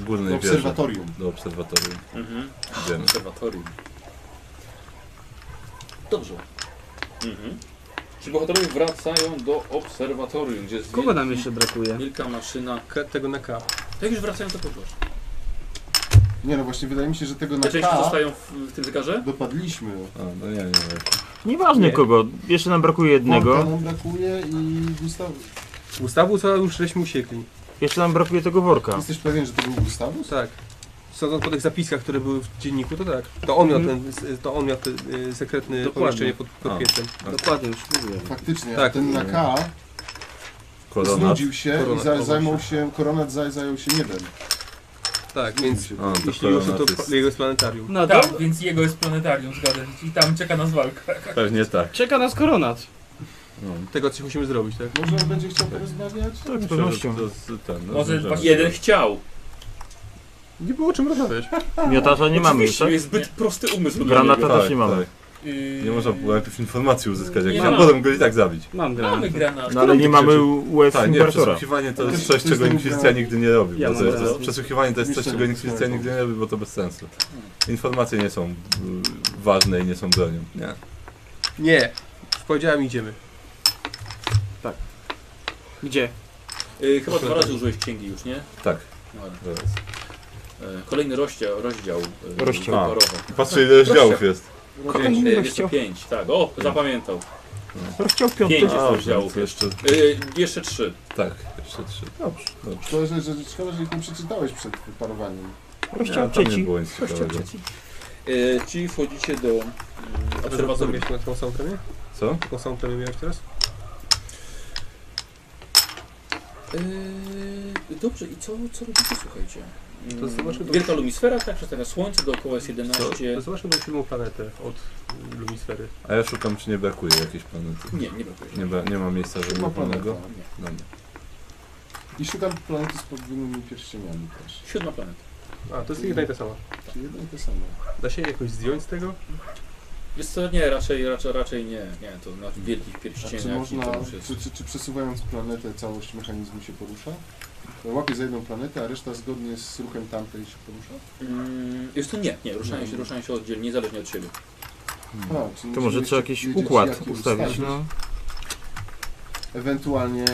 górnej wieży. obserwatorium. Do obserwatorium. Mhm. Idziemy. Obserwatorium. Dobrze. Mhm. Ci bohaterowie wracają do obserwatorium, gdzie jest Kogo nam wielki- jeszcze brakuje? wielka maszyna. K, tego na K. Jak już wracają, to poproszę. Nie no, właśnie wydaje mi się, że tego na Te części Tak. K zostają w, w tym zegarze? dopadliśmy. A, no nie, nie, nie. Nieważne kogo, jeszcze nam brakuje Porta jednego. nam brakuje i Gustaw... Gustawu co już żeśmy usiekli. Jeszcze nam brakuje tego worka. Jesteś pewien, że to był Gustawus? Tak. Sądząc po tych zapiskach, które były w dzienniku, to tak. To on miał ten, to on miał te y, sekretne Dokładnie. pomieszczenie pod, A. pod piętrem. Dokładnie, już mówię. Faktycznie, Tak. ten na K Koronat. znudził się Koronat, i za, koronat. zajmął się, koronat zaj, zajął się niebem. Tak, więc Znudził się. A, to jeśli już to, koronat to jego jest planetarium. No to Tak, więc jego jest planetarium, zgadza się. I tam czeka nas walka. Pewnie tak. czeka nas koronat. No. Tego, co musimy zrobić, tak? Może on będzie chciał porozmawiać? Tak, z Myślę, że pewnością. to z, ten, no, Może zdążymy. Jeden chciał. Nie było o czym rozmawiać. Miotarza nie mamy już, Oczywiście, tak? jest zbyt prosty umysł dla Granata niego. też nie mamy. Tak, Yy, Nie można było najpierw informacji uzyskać, Nie jak chciałem, ma. potem go i tak zabić. Mam Mamy granat. granat. No ale nie mamy US Tak, nie, Imperatora. przesłuchiwanie to Ale jest to coś, jest czego tego Inkwizycja gra- nigdy nie robił. Ja bo mam to, to, teraz- przesłuchiwanie to jest coś, Myślę, czego że- Inkwizycja nigdy nie robił, bo to bez sensu. Informacje nie są y, ważne i nie są bronią. Nie. Nie. Powiedziałem idziemy. Gdzie? Y, chyba dwa razy użyłeś księgi już, nie? Tak, Dobra. zaraz. Y, kolejny rozdział. rozdział y, Rozdział. wyborowy. Patrzcie ile rozdziałów jest. Pięć, Kolejny y, rozdział. jeszcze pięć, tak. O, zapamiętał. Rozdział piąty. Pięć jest A, rozdziałów. to jeszcze. Y, jeszcze trzy. Tak, jeszcze trzy. Dobrze, dobrze. To że, że szkoda, że ich nie przeczytałeś przed parowaniem. Tak. Rozdział Nie, tam nie trzeci. było nic Rozdział ciekawego. trzeci. Y, czyli wchodzicie do mm, obserwatorium. E, Zrobiłeś na tą samą premię? Co? Tą samą premię miałeś teraz? Eee, dobrze, i co, co robicie, słuchajcie? Mm, To zobaczymy. Wielka lumisfera, tak, przedstawia słońce, dookoła jest To, to 11. zobaczmy tą siódmą planetę od y, lumisfery. A ja szukam czy nie brakuje jakiejś planety. Nie, nie brakuje. Nie, ba- nie ma miejsca Ma żadnego. planetę. No, nie. I szukam planety z podwójnymi pierścieniami też. Siódma planeta. A, to jest jedna i ta sama. Czyli jedno i to samo. Da się jakoś zdjąć z tego? Jest to nie, raczej, raczej, raczej nie. Nie, to na wielkich A czy pierścieniach i można, to już jest. czy, czy, czy przesuwając planetę całość mechanizmu się porusza? Łapie za jedną planetę, a reszta zgodnie z ruchem tamtej się porusza? Mm, jest to nie, nie, ruszają się, Mm. ruszają się oddzielnie, niezależnie od siebie. A, Tak, czyli Hmm. To musimy może jeszcze trzeba jakiś wiedzieć, układ jaki ustawić. ustawić. No. Ewentualnie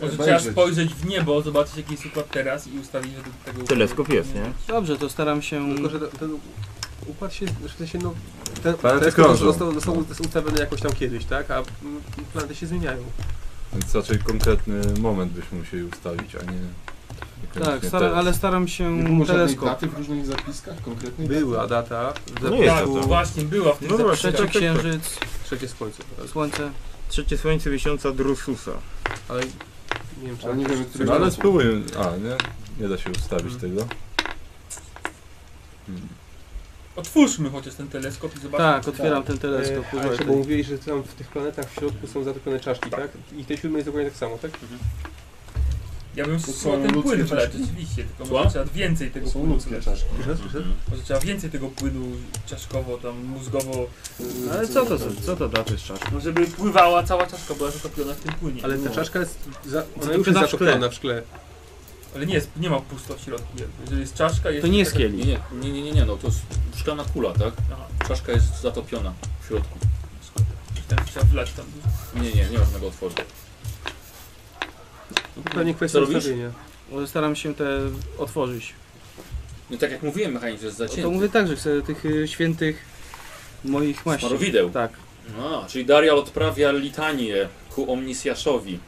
Może trzeba obejrzeć. spojrzeć w niebo, zobaczyć jaki jest układ teraz i ustawić według tego. Teleskop jest, nie? Dobrze, to staram się... Tylko, że ten- ten układ się, w sensie, no, ten, Planety ten krążą. został, został ustawiony jakoś tam kiedyś, tak? A mm, planety się zmieniają. Więc raczej konkretny moment byśmy musieli ustalić, a nie. Tak, niekoniecznie stara, teraz. ale staram się nie było żadnej teleskop. daty w różnych zapiskach konkretnej? Była data, No zapisał jest Tak, to. właśnie była w tym No właśnie, Trzeci tak, tak, księżyc, trzecie słońce. słońce. Trzecie słońce miesiąca Drususa. Ale nie wiem, czy tak. Ale nie wiem, który No ale spróbuję. A, nie? Nie da się ustawić Mm. tego. Otwórzmy chociaż ten teleskop i zobaczmy. Tak, otwieram ten teleskop. E, ale użyty. czego mówiłeś, że tam w tych planetach w środku są zatopione czaszki, tak? I te siódme jest dokładnie tak samo, tak? Ja bym To chciał są ten ludzkie płyn wlać, czaszki? rzeczywiście, tylko Co? może trzeba więcej To tego są płynu. ludzkie czaszki. Może trzeba więcej tego płynu czaszkowo, tam mózgowo, Ale co to, za- co to da, to jest czaszka? no żeby pływała cała czaszka, była zatopiona w tym płynie. Ale, Ale ta No. czaszka jest, za, ona Zatopiona już jest w szkle. zatopiona w szkle. nie, jest, nie ma pusto w środku. jakby. Jeżeli jest czaszka, jest To nie jest taka- Nie, kielich. nie, nie, nie, nie, nie no to jest szklana kula, tak? Aha, Czaszka jest zatopiona w środku. tak, trzeba wlać tam. Nie, nie, nie ma żadnego otworu. To Pewnie kwestia Co robisz? ustawienia. Staram się te otworzyć. No tak jak mówiłem, mechanizm jest Znaczy- To zacięty. mówię tak, że chcę tych y, świętych moich maści. Smarowideł. Tak. A, czyli Darial odprawia litanię ku Omnisjaszowi,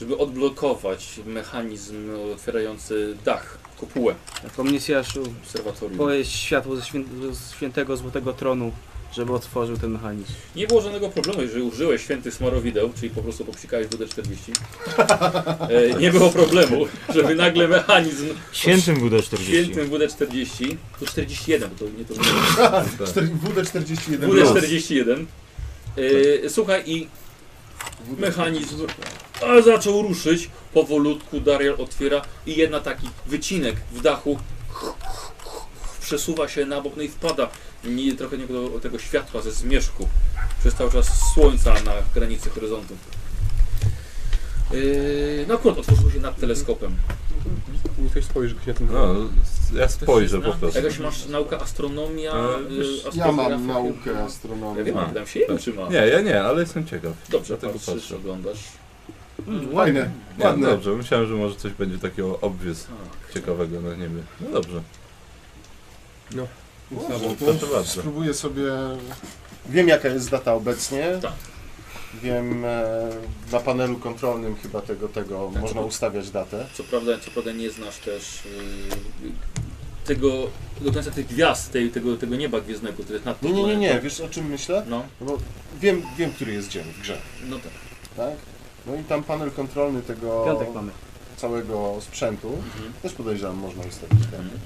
żeby odblokować mechanizm otwierający dach, kopułę Po Mesjaszu obserwatorium. pojeść światło ze świę, ze świętego złotego tronu, żeby otworzył ten mechanizm. Nie było żadnego problemu, jeżeli użyłeś świętych smarowideł, czyli po prostu popsikałeś wodę 40. E, nie było problemu, żeby nagle mechanizm Świętym WD-40. świętym WD40, to 41, bo to nie to Tak. Cztery- WD-41 WD41. Tak. E, słuchaj, i WD-41. mechanizm a zaczął ruszyć. Powolutku Dariel otwiera i jedna taki wycinek w dachu przesuwa się na bok no i wpada nie, trochę nie do tego światła ze zmierzchu przez cały czas słońca na granicy horyzontu. Yy, no akurat otworzył się nad teleskopem. Nie ktoś spojrzy, ktoś na tym No, s- ja spojrzę po Ktoś się prostu. Jakaś masz nauka astronomia, E, yy, wiesz, Ja astrografia? mam naukę Ja astronomii. wiem, A. pytam się jego, czy ma. Nie, ja nie, ale jestem ciekaw. Dobrze, Dlatego patrzysz, patrzę. oglądasz. Fajne, Nie, ładne. dobrze, myślałem, że może coś będzie takiego obwiez Tak. ciekawego na niebie. No dobrze. Dobrze, No, to Proszę bardzo. Spróbuję sobie. Wiem, jaka jest data obecnie. Tak. Wiem, e, na panelu kontrolnym chyba tego, tego Tak, można to- ustawiać datę. Co prawda, co prawda nie znasz też yy, tego, do końca tych gwiazd, tej, tego, tego nieba gwiezdnego, które jest nad tą Nie, nie, nie, nie, planetą. wiesz o czym myślę? No, No bo wiem, wiem, który jest dzień w grze, no tak. tak? No i tam panel kontrolny tego Piątek mamy. całego sprzętu Mhm. też podejrzewam można ustawić. Tak? Mhm.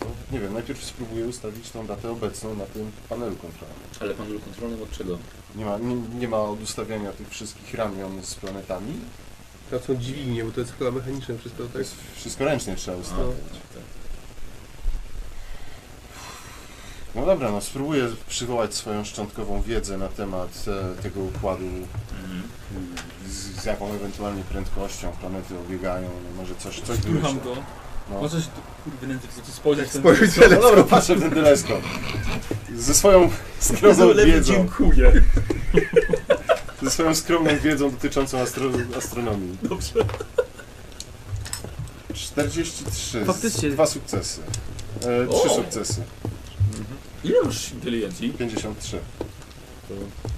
No, nie wiem, najpierw spróbuję ustalić tą datę obecną na tym panelu kontrolnym. Ale panelu kontrolnym od czego? Nie ma, nie, nie ma od ustawiania tych wszystkich ramion z planetami. Tam są dźwignie, bo to jest chyba mechaniczne wszystko, To tak? jest wszystko ręcznie trzeba ustawiać. tak, No dobra, no spróbuję przywołać swoją szczątkową wiedzę na temat e, tego układu, Mhm. z, z jaką ewentualnie prędkością planety obiegają, no może coś, coś Rucham wymyślę. go. No. Możesz tu, kurde, nędzę, chcę spojrzeć w ten No, no dobra, patrzę w ten teleskop. Ze swoją skromną wiedzą, Dziękuję. ze swoją skromną wiedzą dotyczącą astro astronomii. Dobrze. 43. Faktycznie. Dwa sukcesy. E, trzy O. sukcesy. Ile masz inteligencji? 53.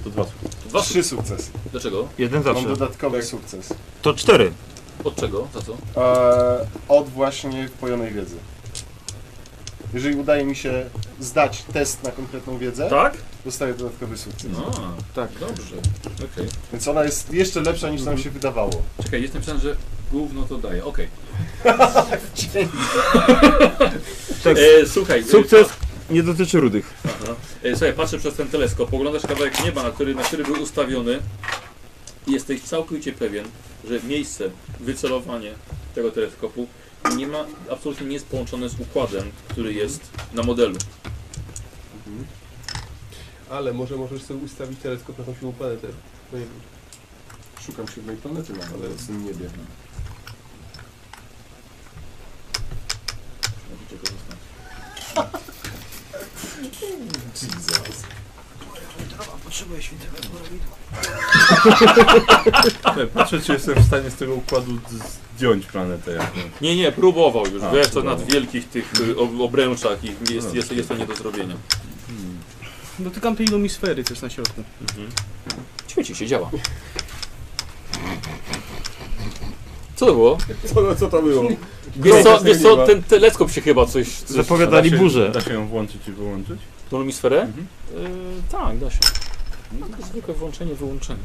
To dwa słowa. Dwa Trzy sukcesy. Dlaczego? Jeden zawsze. Mam dodatkowy sukces. To cztery. Od czego? Za co? E, od właśnie wpojonej wiedzy. Jeżeli udaje mi się zdać test na konkretną wiedzę, Tak? dostaję dodatkowy sukces. No, Tak. dobrze. Okej. Więc ona jest jeszcze lepsza niż Mhm. nam się wydawało. Czekaj, jest napisane, że gówno to daje. Okej. Tak. E, słuchaj. e, Sukces nie dotyczy rudych. Aha. E, Słuchaj, patrzę przez ten teleskop, poglądasz kawałek nieba, na który, na który był ustawiony i jesteś całkowicie pewien, że miejsce, wycelowanie tego teleskopu nie ma, absolutnie nie jest połączone z układem, który Mhm. jest na modelu. Ale może możesz sobie ustawić teleskop na tą siłą planetę. No nie wiem. Szukam siódmej planety na obecnym niebie. Możecie go zostawić. Jesus. Potrzebujesz świętego Borowidła. Nie, Patrzę, czy jestem w stanie z tego układu z- zdjąć planetę jakąś. Nie, nie, próbował już. A, Wiesz, co próbował. nad wielkich tych y, ob- obręczach i jest, jest, jest to nie do zrobienia. Dotykam tej lumisfery, co jest na środku. Świeci się, działa. Co to było? Co, co to było? Wiesz co, wiesz co, ten teleskop się chyba coś... coś Zapowiadali Da się- burzę. Da się ją włączyć i wyłączyć? Tą lumisferę? Mhm. Yy, tak, da się. No, to zwykłe włączenie, wyłączenie.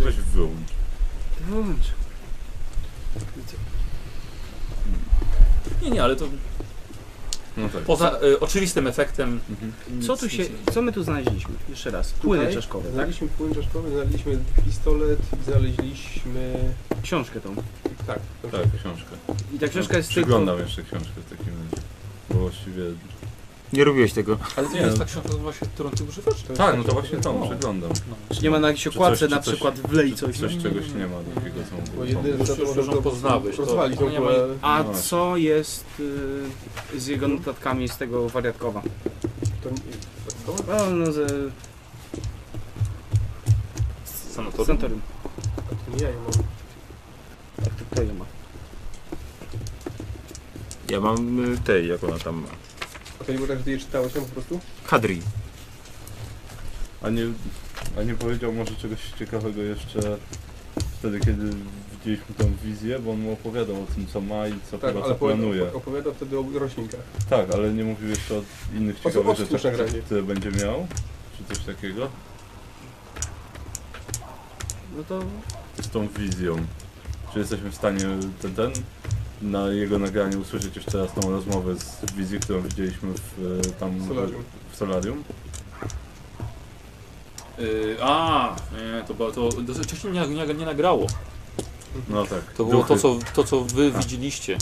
Weź wyłącz. Wyłącz. Nie, nie, ale to No tak. poza y, oczywistym efektem. Mhm. Co tu się, co my tu znaleźliśmy? Jeszcze raz. Płyny Tutaj? czaszkowe, tak? Znaleźliśmy płyn czaszkowy, znaleźliśmy pistolet i znaleźliśmy... Książkę tą. Tak, dobrze. Tak, książkę. I ta książka jest tylko... Przyglądam jeszcze książkę w takim razie. Bo właściwie... Nie robiłeś tego. Ale to nie Nie. jest ta książka, właśnie, którą ty używasz? Tak, no to właśnie tą przeglądam. Czy nie ma na jakiejś Czy coś- okładce czy na coś- przykład wlej coś? Coś czegoś nie ma takiego, co Bo mógłbym jedyne, pomóc. że Już- to już ją poznałeś, to- Rozwalić tą to nie ma- kulę. A No właśnie. co jest y, z jego notatkami z tego wariatkowa? To nie- O, no ze Sanatorium. sanatorium. to nie ja ją mam. Tak, to kto je ma? Ja mam y, tej, jak ona tam ma. A to nie było tak, że ty je czytałeś tam po prostu? Kadri. A nie, a nie powiedział może czegoś ciekawego jeszcze wtedy, kiedy widzieliśmy tą wizję, bo on mu opowiadał o tym, co ma i co, Tak, chyba, ale co planuje. opowiadał, opowiadał wtedy o roślinkach. Tak, ale nie mówił jeszcze o innych O co- ciekawych o co rzeczach, na granie? które będzie miał, czy coś takiego, No to z tą wizją. Czy jesteśmy w stanie ten, ten na jego nagraniu usłyszeć jeszcze raz tą rozmowę z wizji, którą widzieliśmy w, e, tam W solarium. W solarium? Y, a, nie, to, ba- to, to wcześniej nie, nie, nie nagrało. No tak. To było to Duchy. co, to, co wy A. widzieliście.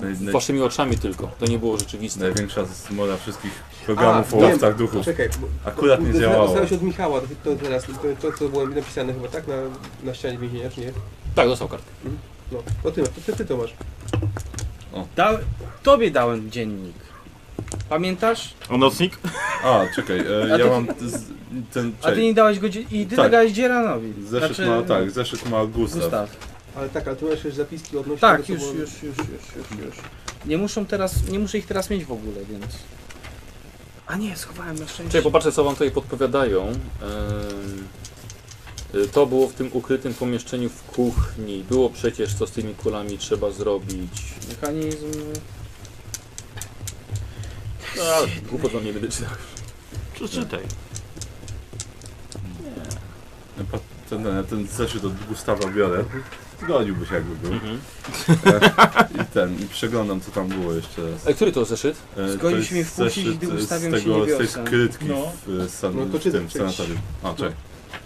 Naj, naj, Waszymi oczami tylko. To nie było rzeczywiste. największa zmora wszystkich programów A, o wiem. łowcach duchów. Czekaj, bo Akurat nie Zna- działało. Znalazłeś od Michała, to, to teraz, to, to co było mi napisane chyba, tak? Na, na ścianie więzienia, czy nie? Tak, dostał kartę. No, to ty, to ty, ty to masz. da, tobie dałem dziennik. Pamiętasz? O nocnik? A, czekaj, e, ja A ty- mam z, ten... A ty Czekaj, nie dałeś go dzie- i ty Tak. dałeś Dzieranowi. Znaczy, no, zeszyt ma, tak, zeszyt ma Gustaw. Gustaw. Ale tak, ale tu masz jeszcze zapiski odnośnie Tak, tego, co już, było- już, już, już, już, już. Nie muszą teraz, nie muszę ich teraz mieć w ogóle, więc... A nie, schowałem na szczęście. Czekaj, popatrzę co wam tutaj podpowiadają. Em, y, To było w tym ukrytym pomieszczeniu w kuchni. Było przecież co z tymi kulami trzeba zrobić. Mechanizm... A, No, głupot wam nie będę czytał. Przeczytaj. Ten, ten, ten zeszyt od Gustawa biorę Zgodziłby się jakby był. E, Mhm. I ten, i przeglądam co tam było jeszcze raz. A który to zeszyt? E, Zgodził to jest się mi wpuścić, zeszyt gdy z ustawiam się tego, Z tej niebiosem. skrytki No. w, e, san, No to w czytaj, tym czytaj. sanatorium. A, czekaj.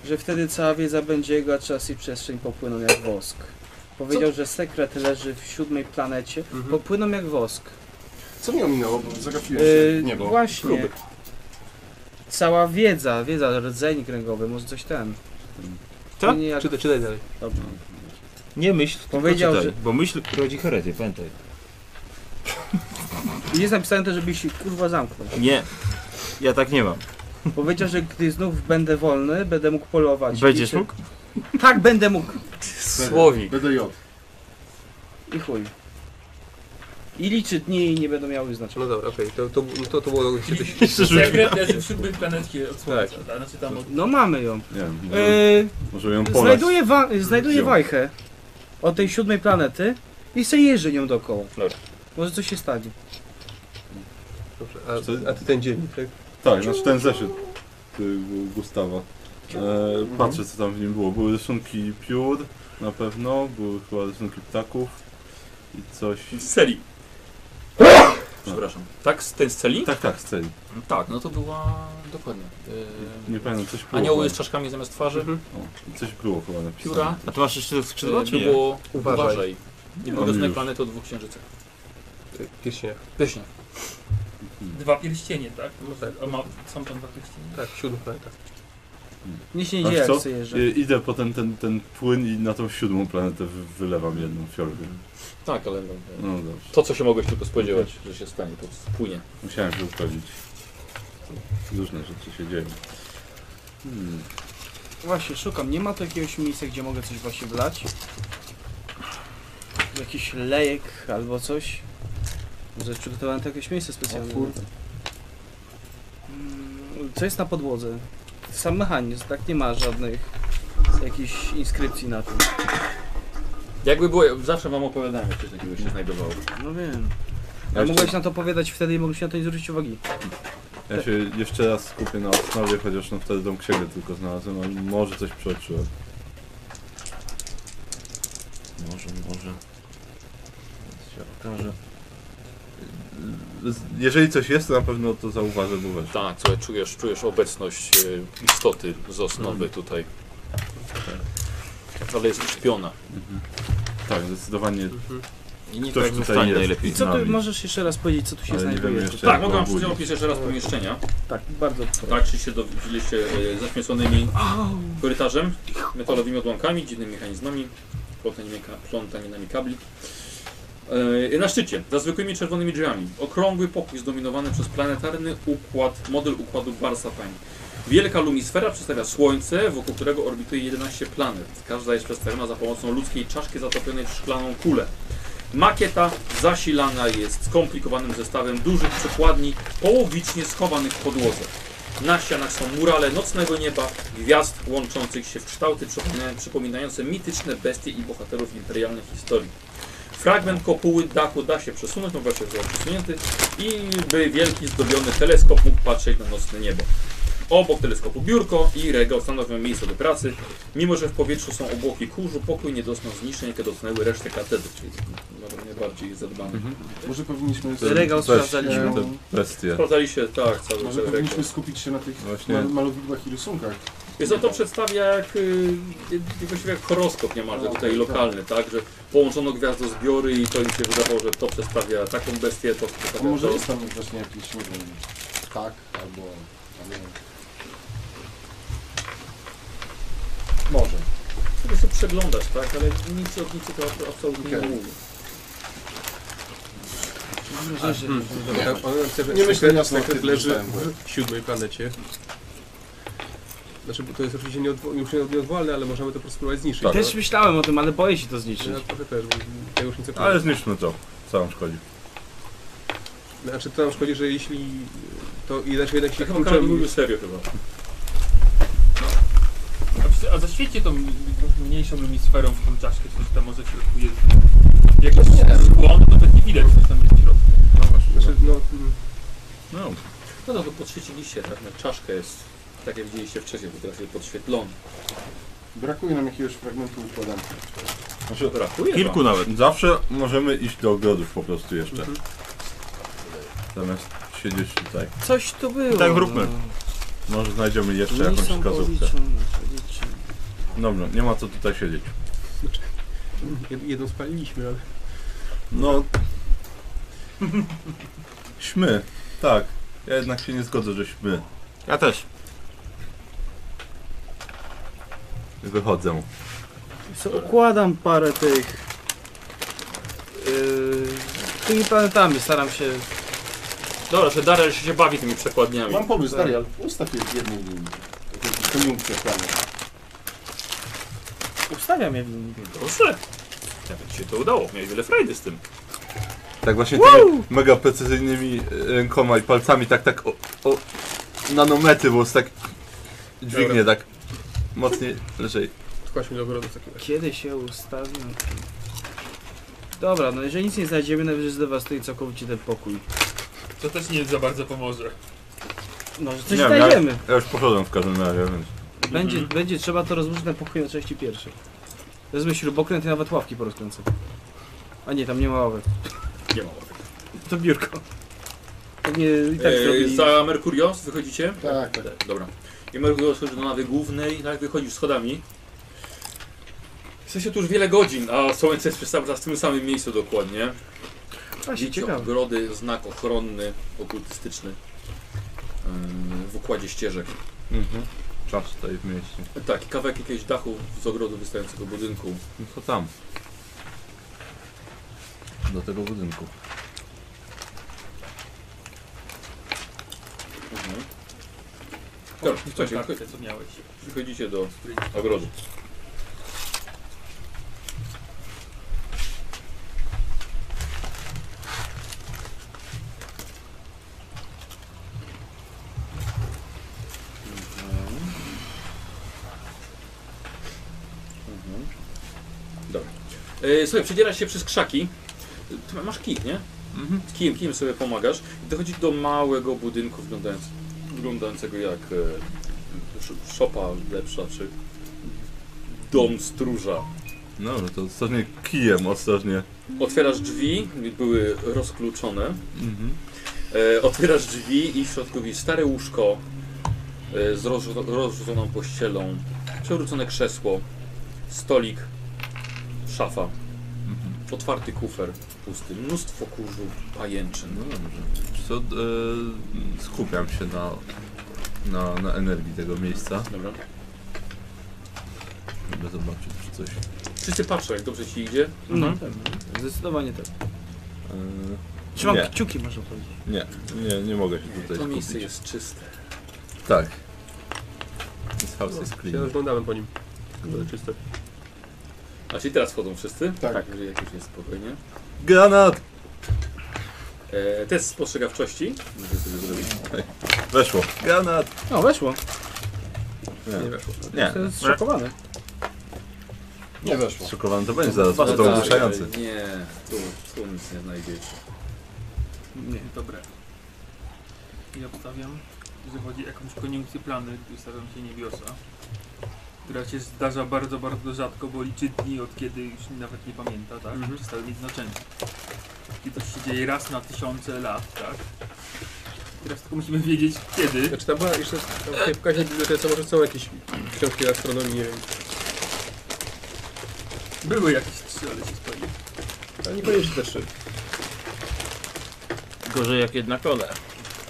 Że wtedy cała wiedza będzie jego, a czas i przestrzeń popłyną jak wosk. Powiedział, że sekret leży w siódmej planecie. Mhm. Popłyną jak wosk. Co mnie ominęło, bo zagapiłem się Yy, w niebo. właśnie. Próby. Cała wiedza, wiedza, rdzeń kręgowy, może coś ten. Co? Nie, jak... Czytaj, czytaj dalej. Dobra. Nie myśl, Powiedział, tylko że- czytaj, bo myśl rodzi heretię, pamiętaj. I jest napisane też, żeby się kurwa zamknął. Nie, ja tak nie mam. Powiedział, że gdy znów będę wolny, będę mógł polować. Będziesz I się- mógł? Tak, będę mógł. Słowik. BDJ. I chuj. I liczy dni i nie będą miały znaczenia. No dobra, okej, to, to, no to, to było do Sekret leży w siódmej planecie od Słońca, tak. znaczy tam od... No mamy ją. Nie wiem, może, Yy, może ją polać. znajduję wa- znajduję Wziął. wajchę od tej siódmej planety i se jeżdżę nią dookoła. Dobra. Może coś się stanie. Dobrze, a, a ty ten dziennik, tak? Tak, znaczy ten zeszyt y, Gu- Gustawa. E, patrzę co tam w nim było. Były rysunki piór na pewno, były chyba rysunki ptaków i coś. Z celi. Przepraszam. Tak, z tej z celi? Tak, tak, z celi. Tak, no to była dokładnie. Yy... Nie pamiętam, coś było. Anioły z chyba. czaszkami zamiast twarzy. Mhm. O, i coś było chyba napisane. Pióra. A ty masz jeszcze to skrzydła, Yy, czy nie? było Uważaj. uważaj. Mm. On Niebogosne już. planety o dwóch księżycach. Pierścienia. Pysznie. Dwa pierścienie, tak? No tak. A ma, są tam dwa pierścienie. Tak, siódma planeta. Nie się nie A dzieje, co? Y- jak se jeżdżę. I, idę potem ten, ten płyn i na tą siódmą planetę wy- wylewam jedną fiolkę. Tak, ale yy, No dobrze, to co się mogłeś tylko spodziewać, że się stanie, to spłynie. musiałem się upewnić. Różne rzeczy się dzieją. Hmm. Właśnie, szukam. Nie ma tu jakiegoś miejsca, gdzie mogę coś właśnie wlać? Jakiś lejek albo coś? Może przygotowałem to jakieś miejsce specjalne. Mm, Co jest na podłodze? Sam mechanizm, tak? Nie ma żadnych jakichś inskrypcji na tym. Jakby było, zawsze wam opowiadałem, jak coś takiego się znajdowało. No wiem. Ja Ja jeszcze, mogłeś na to opowiadać wtedy i mogliście na to nie zwrócić uwagi. ja się jeszcze raz skupię na osnowie, chociaż no wtedy tą księgę tylko znalazłem, ale może coś przeoczyłem. Może, może. Więc się okaże. Z- Jeżeli coś jest, to na pewno to zauważę, bo wiesz. Tak, co czujesz, czujesz obecność yy, istoty z osnowy tutaj. Ale jest uśpiona. Tak, zdecydowanie I nie ktoś tak tutaj zostanie jest. najlepiej. I co Nami. tu możesz jeszcze raz powiedzieć, co tu się Ale nie znajduje? wiem jeszcze. Tak, Tak, mogę wam mam budzić. opisać jeszcze raz pomieszczenia. Tak, bardzo Tak, czy się dowiedzieliście e, zaśmieconymi korytarzem, metalowymi odłamkami, dziwnymi mechanizmami, plątaniem ka- plątaninami kabli. E, Na szczycie, za zwykłymi czerwonymi drzwiami, okrągły pokój zdominowany przez planetarny układ, model układu Barsapine. Wielka lumisfera przedstawia Słońce, wokół którego orbituje 11 planet. Każda jest przedstawiona za pomocą ludzkiej czaszki zatopionej w szklaną kulę. Makieta zasilana jest skomplikowanym zestawem dużych przekładni, połowicznie schowanych w podłodze. Na ścianach są murale nocnego nieba, gwiazd łączących się w kształty przypomina- przypominające mityczne bestie i bohaterów imperialnych historii. Fragment kopuły dachu da się przesunąć, no właśnie został przesunięty, i by wielki zdobiony teleskop mógł patrzeć na nocne niebo. Obok teleskopu biurko i regał stanowią miejsce do pracy. Mimo, że w powietrzu są obłoki kurzu, pokój nie doznał zniszczeń, jakie dotknęły resztę katedry, czyli podobnie bardziej zadbany. Mhm. Może powinniśmy... Regał Weź, sprawdzaliśmy. Te bestie. Sprawdzaliście, tak, cały Może cały regał. powinniśmy skupić się na tych Właśnie. No, mal malowidłach i rysunkach. Jest to przedstawia jak, y, y, właściwie jak horoskop niemalże tutaj lokalny, tak? Że połączono gwiazdozbiory i to im się wydawało, że to przedstawia taką bestię, to A przedstawia może to. jest tam właśnie jakiś, nie wiem, tak albo... a nie wiem. Może. Po prostu przeglądasz, tak? Ale nic od nic to absolutnie nie Okej. Tak, mówi. Hmm, Dobra, on chce- Nie myślę, jasno, sekret kiedy leży dostałem w siódmej planecie. Znaczy, bo to jest oczywiście nieodwo- już nie- nieodwołalne, ale możemy to po prostu spróbować zniszczyć. Tak. no. Też myślałem o tym, ale boję się to zniszczyć. Ja trochę też, bo ja już nie no. chcę Ale zniszczmy to. Co nam szkodzi? Znaczy, to nam szkodzi, że jeśli to inaczej jednak się Tak chyba Karol kluczem... mówił serio chyba. A, przy- a zaświecie tą m- mniejszą lumisferą w tą czaszkę, coś tam może w środku jest. Jakiś skłon, to tak nie widać, co tam jest w środku. tak. Znaczy, no, mm, No, No to, to podświeciliście, tak? Na czaszkę jest, tak jak widzieliście wcześniej, bo teraz jest podświetlony. Brakuje nam jakiegoś fragmentu układanki. Znaczy, Brakuje Kilku nawet. zawsze możemy iść do ogrodów po prostu jeszcze. Mhm. Zamiast siedzieć tutaj. Coś tu było. no. Tak, wróćmy. Może znajdziemy jeszcze Nie jakąś są wskazówkę. policzone, policzone. Dobra, nie ma co tutaj siedzieć. Jed- Jedną spaliliśmy, ale... No. Śmy, tak. Ja jednak się nie zgodzę, że śmy. Ja też. Wychodzę. Co, układam parę tych... Yy, tymi planetami staram się... Dobra, że Darel się bawi tymi przekładniami. Mam pomysł, Darial, ustaw je w jednej linii. Tak Jakąś koniunkcję planet. Ustawiam je w linii. Dobrze. Nawet ci się to udało. Miałeś wiele frajdy z tym. Tak właśnie tymi mega precyzyjnymi e, rękoma i palcami tak tak o, o nanometry, bo tak dźwignie tak mocniej, lżej. Odkładźmy do ogrodu w takim razie. Kiedy się ustawiam? Dobra, no jeżeli nic nie znajdziemy, najwyżej zdewastuję całkowicie ten pokój. To też nie za bardzo pomoże. Może No, coś Nie wiem, znajdziemy. Ja już poszedłem w każdym razie, więc Będzie, Mhm. będzie trzeba to rozłożyć na pokój na części pierwszej. Wezmę śrubokręt i nawet ławki porozkręcę. A nie, tam nie ma ławek. Nie ma. To biurko. Pewnie i tak E, zrobili. za Merkurios wychodzicie? E, Tak, tak. Dobra. I Merkurio schodzi do nawy głównej, tak wychodzisz schodami. Jesteście tu już wiele godzin, a słońce jest przy sam- w tym samym miejscu dokładnie. Właśnie Widzicie ciekawe. ogrody, znak ochronny, okultystyczny ym, w układzie ścieżek. mhm. czas tutaj w mieście. Tak, i kawałek jakiegoś dachu z ogrodu wystającego budynku. No to tam. Do tego budynku. Mhm. Dobra, w czasie, Kartę, co miałeś. Przychodzicie do ogrodu. Mhm. Mhm. Dobra. E, Słuchaj, przedzierasz się przez krzaki. Ty ma- masz kij, nie? Mhm. Z kijem, kijem sobie pomagasz. I dochodzi do małego budynku wyglądając, wyglądającego jak e, Sz- szopa lepsza, czy dom stróża. No, no to ostrożnie kijem, ostrożnie. Otwierasz drzwi, były rozkluczone. Mhm. E, otwierasz drzwi i w środku widzisz stare łóżko e, z rozrzu- rozrzuconą pościelą, przewrócone krzesło, stolik, szafa, Mhm. otwarty kufer pusty, mnóstwo kurzu, pajęczyn. No dobrze. Wiesz Co, e, skupiam się na, na, na energii tego miejsca, Dobra. żeby zobaczyć czy coś. Wszyscy patrzą, jak dobrze ci idzie. No, Mhm. tak. Zdecydowanie tak. E, Trzymam Nie. kciuki, można powiedzieć. nie, nie, nie mogę się tutaj To miejsce skupić. jest czyste. Tak. This house is Się clean. rozglądamy po nim. Ale czyste. A czyli teraz wchodzą wszyscy? Tak. Jeżeli jakieś jest spokojnie. Granat! E, test spostrzegawczości. Mogę sobie zrobić. Weszło. Granat! No, weszło. Nie Nie, weszło. nie. To jest szokowane. Nie weszło. Szokowany to będzie zaraz, bo Ale to tak, ogłuszający. Nie, tu, tu nic nie znajdziecie. Nie. Dobre. Ja obstawiam, że chodzi o jakąś koniunkcję plany, gdy stawiam się niebiosa, która się zdarza bardzo, bardzo rzadko, bo liczy dni od kiedy już nawet nie pamięta, tak? Mhm. Przestały mieć znaczenie. I to się dzieje raz na tysiące lat, tak? Teraz tylko musimy wiedzieć kiedy. Znaczy tam była jeszcze tam w tej pokaźnej bibliotece może są jakieś książki o astronomii, nie wiem. Były jakieś trzy, ale się spaliły. Ale niekoniecznie też Gorzej jak jednak one.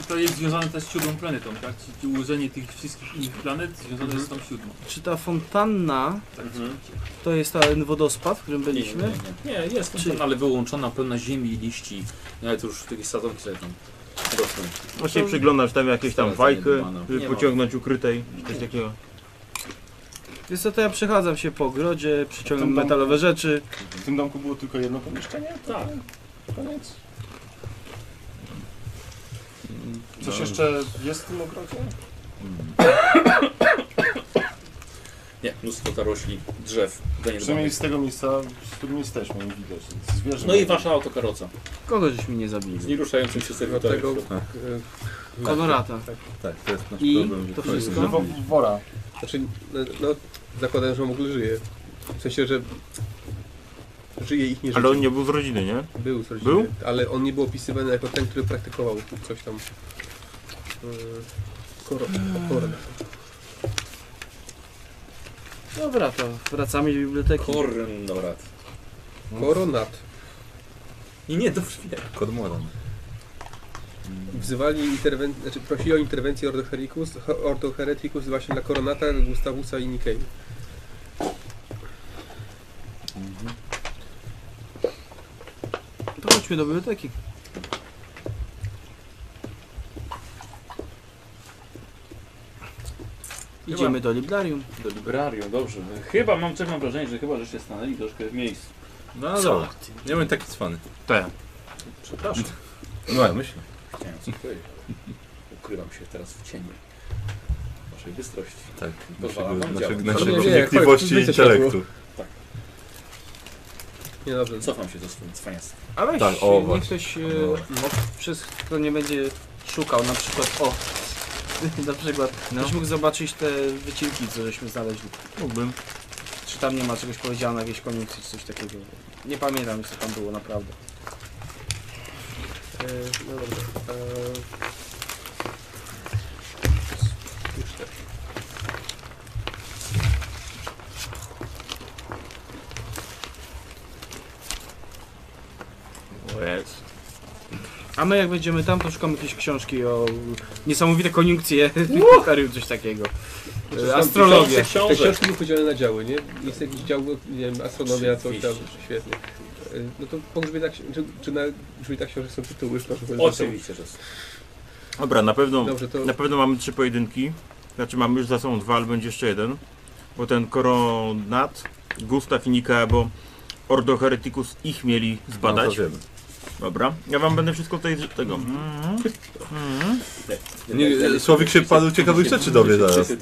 I to jest związane też z siódmą planetą, tak? Czyli ułożenie tych wszystkich innych planet związane Mhm. jest z tą siódmą. Czy ta fontanna Tak, Mhm. to jest ten wodospad, w którym byliśmy? Nie, nie, nie. nie jest Czy- Czy... ale wyłączona, pełna ziemi i liści. Nawet już takie sadzonki sobie tam rosną. Właśnie przyglądasz tam jakieś tam y, Wcale fajki, zaniedbano. żeby Nie ma. pociągnąć ukrytej, czy coś takiego. Więc to, to ja przechadzam się po ogrodzie, przyciągam Tam, tam. metalowe rzeczy. W tym domku było tylko jedno pomieszczenie? Tak. Koniec. Coś jeszcze jest w tym ogrodzie? Nie, mnóstwo tarośli, drzew, Przynajmniej zaniedbanych. z tego miejsca, z którym jesteśmy, nie widać. nic. Zwierzę. No i wasza autokaroca. Kogo żeśmy nie Z zabili? nieruszającym się serwitorem. Dlatego... Tak. e, Konorata. Tak, to jest nasz I problem. że to kogoś wszystko? Wo- zabili. Wora. Znaczy, no, no zakładam, że on w ogóle żyje. W sensie, że żyje ich nie żyje. Ale on nie był z rodziny, nie? Był z rodziny, Był? ale on nie był opisywany jako ten, który praktykował coś tam. Yy, koro, korda. Dobra, to wracamy do biblioteki. Kornorat. No. Koronat. I nie, dobrze wiem. Kormoran. Wzywali interwen- znaczy prosili o interwencję Ordohericus, Ordohereticus właśnie dla Koronata, Gustavusa i Nikei. To chodźmy do biblioteki. Idziemy do librarium. Do librarium, dobrze. Chyba mam, tak mam wrażenie, że chyba, że się stanęli troszkę w miejscu. No ale dobra. Ja byłem taki cwany. Tak. Przepraszam. No ja myślę. Chciałem coś powiedzieć. Ukrywam się teraz w cieniu waszej bystrości. Tak. Pozwalam Naszego, wam działać. naszego, naszego Nie, nie, wnikliwości chodź, i intelektu. Nie dobrze. No, Cofam się do swoim cwaniactwa. A weź, Tak, tak, o, niech właśnie. ktoś e, przez kto nie będzie szukał na przykład, o, na przykład, no. mógł zobaczyć te wycinki, co żeśmy znaleźli. Mógłbym. Czy tam nie ma czegoś powiedziane, jakieś komiksy czy coś takiego. Nie pamiętam, co tam było naprawdę. E, no dobra. E, już tak. O jest. A my jak będziemy tam, to szukamy jakieś książki o niesamowite koniunkcje, imperium, coś takiego. E, Astrologię. Znaczy, Te Książek. książki były podzielone na działy, nie? Jest jakiś dział, nie wiem, astronomia, coś tam, świetnie. Y, No to po grzbietach, czy, czy na grzbietach książek są tytuły? już na przykład, że są- Oczywiście, że są. Dobra, na pewno, Dobrze, to na pewno mamy trzy pojedynki. Znaczy mamy już za sobą dwa, ale będzie jeszcze jeden. Bo ten koronat, Gustaw i Nikea, bo Ordo Hereticus ich mieli No, zbadać. to wiemy. Dobra. Ja wam będę wszystko tutaj z tego. Mhm. Nie, Słowik się paru ciekawych rzeczy dowie zaraz.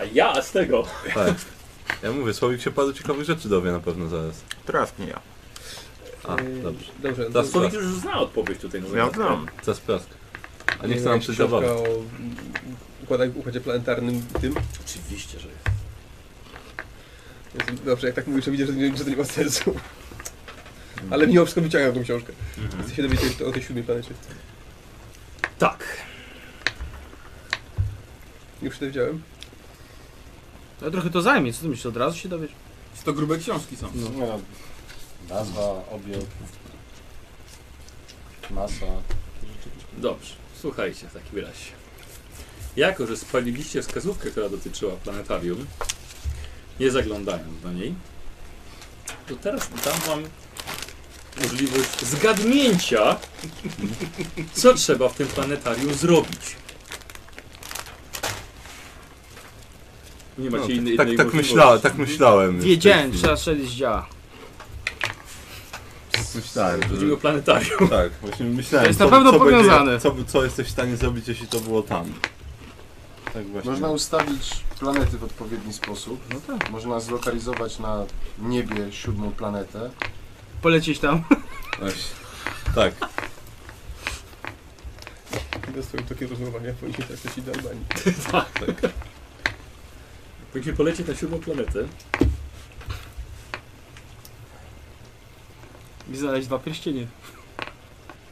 A ja z tego! Tak. Ja mówię, Słowik się paru ciekawych rzeczy dowie na pewno zaraz. Teraz nie ja. A, y, dobrze. Dobrze, no Teraz to- Słowik już zna odpowiedź tutaj. na Ja zagadkę. znam. Za sprask. A nie wiem, chcę nam jakaś przejść e, książka zabawy. o mm, układach, układzie planetarnym tym. Oczywiście, że jest. Więc Dobrze, jak tak mówisz, to widzę, że, nie- że to nie ma sensu. Ale mimo wszystko wyciągam tą książkę. Chcę się dowiedzieć o tej siódmej planecie. Tak. Już się dowiedziałem. No trochę to zajmie, co ty myślisz, od razu się dowiesz? To grube książki są. No. No, nazwa, obieg, masa. Dobrze, słuchajcie w takim razie. Jako, że spaliliście wskazówkę, która dotyczyła planetarium, nie zaglądając do niej, to teraz dam wam możliwość zgadnięcia, co trzeba w tym planetarium zrobić. Nie macie No, innej, tak, innej tak, możliwości. myślałem, tak myślałem. już w tej Wiedziałem, chwili. trzeba strzelić z działa. Myślałem, Chodzimy o że... planetarium. Tak, właśnie myślałem. To jest na co- pewno co będzie- powiązane. Co, co jesteś w stanie zrobić, jeśli to było tam? Tak właśnie. Można ustawić planety w odpowiedni sposób. No tak. Można zlokalizować na niebie siódmą planetę. Polecieć tam. Właśnie. Tak. Do swoim tokiem rozumowania powinniśmy tak lecieć do Albanii. Będziemy polecieć na siódmą planetę. I znaleźć dwa pierścienie.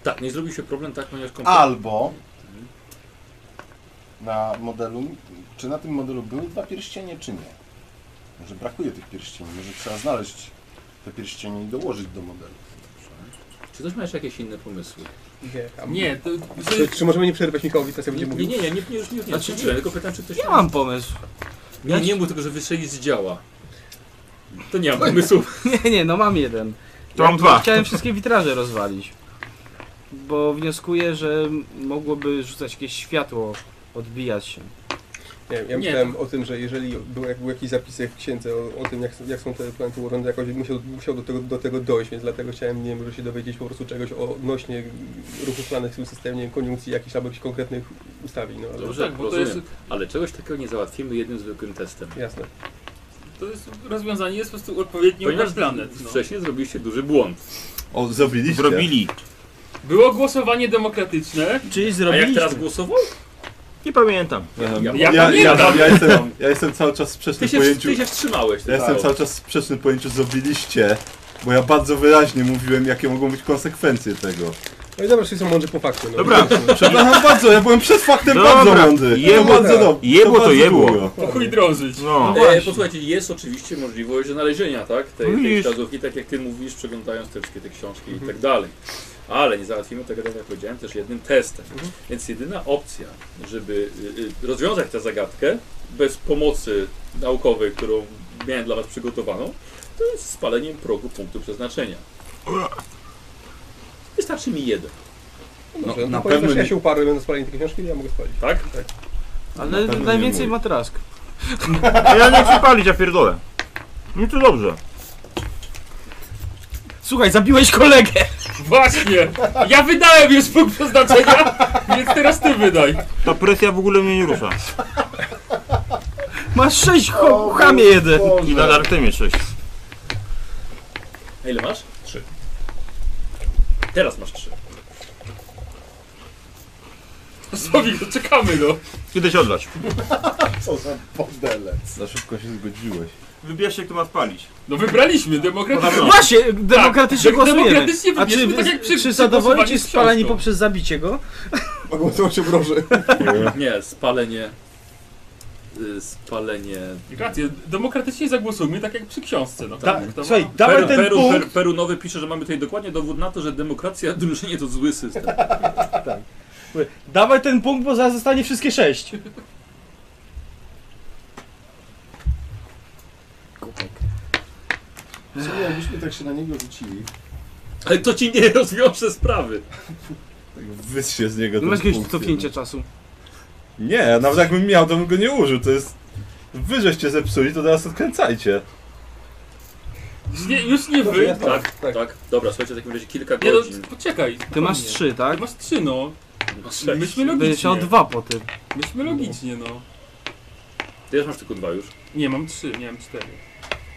Tak, nie zrobił się problem, tak, ponieważ komputer... Albo na modelu, czy na tym modelu były dwa pierścienie, czy nie. Może brakuje tych pierścieni, może trzeba znaleźć te pierścienie i dołożyć do modelu. Czy ktoś ma jeszcze jakieś inne pomysły? Nie, a- Nie, to, to Czy, czy możemy nie przerwać Michałowi, teraz ja Nie, będzie nie, mówił? nie, nie, nie, już nie, nie, Znaczy, skończyłem, tylko pytam, czy ktoś... Ja mam pomysł. Ja nie mów tylko, że wystrzelić z działa. To nie mam pomysłu. Nie, nie, no mam jeden. To mam dwa. Chciałem wszystkie witraże rozwalić. Bo wnioskuję, że mogłoby rzucać jakieś światło, odbijać się. Nie, wiem, ja Nie. myślałem o tym, że jeżeli był, jak był jakiś zapisek w księdze o, o tym, jak, jak są te planety ułożone, jakoś musiał, musiał do, tego, do tego dojść, więc dlatego chciałem, nie wiem, że się dowiedzieć po prostu czegoś o- odnośnie ruchu planet w tym systemie, nie wiem, koniunkcji jakichś albo jakichś konkretnych ustawień, no ale Dobrze, tak, bo to rozumiem. jest, Ale czegoś takiego nie załatwimy jednym zwykłym testem. jasne. to jest rozwiązanie jest po prostu odpowiednio Ponieważ układ planet. No. wcześniej zrobiliście duży błąd. O, zrobiliście. Zrobili. Było głosowanie demokratyczne. Czyli A jak zrobiliśmy. teraz głosował? Nie pamiętam. Ja, ja ja, ja, pamiętam. ja, jestem, ja jestem cały czas w Ty sprzecznym się, pojęciu. ty się wstrzymałeś. Ja jestem cały czas w sprzecznym pojęciu zrobiliście, bo ja bardzo wyraźnie mówiłem, jakie mogą być konsekwencje tego. No i dobra, wszyscy są mądrzy po fakcie. No. Dobra, Przepraszam bardzo, ja byłem przed faktem Dobra, bardzo mądry. jebło- to bardzo dob- jebło to bardzo jebło. długo. Po chuj drążyć. no. E, posłuchajcie, jest oczywiście możliwość znalezienia tak, tej, tej Mówisz. wskazówki, tak jak ty mówisz, przeglądając te wszystkie te książki i tak dalej. Ale nie załatwimy tego, tak jak powiedziałem, też jednym testem. Więc jedyna opcja, żeby y, y, rozwiązać tę zagadkę bez pomocy naukowej, którą miałem dla was przygotowaną, to jest spaleniem progu punktu przeznaczenia. Wystarczy mi jeden, No, dobrze, No, no, na ponieważ pewno ja nie- się uparłem na spalenie tej książki, ja mogę spalić. tak? Na Ale pewno nie najwięcej mój. ma trask. A ja nie chcę palić, ja pierdolę. No to dobrze. Słuchaj, zabiłeś kolegę! Właśnie! Ja wydałem już punkt przeznaczenia, więc teraz ty wydaj. Ta presja w ogóle mnie nie rusza. Masz sześć, cho- chamie jeden! I na Artemie 6. A ile masz? Trzy. Teraz masz trzy. Słowik, to czekamy no. Idę się odlać. Co za bordelec. Za szybko się zgodziłeś. Wybierzcie, kto ma spalić. No wybraliśmy demokratycznie. Dobra. Właśnie, demokratycznie Tak, głosujemy. demokratycznie A czy, wybierzmy, tak jak przy- czy przy zadowoleni głosowaniu ci z spalani książką. poprzez zabicie go? Mogą to się mroży. Nie, spalenie. y, Spalenie. Rację, demokratycznie zagłosujmy tak jak przy książce. No, Tak. Kto ma- Słuchaj, dawaj Peru, ten Peru, punkt! Peru, Perunowy pisze, że mamy tutaj dokładnie dowód na to, że demokracja drużynie to zły system. Dawaj ten punkt, bo zaraz zostanie wszystkie sześć. W sumie jakbyśmy tak się na niego rzucili. Ale to ci nie rozwiąże sprawy. Tak Wysz się z niego No ten masz jakieś punkt cofnięcie czasu. jeden. Nie, nawet jakbym miał, to bym go nie użył. To jest... Wy żeście zepsuli, to teraz odkręcajcie. Już nie, już nie Dobrze, wy. ja Tak. tak, tak. Tak, dobra, słuchajcie, w takim razie kilka Nie no, godzin. poczekaj. Ty masz spokojnie. trzy, Ty tak? masz trzy no. No, sześć. Myśmy Będzie się o logicznie. dwa potem. Myśmy logicznie no. Ty też masz tylko dwa już. Nie, mam trzy, nie mam cztery.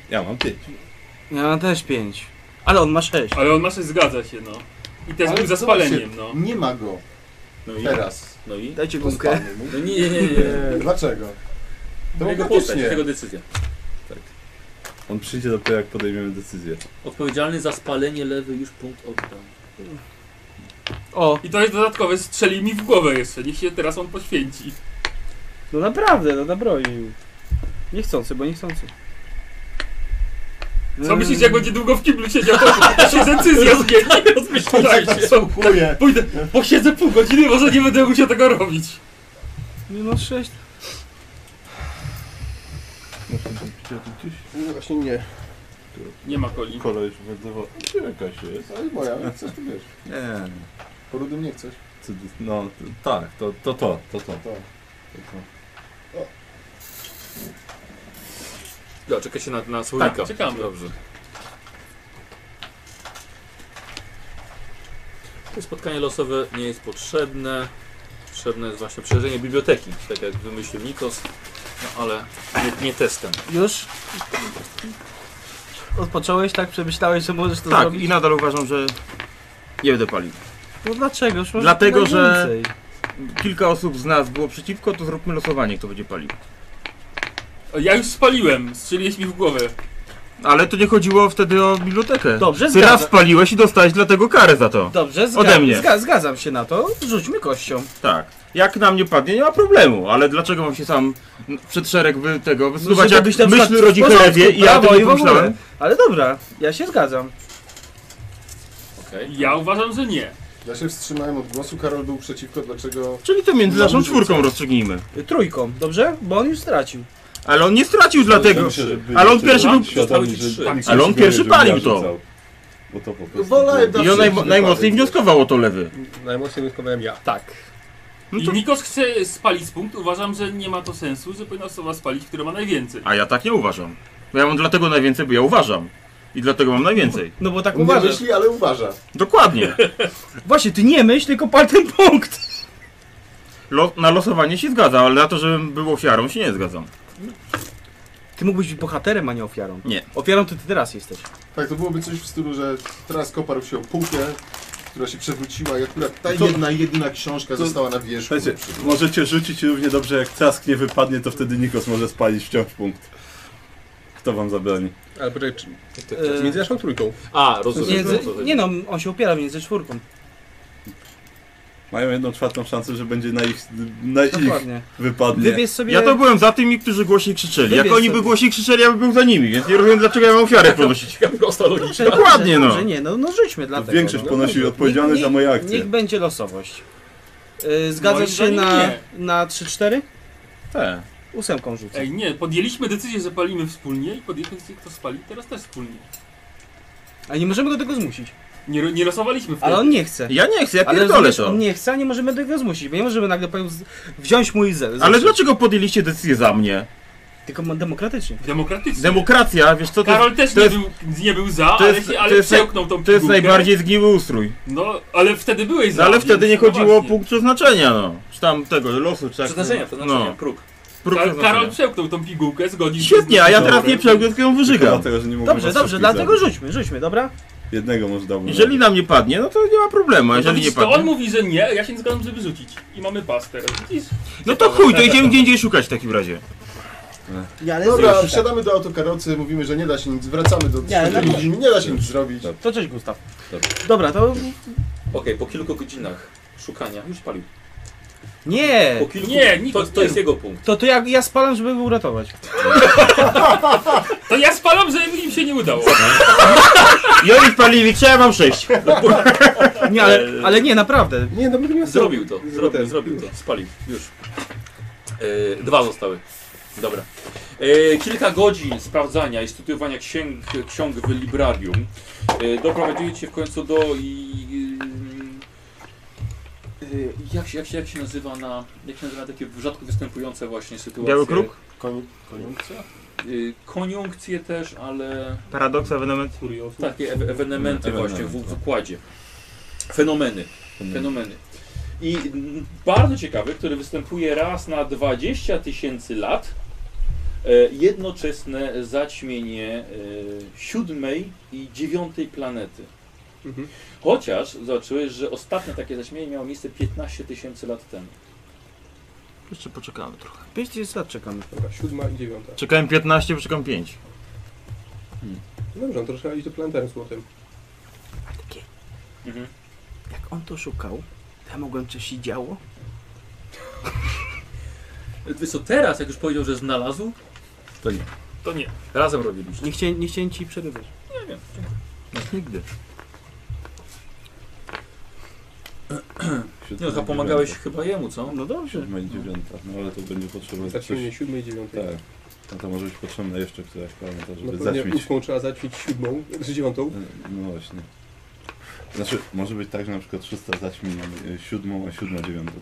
Ja mam pięć. Ja mam też pięć. Ale on ma sześć. Ale on nasze zgadza się no. I też Ale był za zobaczcie, spaleniem no. Nie ma go No i. teraz. No i. Dajcie Po gumkę. spaleniu. No nie, nie, nie. nie. Dlaczego? Jego postać, Demokratycznie. jego decyzja. On przyjdzie dopiero jak podejmiemy decyzję. Odpowiedzialny za spalenie lewy już punkt oddał. O, I to jest dodatkowe, strzeli mi w głowę jeszcze, niech się teraz on poświęci. no naprawdę, no nabroił. Niechcący, bo niechcący. Mm, Co myślisz, jak będzie długo w kiblu siedział, to, to się decyzja zmieni. Rozmyślajcie. Dziękuję. Pójdę, posiedzę pół godziny, może nie będę musiał tego robić. Nie no sześć. No właśnie nie. Nie ma koli. Kolej już wędzowo. Jakaś jest. No i moja, jak chcesz, to bierz. Nie. Po rudym nie chcesz. Cud- No, t- tak, to to, to, to, to. To. Dobra, czekaj się na, na słowika. Tak, czekamy. Dobrze. To spotkanie losowe nie jest potrzebne. Potrzebne jest właśnie przeżycie biblioteki, tak jak wymyślił Nikos, no ale nie, nie testem. Już? Odpocząłeś, tak? Przemyślałeś, że możesz to Tak, zrobić? i nadal uważam, że nie będę palił. No dlaczego? Już masz Dlatego, że- najwięcej. Kilka osób z nas było przeciwko, to zróbmy losowanie, kto będzie palił. Ja już spaliłem, strzeliłeś mi w głowę. Ale to nie chodziło wtedy o bibliotekę. Dobrze, Ty raz zgadzam. spaliłeś i dostałeś dlatego karę za to. Dobrze, zga- Ode mnie. Zga- zgadzam się na to. Rzućmy kością. Tak. Jak na mnie padnie, nie ma problemu, ale dlaczego mam się sam n- przed szereg wy tego wysuwać, jak żebyś na przykład- myśl rodzi w porządku, krewie i ja brawo tego nie i w ogóle. pomyślałem? Ale dobra, ja się zgadzam. Okej. Ja uważam, że nie. Ja się wstrzymałem od głosu, Karol był przeciwko, dlaczego... Czyli to między Mam naszą rzucę. czwórką rozstrzygnijmy. Y, Trójką, dobrze? Bo on już stracił. Ale on nie stracił dlatego. Myślę, że byli Ale on tyle pierwszy był. świadomi, Zostały ci że trzy. nikt Ale nie on sugeruje, pierwszy żeby palił ja to. rzucał. Bo to po prostu. Wolałem było- dać- I on najmo- Zawsze najmocniej wypadek. wnioskował o to lewy. Najmocniej wnioskowałem ja. Tak. No I to... Nikos chce spalić z punktu, uważam, że nie ma to sensu, że powinna osoba spalić, która ma najwięcej. A ja tak nie uważam. Bo ja mam dlatego najwięcej, bo ja uważam. I dlatego mam najwięcej. No bo tak Nie uważasz. myśli, ale uważa. Dokładnie. Właśnie, ty nie myśl, tylko pal ten punkt. Lo na losowanie się zgadzam, ale na to, żebym był ofiarą, się nie zgadzam. Ty mógłbyś być bohaterem, a nie ofiarą. Nie. Ofiarą to ty teraz jesteś. Tak, to byłoby coś w stylu, że teraz koparł się o półkę, która się przewróciła i akurat ta To- jedna, jedyna książka to- została na wierzchu. Słuchajcie, Przy- możecie rzucić równie dobrze jak cask nie wypadnie, to wtedy Nikos może spalić wciąż punkt. Kto wam zabroni? Ale poczekaj, czy- E, między naszą trójką. A, rozumiem. między, No to- nie no, on się upiera między czwórką. Mają jedną czwartą szansę, że będzie na ich, na ich Dokładnie. wypadnie. Wybierz sobie... Ja to byłem za tymi, którzy głośniej krzyczeli. Jak Wybierz oni by sobie. głośniej krzyczeli, ja bym był za nimi, więc nie rozumiem dlaczego ja mam ofiarę ponosić. Taka prosta logika. Dobrze, Dokładnie, dobrze, no. dobrze, nie, no, no rzućmy To dlatego. większość no. ponosi odpowiedzialność Niech- za moje niech, akcje. niech będzie losowość. Yy, zgadzasz Moim się zdaniem na, nie. na 3-4? Tak. Te. Ósemką rzucę. Ej, nie, podjęliśmy decyzję, że palimy wspólnie i podjęliśmy decyzję, kto spali, teraz też wspólnie. Ale nie możemy go tego zmusić. Nie, ro- nie losowaliśmy wtedy. Ale on nie chce. Ja nie chcę, ja Ale pierdolę rozumiesz, to. on nie chce, a nie możemy tego zmusić, bo nie możemy nagle powiem, z- wziąć mój zel. Ale dlaczego podjęliście decyzję za mnie? Tylko demokratycznie. Demokratycznie. Demokracja, wiesz co, to, Karol też to nie, jest- był, nie był za, to ale, jest- się- to ale jest- przełknął tą to jest pigułkę. najbardziej zgniły ustrój. No, ale wtedy byłeś za. No, ale więc- wtedy nie no chodziło o właśnie. punkt przeznaczenia, no. Czy tam tego, losu, czy jak... Przeznaczenia, przeznaczenia, No. próg. Próg Ka- Karol przeznaczenia. przełknął tą pigułkę, zgodził się. Świetnie, a ja teraz Dobra. nie przełknę, tylko ją Tylko wyżygam. Dlatego, że nie mogłem Dobrze, was dobrze, wszystkich dlatego zabrać. rzućmy, rzućmy, dobra? Jednego może dałbym. Jeżeli na mnie padnie, no to nie ma problemu, a No jeżeli nie widzisz, to on padnie... mówi, że nie, ja się nie zgadzam, żeby rzucić. I mamy pas teraz, widzisz? No to chuj, to idziemy gdzie indziej szukać w takim razie. Nie, ale Dobra, wsiadamy do autokarocy, mówimy, że nie da się nic, wracamy do Nie, ale ludzi, nie da się nic zrobić. Tak. Dobra. To cześć Gustaw. Dobra. Dobra, to... Okej, po kilku godzinach szukania, już palił. Nie! Po kilku, Nie, nikt- to, to jest jego punkt. To, to ja, ja spalam, żeby go uratować. To ja spalam, żeby im się nie udało. I oni wpalili, czy ja mam sześć. Nie, ale, ale nie, naprawdę. Nie, no mówimy o Zrobił to, Zrobił zrobił, ten. zrobił to, spalił, już. E, dwa zostały. Dobra. E, kilka godzin sprawdzania i studiowania księg, ksiąg w librarium e, doprowadziły cię w końcu do... I, e, jak, się, jak, się, jak się nazywa na... Jak się nazywa takie rzadko występujące właśnie sytuacje? Biały kruk? Koni- Koniunkcja? E, koniunkcje też, ale... Paradoks, ewenement. Takie ew- ewenementy Mm, właśnie w, ewenement, w tak. układzie. Fenomeny. Fenomeny. I mm, bardzo ciekawy, który występuje raz na 20 tysięcy lat. e, Jednoczesne zaćmienie e, siódmej i dziewiątej planety. Mhm. Chociaż zobaczyłeś, że ostatnie takie zaćmienie miało miejsce 15 tysięcy lat temu. Jeszcze poczekamy trochę. 50 lat czekamy. Dobra, siódma i dziewiąta. Czekałem 15, poczekam 5. Dobrze, no to trzeba iść do planetarium z łotem. Mhm. Jak on to szukał, to ja mogłem coś się działo? E, Wiesz co, teraz, jak już powiedział, że znalazł, To nie. To nie. razem robiliśmy. Nie chciałem, nie chciałem ci przerywać. Nigdy. Nie, no, pomagałeś chyba jemu, co? No dobrze. Siódma i dziewiąta, no ale to będzie potrzebne. Zaćmienie Coś... siódmej i dziewiątej. Tak. No to może być potrzebna jeszcze któraś planeta, No żeby pewnie zaćmić. ósmą trzeba zaćmić siódmą, czy dziewiątą. No właśnie. Znaczy, może być tak, że na przykład 300 zaćmi mamy, y, siódmą, a siódma dziewiątą.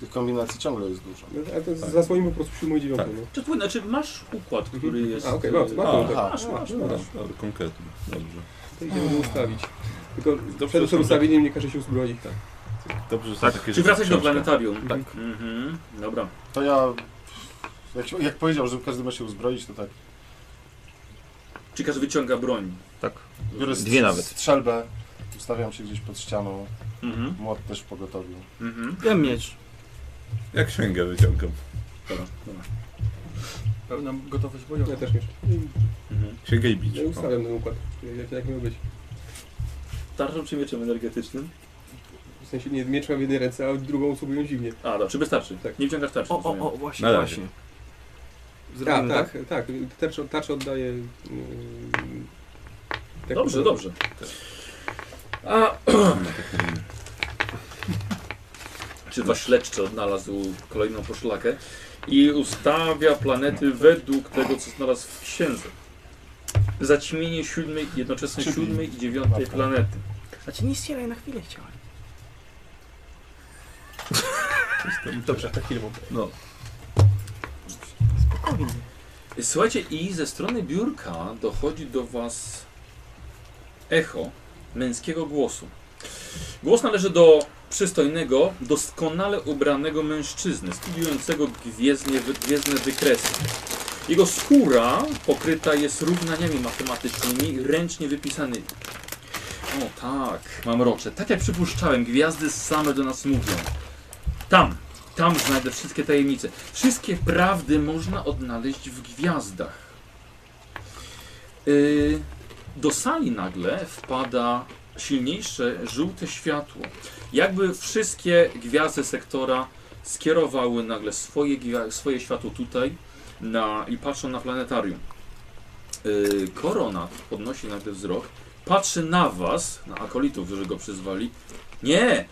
Tych kombinacji ciągle jest dużo. No, Ale to Tak. zasłonimy po prostu siódmą i dziewiątą. Tak. No. Czy, płyn- znaczy, masz układ, który jest... Mhm. A okej, e, okay, mam, mam, A, tak. Aha, masz, No, masz. ale konkretnie, dobrze. To idziemy ustawić. Tylko Dobrze, przed że- tak. ustawieniem nie każe się uzbroić. Dobrze, że są Tak. takie Czy rzeczy wracać w do książkach. planetarium? Tak. Mhm, dobra. to ja... Jak, się- jak powiedział, że każdy ma się uzbroić, to tak. Czy każdy wyciąga broń? Tak. Biorę st- Dwie nawet. strzelbę, ustawiam się gdzieś pod ścianą, Mhm. młot też w pogotowiu. Mhm. Ja miecz. Ja księgę wyciągam. Dobra, dobra. Pełna gotowość Ja bojowa. też nie. Mhm. Księgę i bić. Ja ustawiam ten układ, jak, jak miał być. Tarczą czy mieczem energetycznym? W sensie nie miecz mam w jednej ręce, a drugą obsługują dziwnie. A, dobra, czy wystarczy? Tak. Nie wciągasz tarczy. O, rozumiem. o, o, właśnie, Na razie. właśnie. A, Zrobimy tak? tak, tak. Tarczę, tarczę oddaję. Yy, mm, tak Dobrze, to- dobrze. A, czy wasz śledczy odnalazł kolejną poszlakę i ustawia planety według tego, co znalazł w księdze. Zaćmienie siódmej, jednoczesne Czyli- siódmej i dziewiątej planety. Znaczy nie ścieraj, na chwilę chciałem. Dobrze, tak chwilę. No, Spokojnie. Słuchajcie, i ze strony biurka dochodzi do Was echo męskiego głosu. Głos należy do przystojnego, doskonale ubranego mężczyzny, studiującego gwiezdnie, gwiezdne wykresy. Jego skóra pokryta jest równaniami matematycznymi, ręcznie wypisanymi. O tak, mam rocze. Tak jak przypuszczałem, gwiazdy same do nas mówią. Tam, tam znajdę wszystkie tajemnice. Wszystkie prawdy można odnaleźć w gwiazdach. Yy, do sali nagle wpada silniejsze żółte światło. Jakby wszystkie gwiazdy sektora skierowały nagle swoje, gwia- swoje światło tutaj na, i patrzą na planetarium. Yy, korona podnosi nagle wzrok patrzy na was, na akolitów, którzy go przyzwali. Nie!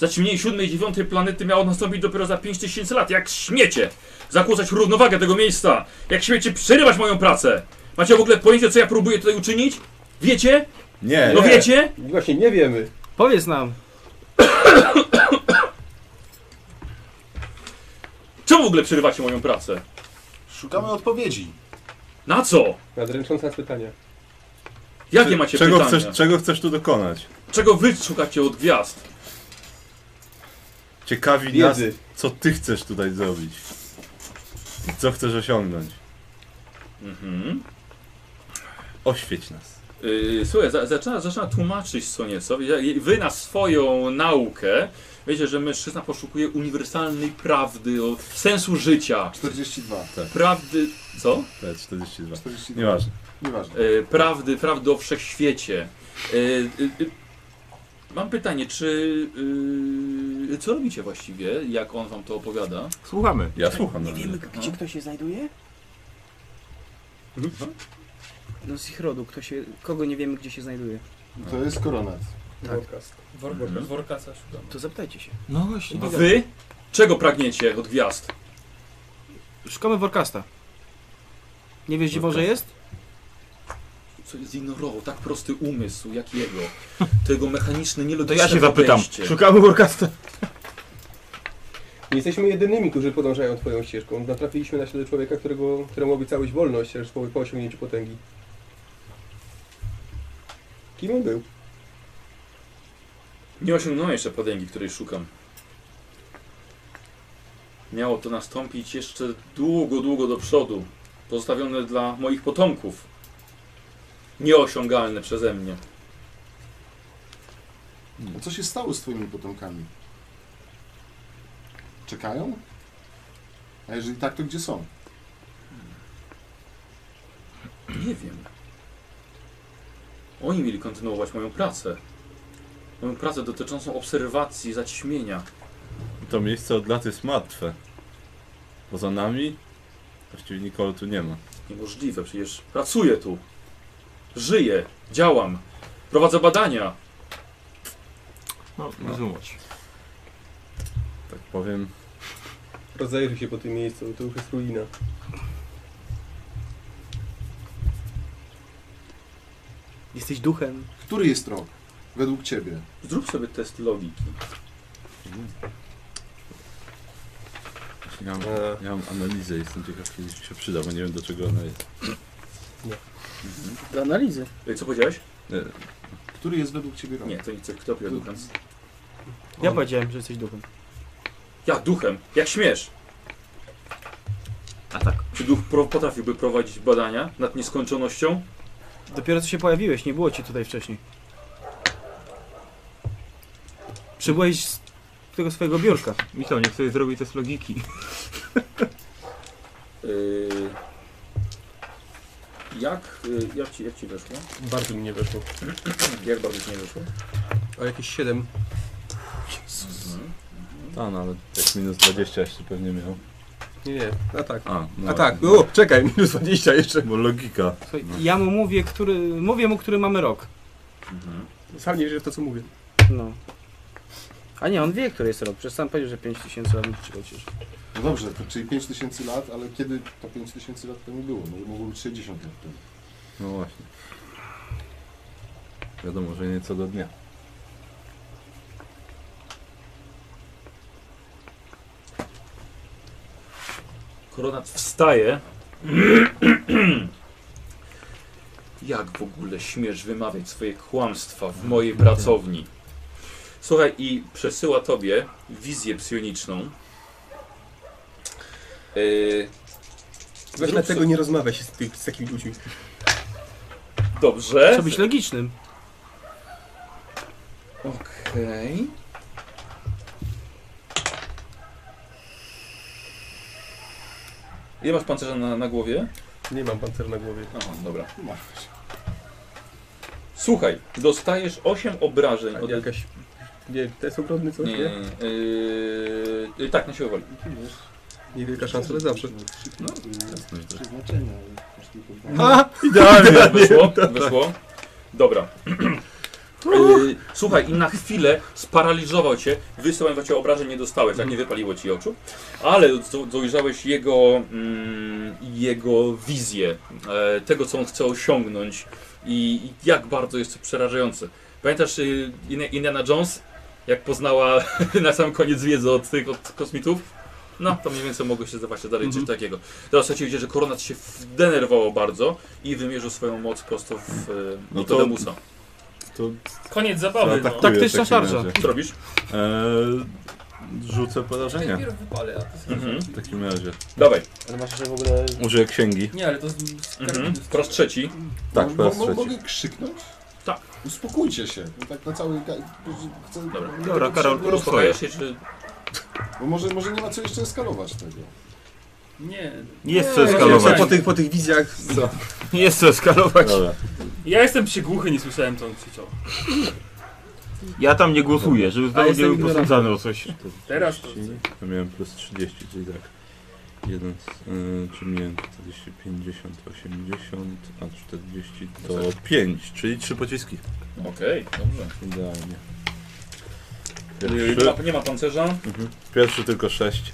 Zaćmienie siódmej i dziewiątej planety miało nastąpić dopiero za 5000 lat. Jak śmiecie zakłócać równowagę tego miejsca! Jak śmiecie przerywać moją pracę! Macie w ogóle pojęcie, co ja próbuję tutaj uczynić? Wiecie? Nie! No wiecie? Właśnie nie wiemy. Powiedz nam. Czemu w ogóle przerywacie moją pracę? Szukamy odpowiedzi. Na co? Nadręczące nas pytania. Jakie macie czego pytania? chcesz, czego chcesz tu dokonać? Czego wy szukacie od gwiazd? Ciekawi Wiedzy. nas, co ty chcesz tutaj zrobić. I co chcesz osiągnąć. Mhm. Oświeć nas. Yy, słuchaj, za, zaczyna, zaczyna tłumaczyć co nieco. Wie- Wy na swoją naukę wiecie, że mężczyzna poszukuje uniwersalnej prawdy, o sensu życia. 42. Prawdy. Co? To jest 42. 42. Nieważne. Nieważne. Yy, prawdy, prawdy o wszechświecie. Yy, yy, yy. Mam pytanie, czy. Yy, co robicie właściwie, jak on wam to opowiada? Słuchamy. Ja słucham. no. Nie wiemy. No. Gdzie ktoś się znajduje? Mhm. No z ich rodu, kto się, kogo nie wiemy gdzie się znajduje. To jest koronat. Tak. Mhm. Workaca szukam. To zapytajcie się. No właśnie. Wy? Czego pragniecie od gwiazd? Szukamy Workasta. Nie wiesz, gdzie może jest? Co zignorował tak prosty umysł jak jego? Tego mechaniczne, To nielogistyczne ja się zapytam. podejście. Szukamy Warcasta. Nie jesteśmy jedynymi, którzy podążają twoją ścieżką. Natrafiliśmy na ślady człowieka, którego, któremu obiecałeś wolność aż po, po osiągnięciu potęgi. Kim on był? Nie osiągnąłem jeszcze potęgi, której szukam. Miało to nastąpić jeszcze długo, długo do przodu. Pozostawione dla moich potomków. Nieosiągalne przeze mnie. A co się stało z twoimi potomkami? Czekają? A jeżeli tak, to gdzie są? Nie wiem. Oni mieli kontynuować moją pracę. Moją pracę dotyczącą obserwacji zaćmienia. To miejsce od lat jest martwe. Poza nami właściwie nikogo tu nie ma. Niemożliwe, przecież pracuję tu. Żyję, działam, prowadzę badania. No, rozumiesz. Tak powiem. Rozejrzyj się po tym miejscu, to już jest ruina. Jesteś duchem. Który jest rok? Według ciebie. Zrób sobie test logiki. Ja mam, Eee. ja mam analizę, jestem ciekaw, kiedy się przyda, bo nie wiem do czego ona jest. Do analizy. Ej, Co powiedziałeś? Który jest według ciebie rok? Nie, to nic, kto opowiadał nas? Ja powiedziałem, że jesteś duchem. Jak duchem? Jak śmiesz? A tak. Czy duch pro potrafiłby prowadzić badania nad nieskończonością? Dopiero co się pojawiłeś, nie było cię tutaj wcześniej. Przybyłeś z tego swojego biurka. Michał, niech sobie zrobi test logiki. Yy... Jak, yy, jak, ci, jak ci weszło? Bardzo mi nie weszło. Jak bardzo ci nie weszło? A jakieś 7. Mhm. Ta, no ale jak minus 20 jeszcze pewnie miał. Nie, nie. A tak. A, no, A tak, o, czekaj, minus 20 jeszcze. Bo logika. Słuchaj, No. Ja mu mówię, który, mówię mu, który mamy rok. Mhm. Sam nie wierzę w to, co mówię. No. A nie, on wie, który jest rok. Przecież sam powiedział, że 5000 lat przylecisz. No dobrze, to czyli 5000 lat, ale kiedy to 5000 lat temu było? No, mogło być 60 lat temu. No właśnie. Wiadomo, że nie co do dnia. Koronat wstaje. Jak w ogóle śmiesz wymawiać swoje kłamstwa w mojej pracowni? Słuchaj, i przesyła tobie wizję psioniczną. Yy, Weź Zrób dlatego so- nie rozmawiaj się z, tych, z takimi ludźmi. dobrze. Trzeba być logicznym. Okej. Ile masz pancerza na, na głowie? Nie mam pancerza na głowie. Aha, dobra. Słuchaj, dostajesz 8 obrażeń A od... Jakaś... Nie, to jest ogromny coś, Nie, nie, nie? nie. Yy, yy, tak, na siłę woli. Niewielka szansa, ale zawsze. Przeznaczenia, ale masz tylko dwa. Idealnie wyszło, wyszło. Dobra. Yy, Słuchaj, i na chwilę sparaliżował cię, wysyłając cię obrażeń nie dostałeś, tak nie wypaliło ci oczu, ale z- dojrzałeś jego, mm, jego wizję, e, tego co on chce osiągnąć i i jak bardzo jest to przerażające. Pamiętasz y, Ine- Indiana Jones, jak poznała na sam koniec wiedzę od tych od kosmitów? No, to mniej więcej mogło się zdawać dalej coś takiego. Teraz słuchajcie, widzicie, że koronat się wdenerwował bardzo i wymierzył swoją moc prosto w y, No to- Nikodemusa. To to Koniec zabawy, no. atakuję Taktyczna tak w takim szarża. razie. Co robisz? Eee, rzucę porażenia Najpierw Tak wypalę, a to sobie Mhm. w takim razie. Dawaj. Ale masz jeszcze w ogóle... Użyję księgi. Nie, ale to z, z Mhm. Po raz trzeci. Tak, Mo- po raz mo- mo- trzeci. No, Mogę krzyknąć? Tak. Uspokójcie się. No tak na cały... ga- Chcę... Dobra. Dobra, Karol, Bo Rozprawiasz się, czy... może, może nie ma co jeszcze eskalować tego. Nie. no. Jest co Co eskalować. po tych, po tych wizjach Jest co eskalować. Dobra. Ja jestem przygłuchy, nie słyszałem co on krzyczał. Ja tam nie głosuję, żeby znowu nie jestem był ignorantem. posądzany o coś. Teraz to Ja miałem plus 30, czyli tak. Jeden z, y, czyli miałem 40, 50, 80, a 40 to 5, czyli 3 pociski. Okej, dobrze. Idealnie. Yy, Nie Pierwszy, ma, nie ma pancerza. mhm. Pierwszy tylko 6.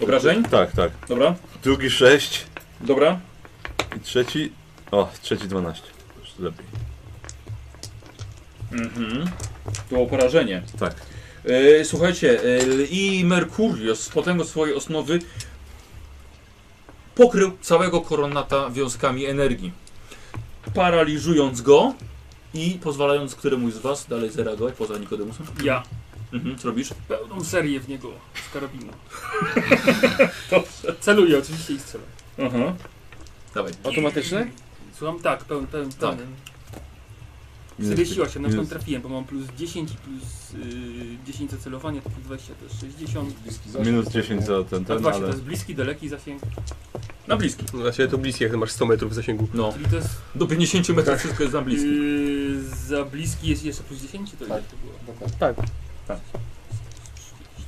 Obrażeń? Tak, tak. Dobra, Drugi 6 dobra. i trzeci. O, trzeci 12. Już lepiej. Mhm. To było porażenie. Tak. E, słuchajcie, e, i Merkurius z potęgą swojej osnowy pokrył całego koronata wiązkami energii, paraliżując go i pozwalając któremuś z was dalej zareagować, poza Nikodemusem. ja. Mhm, co robisz? Pełną serię w niego z karabinu. Celuję oczywiście i strzelam. Aha. Dawaj. Automatyczny? Słucham tak, pełen, pełen, Tak. pełen. Minus- 48, na minus- pewno trafiłem, bo mam plus 10 i plus yy, 10 za celowanie, to plus 20 to jest 60. Bliski zasięg. Minus 10 za ten, A ten, właśnie, ale... to jest bliski, daleki zasięg, Na bliski. No Dla ciebie to bliskie, jak masz 100 metrów zasięgu. No. czyli to jest Do 50 metrów wszystko jest na bliski. Yy, za bliski jest jeszcze plus 10, to ile Tak. to było? No tak.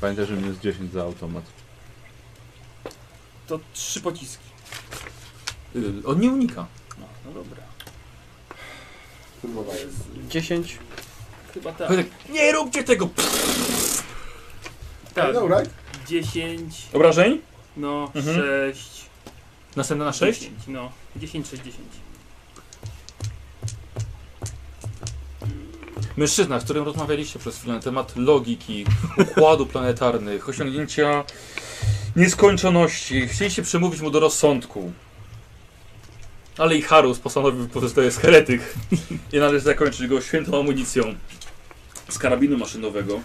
Pamiętaj, że minus 10 za automat. No To trzy pociski. Y, On nie unika. No, no dobra. Próbowałem. 10. Chyba tak. Chodź tak, Nie róbcie tego! Tak, No, right? 10, Obrażeń? no Mhm. 6. Następna na 6? 10, no, 10, 6, 10. Mężczyzna, z którym rozmawialiście przez chwilę na temat logiki, układu planetarnych, osiągnięcia nieskończoności. Chcieliście przemówić mu do rozsądku. Ale i Harus postanowił pozostaje z heretyk i należy zakończyć go świętą amunicją z karabinu maszynowego.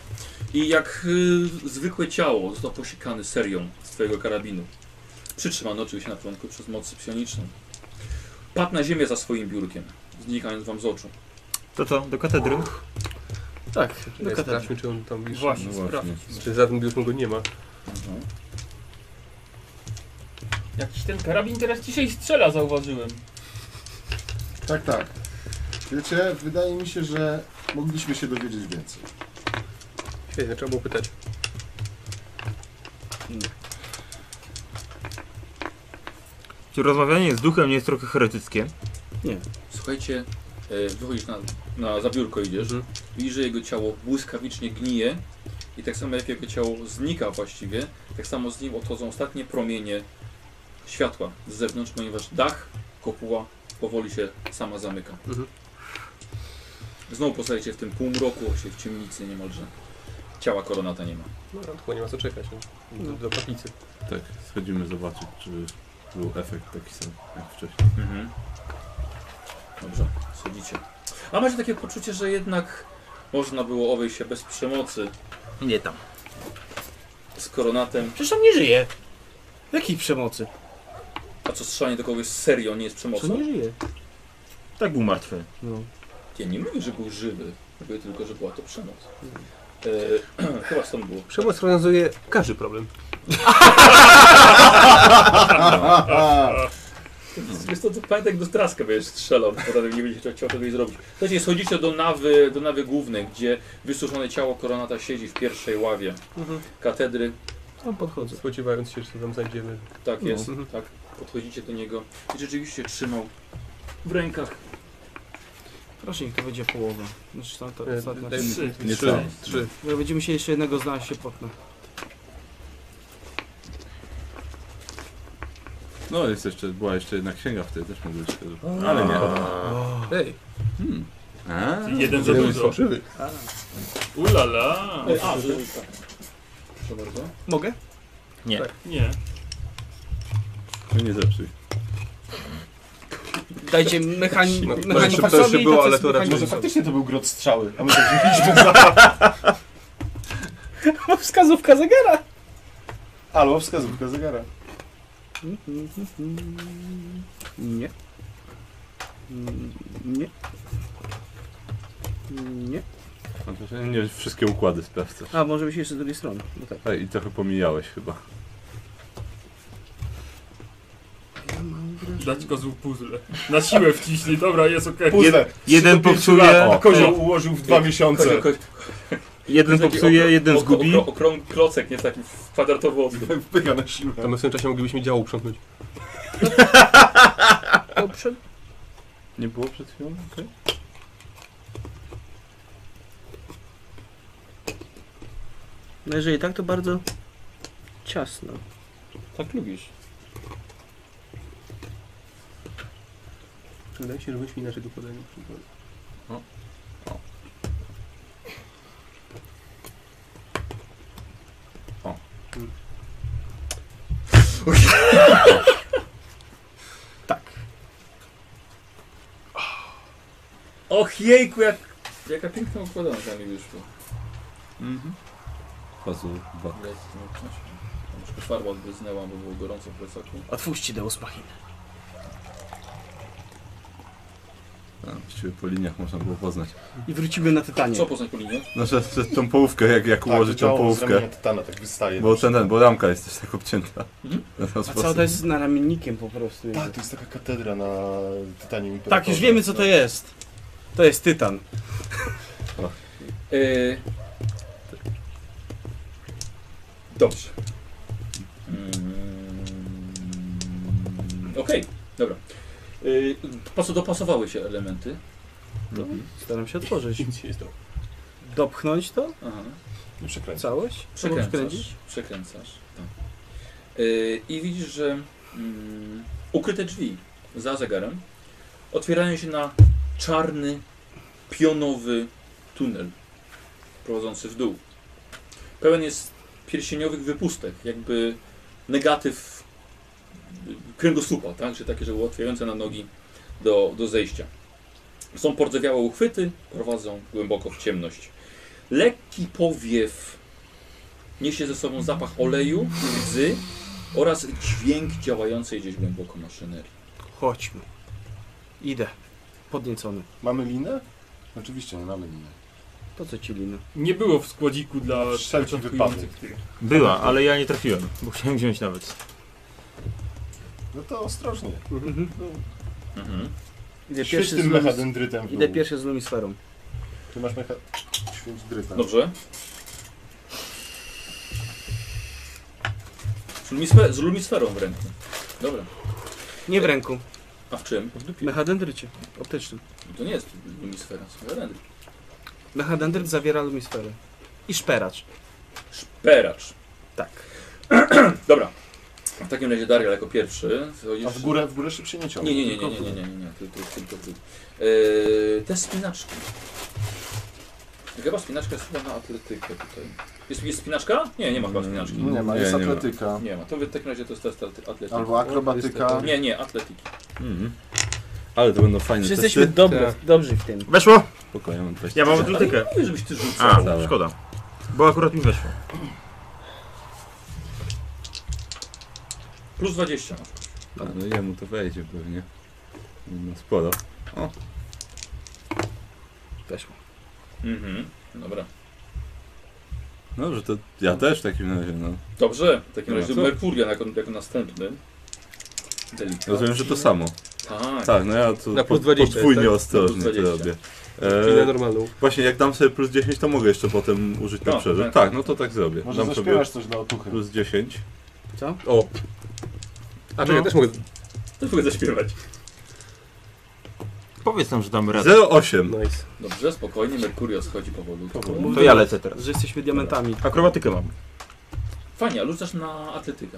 I jak y, zwykłe ciało został posiekany serią z twojego karabinu. Przytrzymany oczywiście na początku przez moc psioniczną. Padł na ziemię za swoim biurkiem, znikając wam z oczu. To co, do katedry? Tak, do No, katedry. sprawdźmy, czy on tam już... Właśnie, No no właśnie. Czy za tym już go nie ma. Jakiś ten karabin teraz dzisiaj strzela, zauważyłem. Tak, tak. Wiecie, wydaje mi się, że mogliśmy się dowiedzieć więcej. Świetnie, trzeba było pytać. Czy rozmawianie z duchem nie jest trochę heretyckie? Słuchajcie, e, wychodzisz na, na zabiórko idziesz, Mhm. widzisz, że jego ciało błyskawicznie gnije i tak samo jak jego ciało znika właściwie, tak samo z nim odchodzą ostatnie promienie światła z zewnątrz, ponieważ dach, kopuła powoli się sama zamyka. Mhm. Znowu postajecie w tym półmroku, się w ciemnicy niemalże. Ciała koronata nie ma. No, chyba nie ma co czekać. no. Do, do kaplicy. Tak, schodzimy zobaczyć, czy był efekt taki sam jak wcześniej. Mhm. Dobrze, sądzicie. A macie takie poczucie, że jednak można było obejść się bez przemocy Nie tam. z koronatem Przecież on nie żyje. Jakiej przemocy? A co strzelanie do kogoś serio nie jest Czy przemocą? nie żyje? Tak był martwy. No. Ja nie mówię, że był żywy. Mówię tylko, że była to przemoc. E, chyba stąd było. Przemoc rozwiązuje każdy problem. Jest to, to pamiętaj, jak do traskę będziesz strzelał, bo potem nie będziecie chciał tego zrobić. Słuchajcie, schodzicie do nawy, do nawy głównej, gdzie wysuszone ciało koronata siedzi w pierwszej ławie Mhm. katedry. Tam podchodzę. Spodziewając się, że tam znajdziemy. Tak No. jest, Mhm. tak. Podchodzicie do niego i rzeczywiście trzymał w rękach Proszę, niech to będzie połowa. Znaczy, tam to E, ostatnia. daj- Trzy. Nie Trzy. cała. Trzy. Bo jak będziemy się jeszcze jednego znaleźć, się potnę. No jest jeszcze, była jeszcze jedna księga wtedy, też mogę być. Ale nie. Ej, Hmm. A, Jeden za dużo. Ulala. E, A, że tak. Proszę bardzo. Mogę? Nie. No nie zepsuj. Dajcie mechani No, mechanikowi. to jeszcze- to jeszcze tacy było, ale to raczej- Może mechanikowi. faktycznie to był grot strzały, a my tak wzięliśmy za... Wskazówka zegara. Albo wskazówka zegara. Nie. Nie. Nie. No, Nie wszystkie układy sprawdzę. A, może być jeszcze z drugiej strony. No tak. Ej, i trochę pomijałeś chyba. Dać kozłu puzzle. Na siłę wciśnij, dobra, jest okej. Puzzle. Jeden popsuje. popsuje, Kozioł ułożył w dwa miesiące. Ko- ko- jeden taki popsuje, okro- jeden oko- zgubi. okro- Okrąg klocek, nie taki kwadratowo. Wpycha na siłę. to my w tym czasie moglibyśmy działo uprzątnąć. Dobrze. Nie było przed chwilą? Okej. No jeżeli tak, to bardzo ciasno. Tak lubisz. Wydaje się, że myśmy inaczej do podania. przyjechali. Och jejku, jak, jaka piękna układanka mi wyszła. Mhm. Puzzle 2. Grać z tym obciążeniem. Troszkę farba odbryznęła, bo było gorąco w plecaku. Otwórzcie Deus Machina. A, właściwie po liniach można było poznać. I wrócimy na Tytanie. Co poznać po linie? No, że, że tą połówkę, jak, Tak, jak ułożyć tą wyciągnął z połówkę. ramienia tytana, tak wystaje. Bo ten, ten, bo ramka jest też tak obcięta. Mhm. Na ten A sposób. cała to jest na ramiennikiem po prostu. Tak, to jest taka katedra na tytanie tak, już wiemy co to jest. To jest Tytan. Yy... Dobrze. Mm, Okej, dobra. Yy, poso- dopasowały się elementy. Staram się otworzyć. Nic się nie stało. Dopchnąć to? Aha. Nie przekręcam. Całość? Trzeba Przekręcasz. skręcić? Przekręcasz. Tak. Yy, I widzisz, że mm, ukryte drzwi za zegarem otwierają się na czarny, pionowy tunel prowadzący w dół. Pełen jest pierścieniowych wypustek, jakby negatyw y, kręgosłupa, tak? Czy takie, że były otwierające na nogi do, do zejścia. Są pordzewiałe uchwyty, prowadzą głęboko w ciemność. Lekki powiew Niesie ze sobą zapach oleju, łzy oraz dźwięk działającej gdzieś głęboko maszynerii. Chodźmy. Idę. Podniecony. Mamy linę? Oczywiście nie mamy liny. Po co ci liny? Nie było w składziku dla Wszelki początkujących wypadek. tych. Była, ale ja nie trafiłem, bo chciałem wziąć nawet. No to ostrożnie. Mhm. Idę Świeć pierwszy tym z lumi... mechadendrytem w dół. Idę pierwszy z lumisferą. Ty masz mecha... Świeć drytem. Dobrze. Z, lumisfer- z lumisferą w ręku. Dobra. Nie w ręku. A w czym? W dupie. Mechadendrycie. Optycznym. To nie jest lumisfera, to są rędy. Mechadendryt zawiera lumisferę. I szperacz. Szperacz. Tak. Dobra. W takim razie Darial jako pierwszy. Chodzisz... A w górę, w górę szybciej nie ciągnie. Nie, nie, nie, nie, nie, nie, nie, nie, nie. Tylko, tylko w dół. Eee, te spinaczki. Chyba spinaczka jest chyba na atletykę tutaj. Jest, jest spinaczka? Nie, nie ma chyba spinaczki. Nie ma, Nie, jest nie ma. atletyka. Nie ma, to w takim razie to jest test atle- atletyki. Albo akrobatyka. Nie, nie, atletyki. Mhm. Ale no to będą fajne Czy testy. jesteśmy dobry, Tak. dobrzy w tym? Weszło? Spokojnie, mam dwadzieścia Ja mam cztery. atletykę. Mówię, żebyś ty rzucał. A, Całe. szkoda. Bo akurat mi weszło. Plus 20. A, No jemu to wejdzie pewnie. No sporo. Weszło. Mhm, dobra. Dobrze, No, to ja też w takim razie, no. Dobrze, w takim No, razie co? Merkurian jako, jako następny. Delikatnie. Rozumiem, że to samo. Tak. Tak, no ja tu Na plus po- 20, podwójnie tak? ostrożnie Plus to 20. robię. Czyli na E, normalną. właśnie, jak dam sobie plus 10, to mogę jeszcze potem użyć na No, przerzut. tak. Tak, no to tak zrobię. Może Dam sobie zaśpiewasz coś dla otuchy. plus 10. Co? O. A czekaj, też mogę. To mogę zaśpiewać. Powiedz nam, że damy radę. 08. Nice. Dobrze, spokojnie, Merkurio schodzi powolutku. To ja lecę teraz. Że jesteśmy diamentami. Akrobatykę mam. Fajnie, ale rzucasz na atletykę.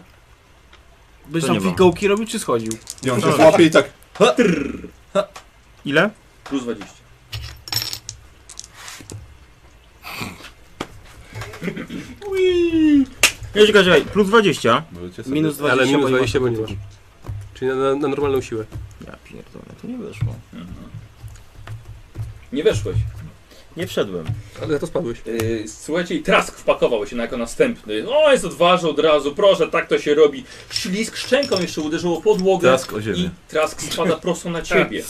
Będziesz To tam nie mam. fikołki robił czy schodził? I on się złapie i tak. Ile? Plus 20. Nie, czekaj, czekaj. Plus 20. Możecie sobie- Minus 20, Ale minus bo nie ma 20, bo nie faktyki. Czyli na, na, na normalną siłę. Ja pierdolę, to nie weszło. Nie weszłeś. Nie wszedłem. Ale za to spadłeś. Yy, słuchajcie, i trask wpakował się na jako następny. O, jest odważny od razu, proszę, tak to się robi. Ślizg szczęką jeszcze uderzyło podłogę. Trask o I ziemię. trask spada prosto na ciebie.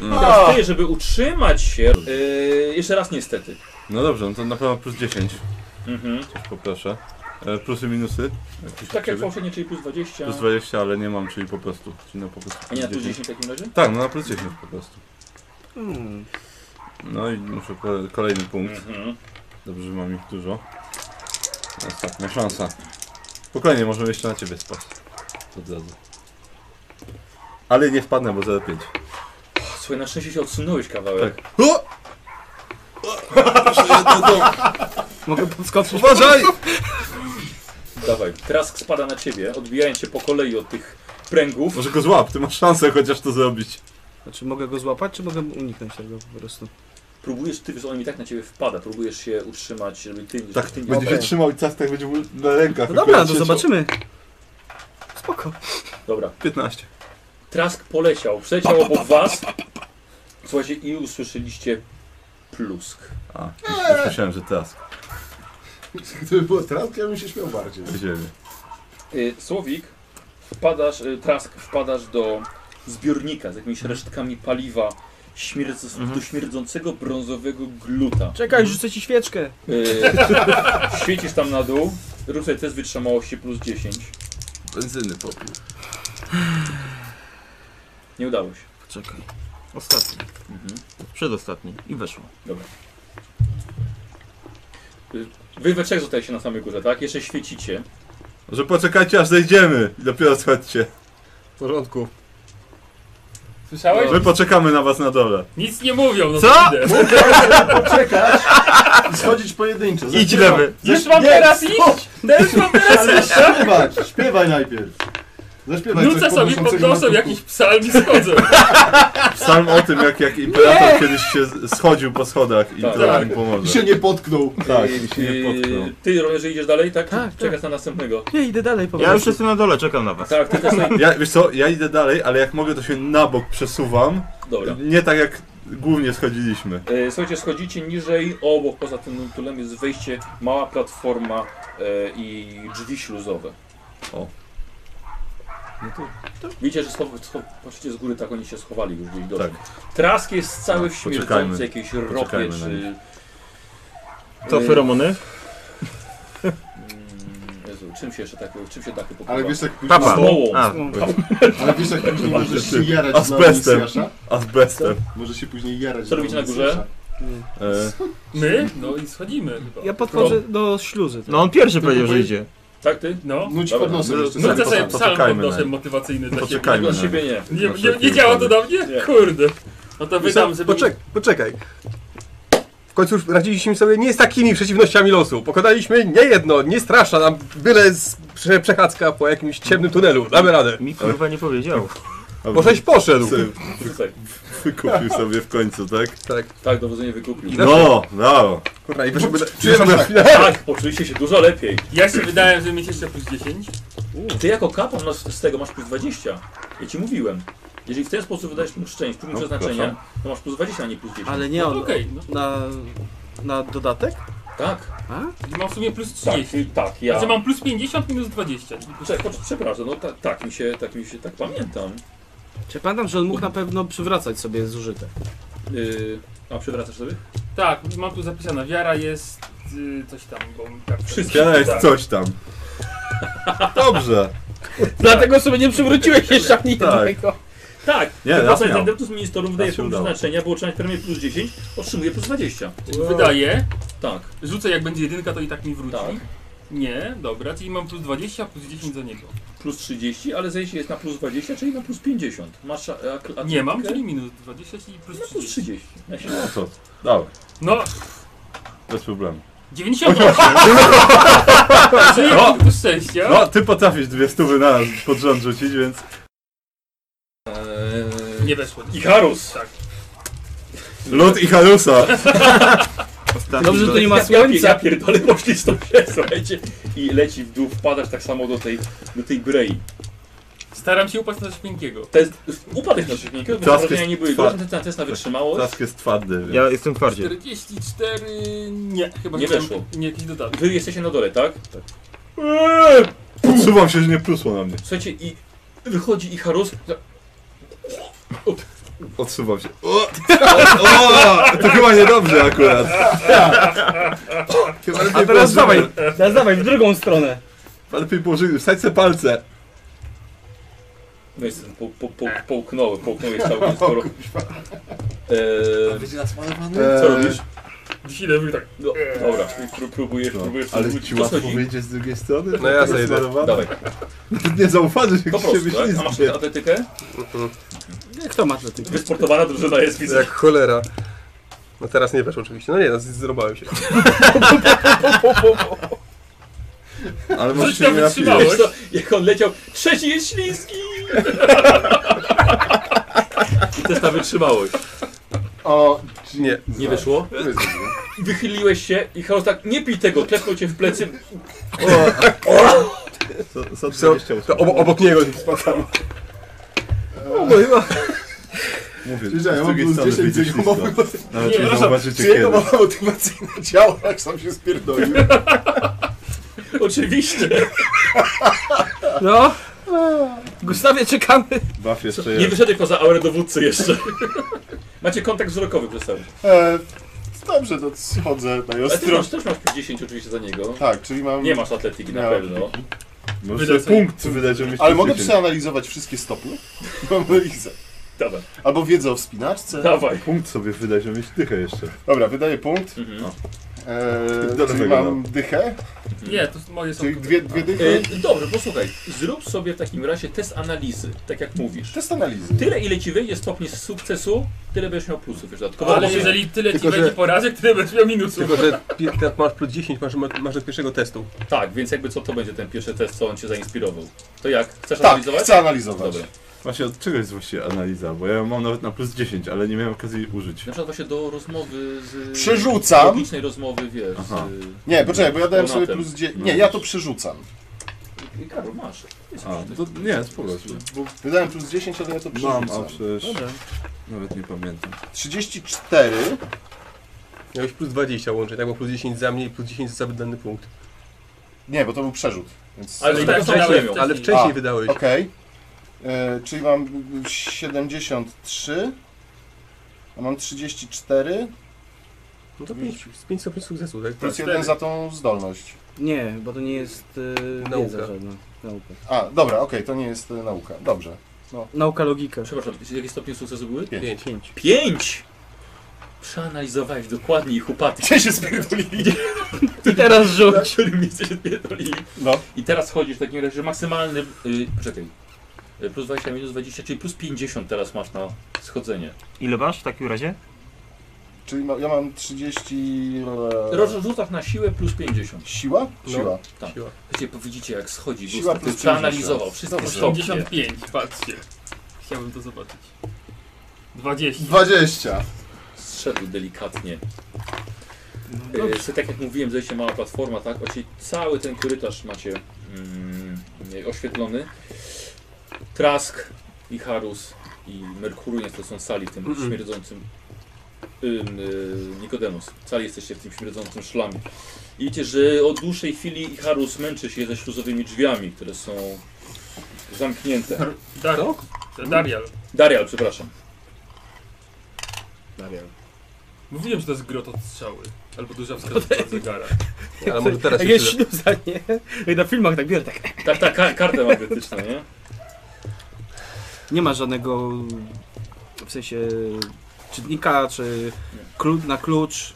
Mm. Teraz ty, żeby utrzymać się. Yy, jeszcze raz niestety. No dobrze, no to na pewno plus 10. Mhm. Coś poproszę. E, plusy, minusy? Jakieś Tak od jak ciebie? poprzednie, czyli plus 20. Plus 20, ale nie mam, czyli po prostu. Czyli na po prostu A nie na plus 10. 10 w takim razie? Tak, no na plus 10 po prostu. Hmm. No i muszę ko- kolejny punkt. Mhm. Dobrze, że mam ich dużo. Ostatnia szansa. Spokojnie, możemy jeszcze na ciebie spać. Od razu. Ale nie wpadnę, bo 0,5. Słuchaj, na szczęście się odsunąłeś kawałek. Tak. O! Mogę podskoczyć? Uważaj! Dawaj, trask spada na ciebie, odbijając się po kolei od tych pręgów. Może go złap, ty masz szansę chociaż to zrobić. Znaczy mogę go złapać, czy mogę uniknąć tego po prostu? Próbujesz, ty wiesz, on mi tak na ciebie wpada, próbujesz się utrzymać, żeby ty, żeby Tak, ty nie... będzie się trzymał i tak tak będzie mu na rękach. No dobra, akurat to siedział. zobaczymy. Spoko. Dobra, 15. trask poleciał, przeleciał obok was. Słuchajcie, i usłyszeliście plusk. A, już myślałem, że teraz. Gdyby było teraz, to ja bym się śmiał bardziej. Ziemię. Y, Słowik, wpadasz, y, trask, wpadasz do zbiornika z jakimiś resztkami paliwa, śmierdz, do śmierdzącego brązowego gluta. Czekaj, rzucę ci świeczkę. Y, świecisz tam na dół, rób sobie test wytrzymałości plus 10. Benzyny popił. Nie udało się. Poczekaj. Ostatni. Przedostatni. I weszło. Wy we trzech zostajecie na samej górze, tak? Jeszcze świecicie. Może poczekajcie aż zejdziemy i dopiero schodźcie. W porządku. Słyszałeś? No. My poczekamy na was na dole. Nic nie mówią, no Co? to idę. Poczekać i schodzić pojedynczo. Idź Zaśpiewa- lewy. Już mam teraz iść! Już mam teraz Ale iść! śpiewaj, śpiewaj najpierw. Zaśpiewaj Nucę coś sobie pod podnoszącego nosem na jakiś psalm i schodzę. Psalm o tym, jak, jak imperator kiedyś się z- schodził po schodach i Tak. to Tak. im I pomoże. się nie potknął. Tak, Y, i się nie y, potknął. Ty również idziesz dalej, tak? Tak, Czekasz na następnego. Nie, idę dalej po Ja już prostu. jestem na dole, czekam na was. Tak, ty też na... Ja, wiesz co, ja idę dalej, ale jak mogę to się na bok przesuwam. Dobra. Nie tak jak głównie schodziliśmy. E, Słuchajcie, schodzicie niżej, obok poza tym tulem jest wejście, mała platforma e, i drzwi śluzowe. O. Widzicie, że schow, schow, patrzycie z góry, tak oni się schowali już gdzieś do. Tak. Trask jest cały No, w śmierdzący poczekajmy. jakieś ropie Poczekajmy na czy... To y, feromony? mm, Jezu, czym się jeszcze tak, czym się takie pokrywa? Ale wiesz jak później, Papa. Znowu. A, ale wiesz, jak później możesz się jarać Azbestem. na Mesjasza? Azbestem. Możesz się później jarać Co robicie na górze? Mesjasza. E, My? No i schodzimy chyba. Ja podchodzę do śluzy. no on pierwszy powiedział, że idzie. Tak ty? No. Nuć Dobra, pod nosem no, jeszcze. no, Nucę sobie. sobie poczekajmy psalm na pod nie. nosem motywaczygny dla siebie. Poczekajmy Dla na siebie nie. Nie, Na nie, wszelki nie działa to wypadek. do mnie? Nie. Kurde. No to wydam, żeby... Poczek poczekaj. W końcu już radziliśmy sobie nie z takimi przeciwnościami losu. Pokonaliśmy nie jedno, nie straszna nam byle z prze przechadzka po jakimś ciemnym tunelu. Damy radę. Mi kurwa nie powiedział. Możeś poszedł. Sobie Rzucaj. Wykupił sobie w końcu, tak? Tak. Tak, dowodzenie wykupił. No, no. Kurwa, i wyszło by... Czujemy tak. Tak, poczuliście się dużo lepiej. Ja się wydałem, żeby mieć jeszcze plus 10. Ty jako kapłan masz z tego masz plus 20. Ja ci mówiłem. Jeżeli w ten sposób wydajesz mu szczęść, punkt No, przeznaczenia, przepraszam. to masz plus 20, a nie plus 10. Ale nie No on. okej, no. Na, na dodatek? Tak, Mam w sumie plus 30. tak, y, tak, ja. Znaczy mam plus 50, minus 20. Prze- po- Przepraszam, no ta, tak mi się, tak mi się, tak pamiętam. Czy pamiętam, że on mógł na pewno przywracać sobie zużyte. Yy, a przewracasz sobie? Tak, mam tu zapisane. Wiara jest y, coś tam, bo tak. Wszystko. Ja jest Tak. coś tam. Dobrze. Dlatego sobie nie przywróciłeś jeszcze ani Tak. jednego. Tak, Nie, raz wypłacać miał. za adeptus ministerium daje Raz się punkt udało. znaczenia, bo otrzymać premię plus 10, otrzymuje plus 20. Wydaje. Tak, Rzucę jak będzie jedynka, to i tak mi wróci. Tak. Nie, dobra, czyli mam plus 20 plus 10 za niego. plus 30, ale zejście jest na plus 20, czyli na plus 50. Masz a, a, a Nie mam, czyli minus 20 i plus na plus 30. 30. Ja się- No to, dawaj, No, bez problemu. No. 98! Czyli plus szczęścia. No, ty potrafisz dwie stówy na raz pod rząd rzucić, więc Eee, Nie weszło. Ikarus! Tak. lód i halusa. Ostatni Dobrze, że to nie ma Ja, pie- słońca. ja pierdolę, poszli z tą się, słuchajcie. I leci w dół, wpadasz tak samo do tej, do tej brei. Staram się upaść na coś miękkiego. To jest upadek na przeciwnika, bo Teraz wrażenia jest nie były twa- gorsze, ten- ten test na wytrzymałość. Trask jest twardy, więc... Ja jestem twardziej. 44... nie, chyba Nie że tam- weszło. Nie, jakiś dodatek. Wy jesteście na dole, tak? Eee, Podsuwam się, że nie plusło na mnie. Słuchajcie, i wychodzi Ikarus, Odsuwam się. O, o, to chyba niedobrze akurat. Chyba lepiej A teraz położymy- dawaj, teraz dawaj, w drugą stronę. Lepiej położyć, wsadź se palce. No jest, po, po, po, połknąłem, połknąłem całkiem sporo. Eee, co Eee, E, robisz? Dzisiaj lewy tak. No, dobra, pró- próbujesz, próbujesz. No, Ale próbujesz. ci Co łatwo chodzi? wyjdzie z drugiej strony? No ja sobie idę. Zmarowany. Dawaj, Nie zauważysz, jak po się prostu, tak? A masz wyślizgnie. atletykę? Kto ma atletykę? No, Wysportowana drużyna jest, widzę. Jak cholera. No teraz nie weszło oczywiście. No nie, no, z- zrobałem się. Ale może Coś się tam nie napiłeś. wytrzymałeś. Wiesz co, jak on leciał, trzeci jest śliski! I test na wytrzymałość. O, czy Nie. Nie wyszło? Wychyliłeś się i chaos tak, nie pij tego, klepnął cię w plecy. Co- co Co? 28? To obok, obok niego spadam. No, bo chyba. Mówię, Czyli, że ja z mam drugiej plus strony 10 wyjdziesz tylko listo. mogę- Nawet nie przepraszam, zobaczycie Czy jego kiedy. ma motywacyjne działa, jak sam się spierdolił? Oczywiście. No. Gustawie, czekamy. Buff jeszcze Nie jest. wyszedłeś poza aurę dowódcy jeszcze. Macie kontakt wzrokowy przez cały. Eee, Dobrze, to schodzę Ale ty najostro. masz, też masz plus 10 oczywiście za niego. Tak, czyli mam... Nie masz atletyki na Miałem pewno. Muszę punkt wydać, żeby mieć Ale plus mogę 10. przeanalizować wszystkie stopnie? Mam analizę. Dawaj, Albo wiedzę o wspinaczce. dawaj. Punkt sobie wydać, żeby mieć dychę jeszcze. Dobra, wydaję punkt. Mhm. Eee, Do no. czyli lewego, mam dychę, Nie, to moje są... czyli dwie, dwie dychy. E, dobrze, posłuchaj. Zrób sobie w takim razie test analizy, tak jak mówisz. Test analizy. Tyle ile ci wyjdzie stopni z sukcesu, tyle będziesz miał plusów już dodatkowo. Ale Bo- jeżeli tyle ci Tylko, że- będzie porażek, tyle będziesz miał minusów. Tylko, że pi- jak masz plus 10, masz, masz od pierwszego testu. Tak, więc jakby co to będzie ten pierwszy test, co on cię zainspirował. To jak? Chcesz Tak, analizować? chcę analizować. Dobra. Właśnie od czego jest właściwie analiza? Bo ja ją mam nawet na plus 10, ale nie miałem okazji użyć. Na przykład właśnie do rozmowy z... e, Przerzucam. Logicznej rozmowy, wiesz. Aha. Z... Nie, poczekaj, bo ja dałem Donatem. sobie plus No. 10. Nie, ja to przerzucam. I Karol, masz. Jest A, przecież to taki- nie, spoko. Wydałem plus 10, ale ja to Mam, a przerzucam. przecież nawet nie pamiętam. 34. Miałeś plus 20 łącznie, tak? Bo plus 10 za mnie i plus 10 za dany punkt. Nie, bo to był przerzut. Więc... Ale i tak Ale samo wcześniej- miał. Ale wcześniej A, wydałeś. Okej. E, Czyli mam 73. A mam 34. No to 5, 5 stopni sukcesu, tak? Plus Tak. jeden za tą zdolność. Nie, bo to nie jest yy, Nauka. wiedza żadna. Nauka. A, dobra, okej, to nie jest e, nauka. Dobrze. Nauka logika. Przepraszam, jakie stopnie sukcesu były? Pięć. Pięć. Pięć! Przeanalizowałeś dokładnie ich upadki. Gdzie się spierdolili? I teraz na rzuć. którym jesteś odpierdolili. No. I teraz chodzisz w takim razie, że maksymalny. Yy, czekaj. Y, Plus 20, minus 20, czyli plus 50 teraz masz na schodzenie. Ile masz w takim razie? Czyli ma, ja mam 30... e, Roż rzucach na siłę plus 50. Siła? No. Siła. Siła. Wiecie, bo widzicie jak schodzi Siła Gustaw. plus Ty przeanalizował 50. wszystkie Dobrze. stopnie. 55, patrzcie. Chciałbym to zobaczyć. 20. 20. Zszedł delikatnie. E, so, tak jak mówiłem, zejście mała platforma, tak? Ocie, cały ten korytarz macie mm, e, oświetlony. Trask i Harus i Merkurunie to są sali w tym Mm-mm. śmierdzącym. Ym, y, Nikodemus, sali jesteście w tym śmierdzącym szlamie. I wiecie, że od dłuższej chwili Harus męczy się ze śluzowymi drzwiami, które są zamknięte. Tak. Dar- Darial. Darial, przepraszam. Darian. Mówiłem, że to jest grot od strzały. Albo duża wskazówka od zegara. Ale może teraz się Jak jest przyda. śluza, nie? Jak na filmach tak biorę, tak. Tak, tak, ka- karta magnetyczna, nie? Nie ma żadnego w sensie czytnika czy klu, na klucz.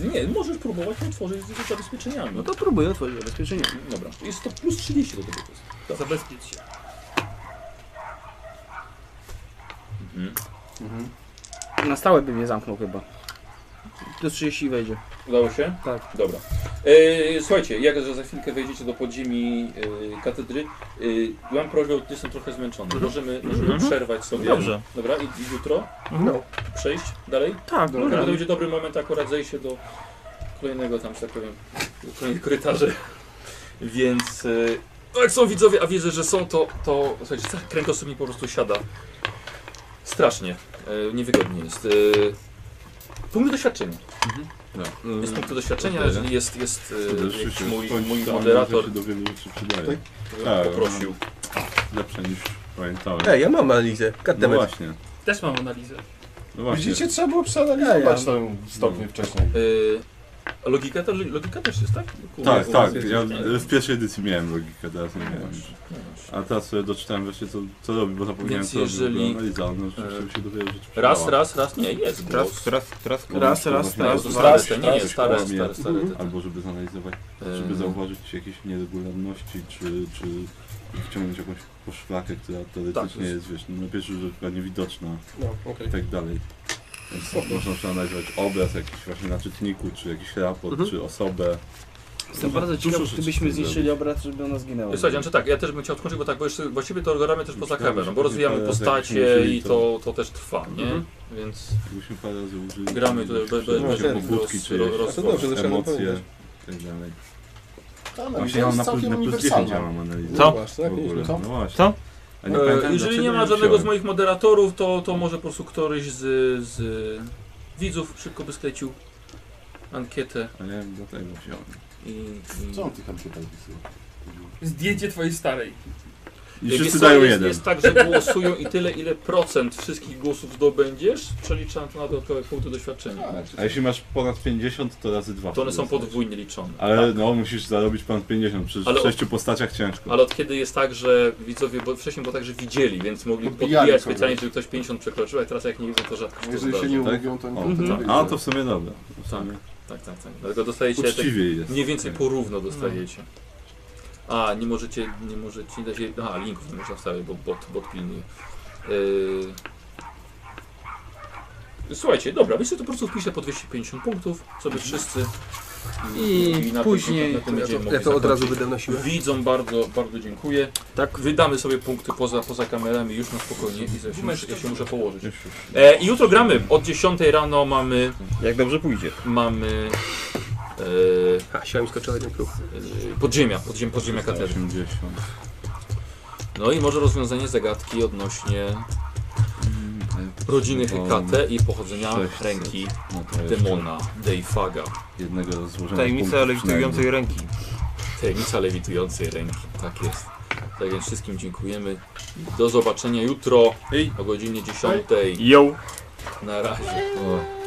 Yy, nie, możesz próbować otworzyć z zabezpieczeniami. No to próbuję otworzyć zabezpieczenie. Dobra, jest to plus 30 do tego testu. Zabezpiecz się. Mhm. Mhm. Na stałe bym je zamknął chyba. Plus 30 wejdzie. Udało się? Tak. Dobra. E, słuchajcie, jak za chwilkę wejdziecie do podziemi e, katedry, e, mam prośbę, bo jestem trochę No. zmęczony. Możemy, możemy Mhm. przerwać sobie. Dobrze. Dobra, i, i jutro No. przejść dalej? Tak, Dobra, no, to będzie dobry moment akurat zejść się do kolejnego tam, że tak powiem, do kolejnych korytarzy. Więc e, no jak są widzowie, a wiedzę, że są, to, to słuchajcie, cały kręgosłup mi po prostu siada. Strasznie. E, niewygodnie jest. E, punkt doświadczenia. No, Jest punkt doświadczenia, Okej. jeżeli jest, jest e, Kurde, jakiś rzeczywiście, mój, w końcu mój analiza moderator, się dowiemy, czy przydaje. Tak, no. który poprosił. Lepsze niż pamiętałem. Ej, ja mam analizę. no Kademet. właśnie. Też mam analizę. No właśnie. Widzicie, trzeba było przeanalizować tę No. stopnię wcześniej. E, logika, to, logika też jest, tak? Kurde, Tak, u- tak. jest- Ja jest- w pierwszej edycji miałem logikę, teraz nie miałem. A teraz sobie doczytałem właśnie co, co robi, bo zapomniałem Więc co robi w ogóle jeżeli- e, analiza. No rzeczywiście by się dowiedział, że ci Raz, przydała. raz, raz, nie, jest głos. Teraz, teraz, teraz. Bo Raz, to raz, właśnie Tak, raz, to jest dwa. stare, raz, stare, nie, raz, nie, stare, kłamie. stare, stare. Albo żeby zanalizować, Mhm. żeby Ehm. zauważyć jakieś nieregularności, czy, czy wciągnąć jakąś poszlakę, która Tak, teoretycznie jest- jest, wiesz, no, na pierwszy rzut chyba niewidoczna No, okej. i tak dalej. Więc można przeanalizować obraz jakiś właśnie na czytniku, czy jakiś raport, Mhm. czy osobę. Jestem Dużo- bardzo dużo ciekaw, rzeczy gdybyśmy z tym zniszczyli obraz, żeby ona zginęła. Słuchajcie, znaczy tak, ja też bym chciał odkończyć, bo tak, bo jeszcze właściwie to gramy też poza Myślałem, kamerą, że bo rozwijamy pewnie parę postacie razy i to, to też trwa, nie? Mhm. Więc Jakbyśmy parę razy użyli. gramy tutaj bez, bez, czy bez No, tak. pobudki, roz, czy roz, A roz, to dobrze, jakieś zaczynamy emocje pamiętać. i tak dalej. Ta Właśnie analiza ja mam jest na plus, całkiem na plus 10 uniwersalna. działam analizę. Co? Masz, W tak? ogóle, Co? no właśnie. Co? A nie pamiętam, E, Jeżeli dlaczego nie ma ja żadnego z wziąłem. moich moderatorów, to, to może po prostu któryś z, z widzów szybko by sklecił ankietę A ja dlatego wziąłem. i... i... Co on tych ankietach pisuje? Zdjęcie twojej starej. I Wiesz wszyscy co, dają jest, jeden. Jest tak, że głosują i tyle, ile procent wszystkich głosów zdobędziesz, przeliczam to na dodatkowe punkty doświadczenia. A jeśli masz ponad 50, to razy dwa. To one są wtedy podwójnie liczone. Ale no, musisz zarobić ponad 50, przy Ale- sześciu postaciach ciężko. Ale od kiedy jest tak, że widzowie, bo wcześniej było tak, że widzieli, więc mogli Podbijali podbijać kogoś. specjalnie, żeby ktoś 50 przekroczył, a teraz jak nie widzą, to rzadko się to Jeżeli zdarza. się nie tak? umówią, to nie O, będą tak. wiedzieć. A, to w sumie dobra. W Tak. sumie Tak, tak, tak. Dlatego dostajecie tak Uczciwie jest. No. mniej więcej porówno dostajecie. A, nie możecie, nie możecie, nie da się, aha, linków nie można wstawiać, bo bot, bot pilnuje. Yy... Słuchajcie, dobra, więc to po prostu wpiszę po 250 punktów, sobie wszyscy I na tym- później na tym Ja będziemy to, mogli ja to od razu zakończyć. będę nosił. Widzą bardzo, bardzo dziękuję. Tak, wydamy sobie punkty poza, poza kamerami już na spokojnie i ja się, muszę- ja się muszę położyć. Już, już. E, I jutro gramy. Od 10 rano mamy, Jak dobrze pójdzie. mamy e, A, siła mi skoczyła jeden próg. e, podziemia, podziem, podziemia katedry. 80. No i może rozwiązanie zagadki odnośnie Mm, rodziny potrzebowałem Hekate i pochodzenia sześć ręki No to jeszcze demona Deifaga, Jednego rozłożenia. Tajemnica punktów lekcewiącej ręki. tajemnica lewitującej ręki. Tak jest. Tak więc wszystkim dziękujemy. Do zobaczenia jutro przynajmniej. Ej, o godzinie 10. Yo! Na razie. o.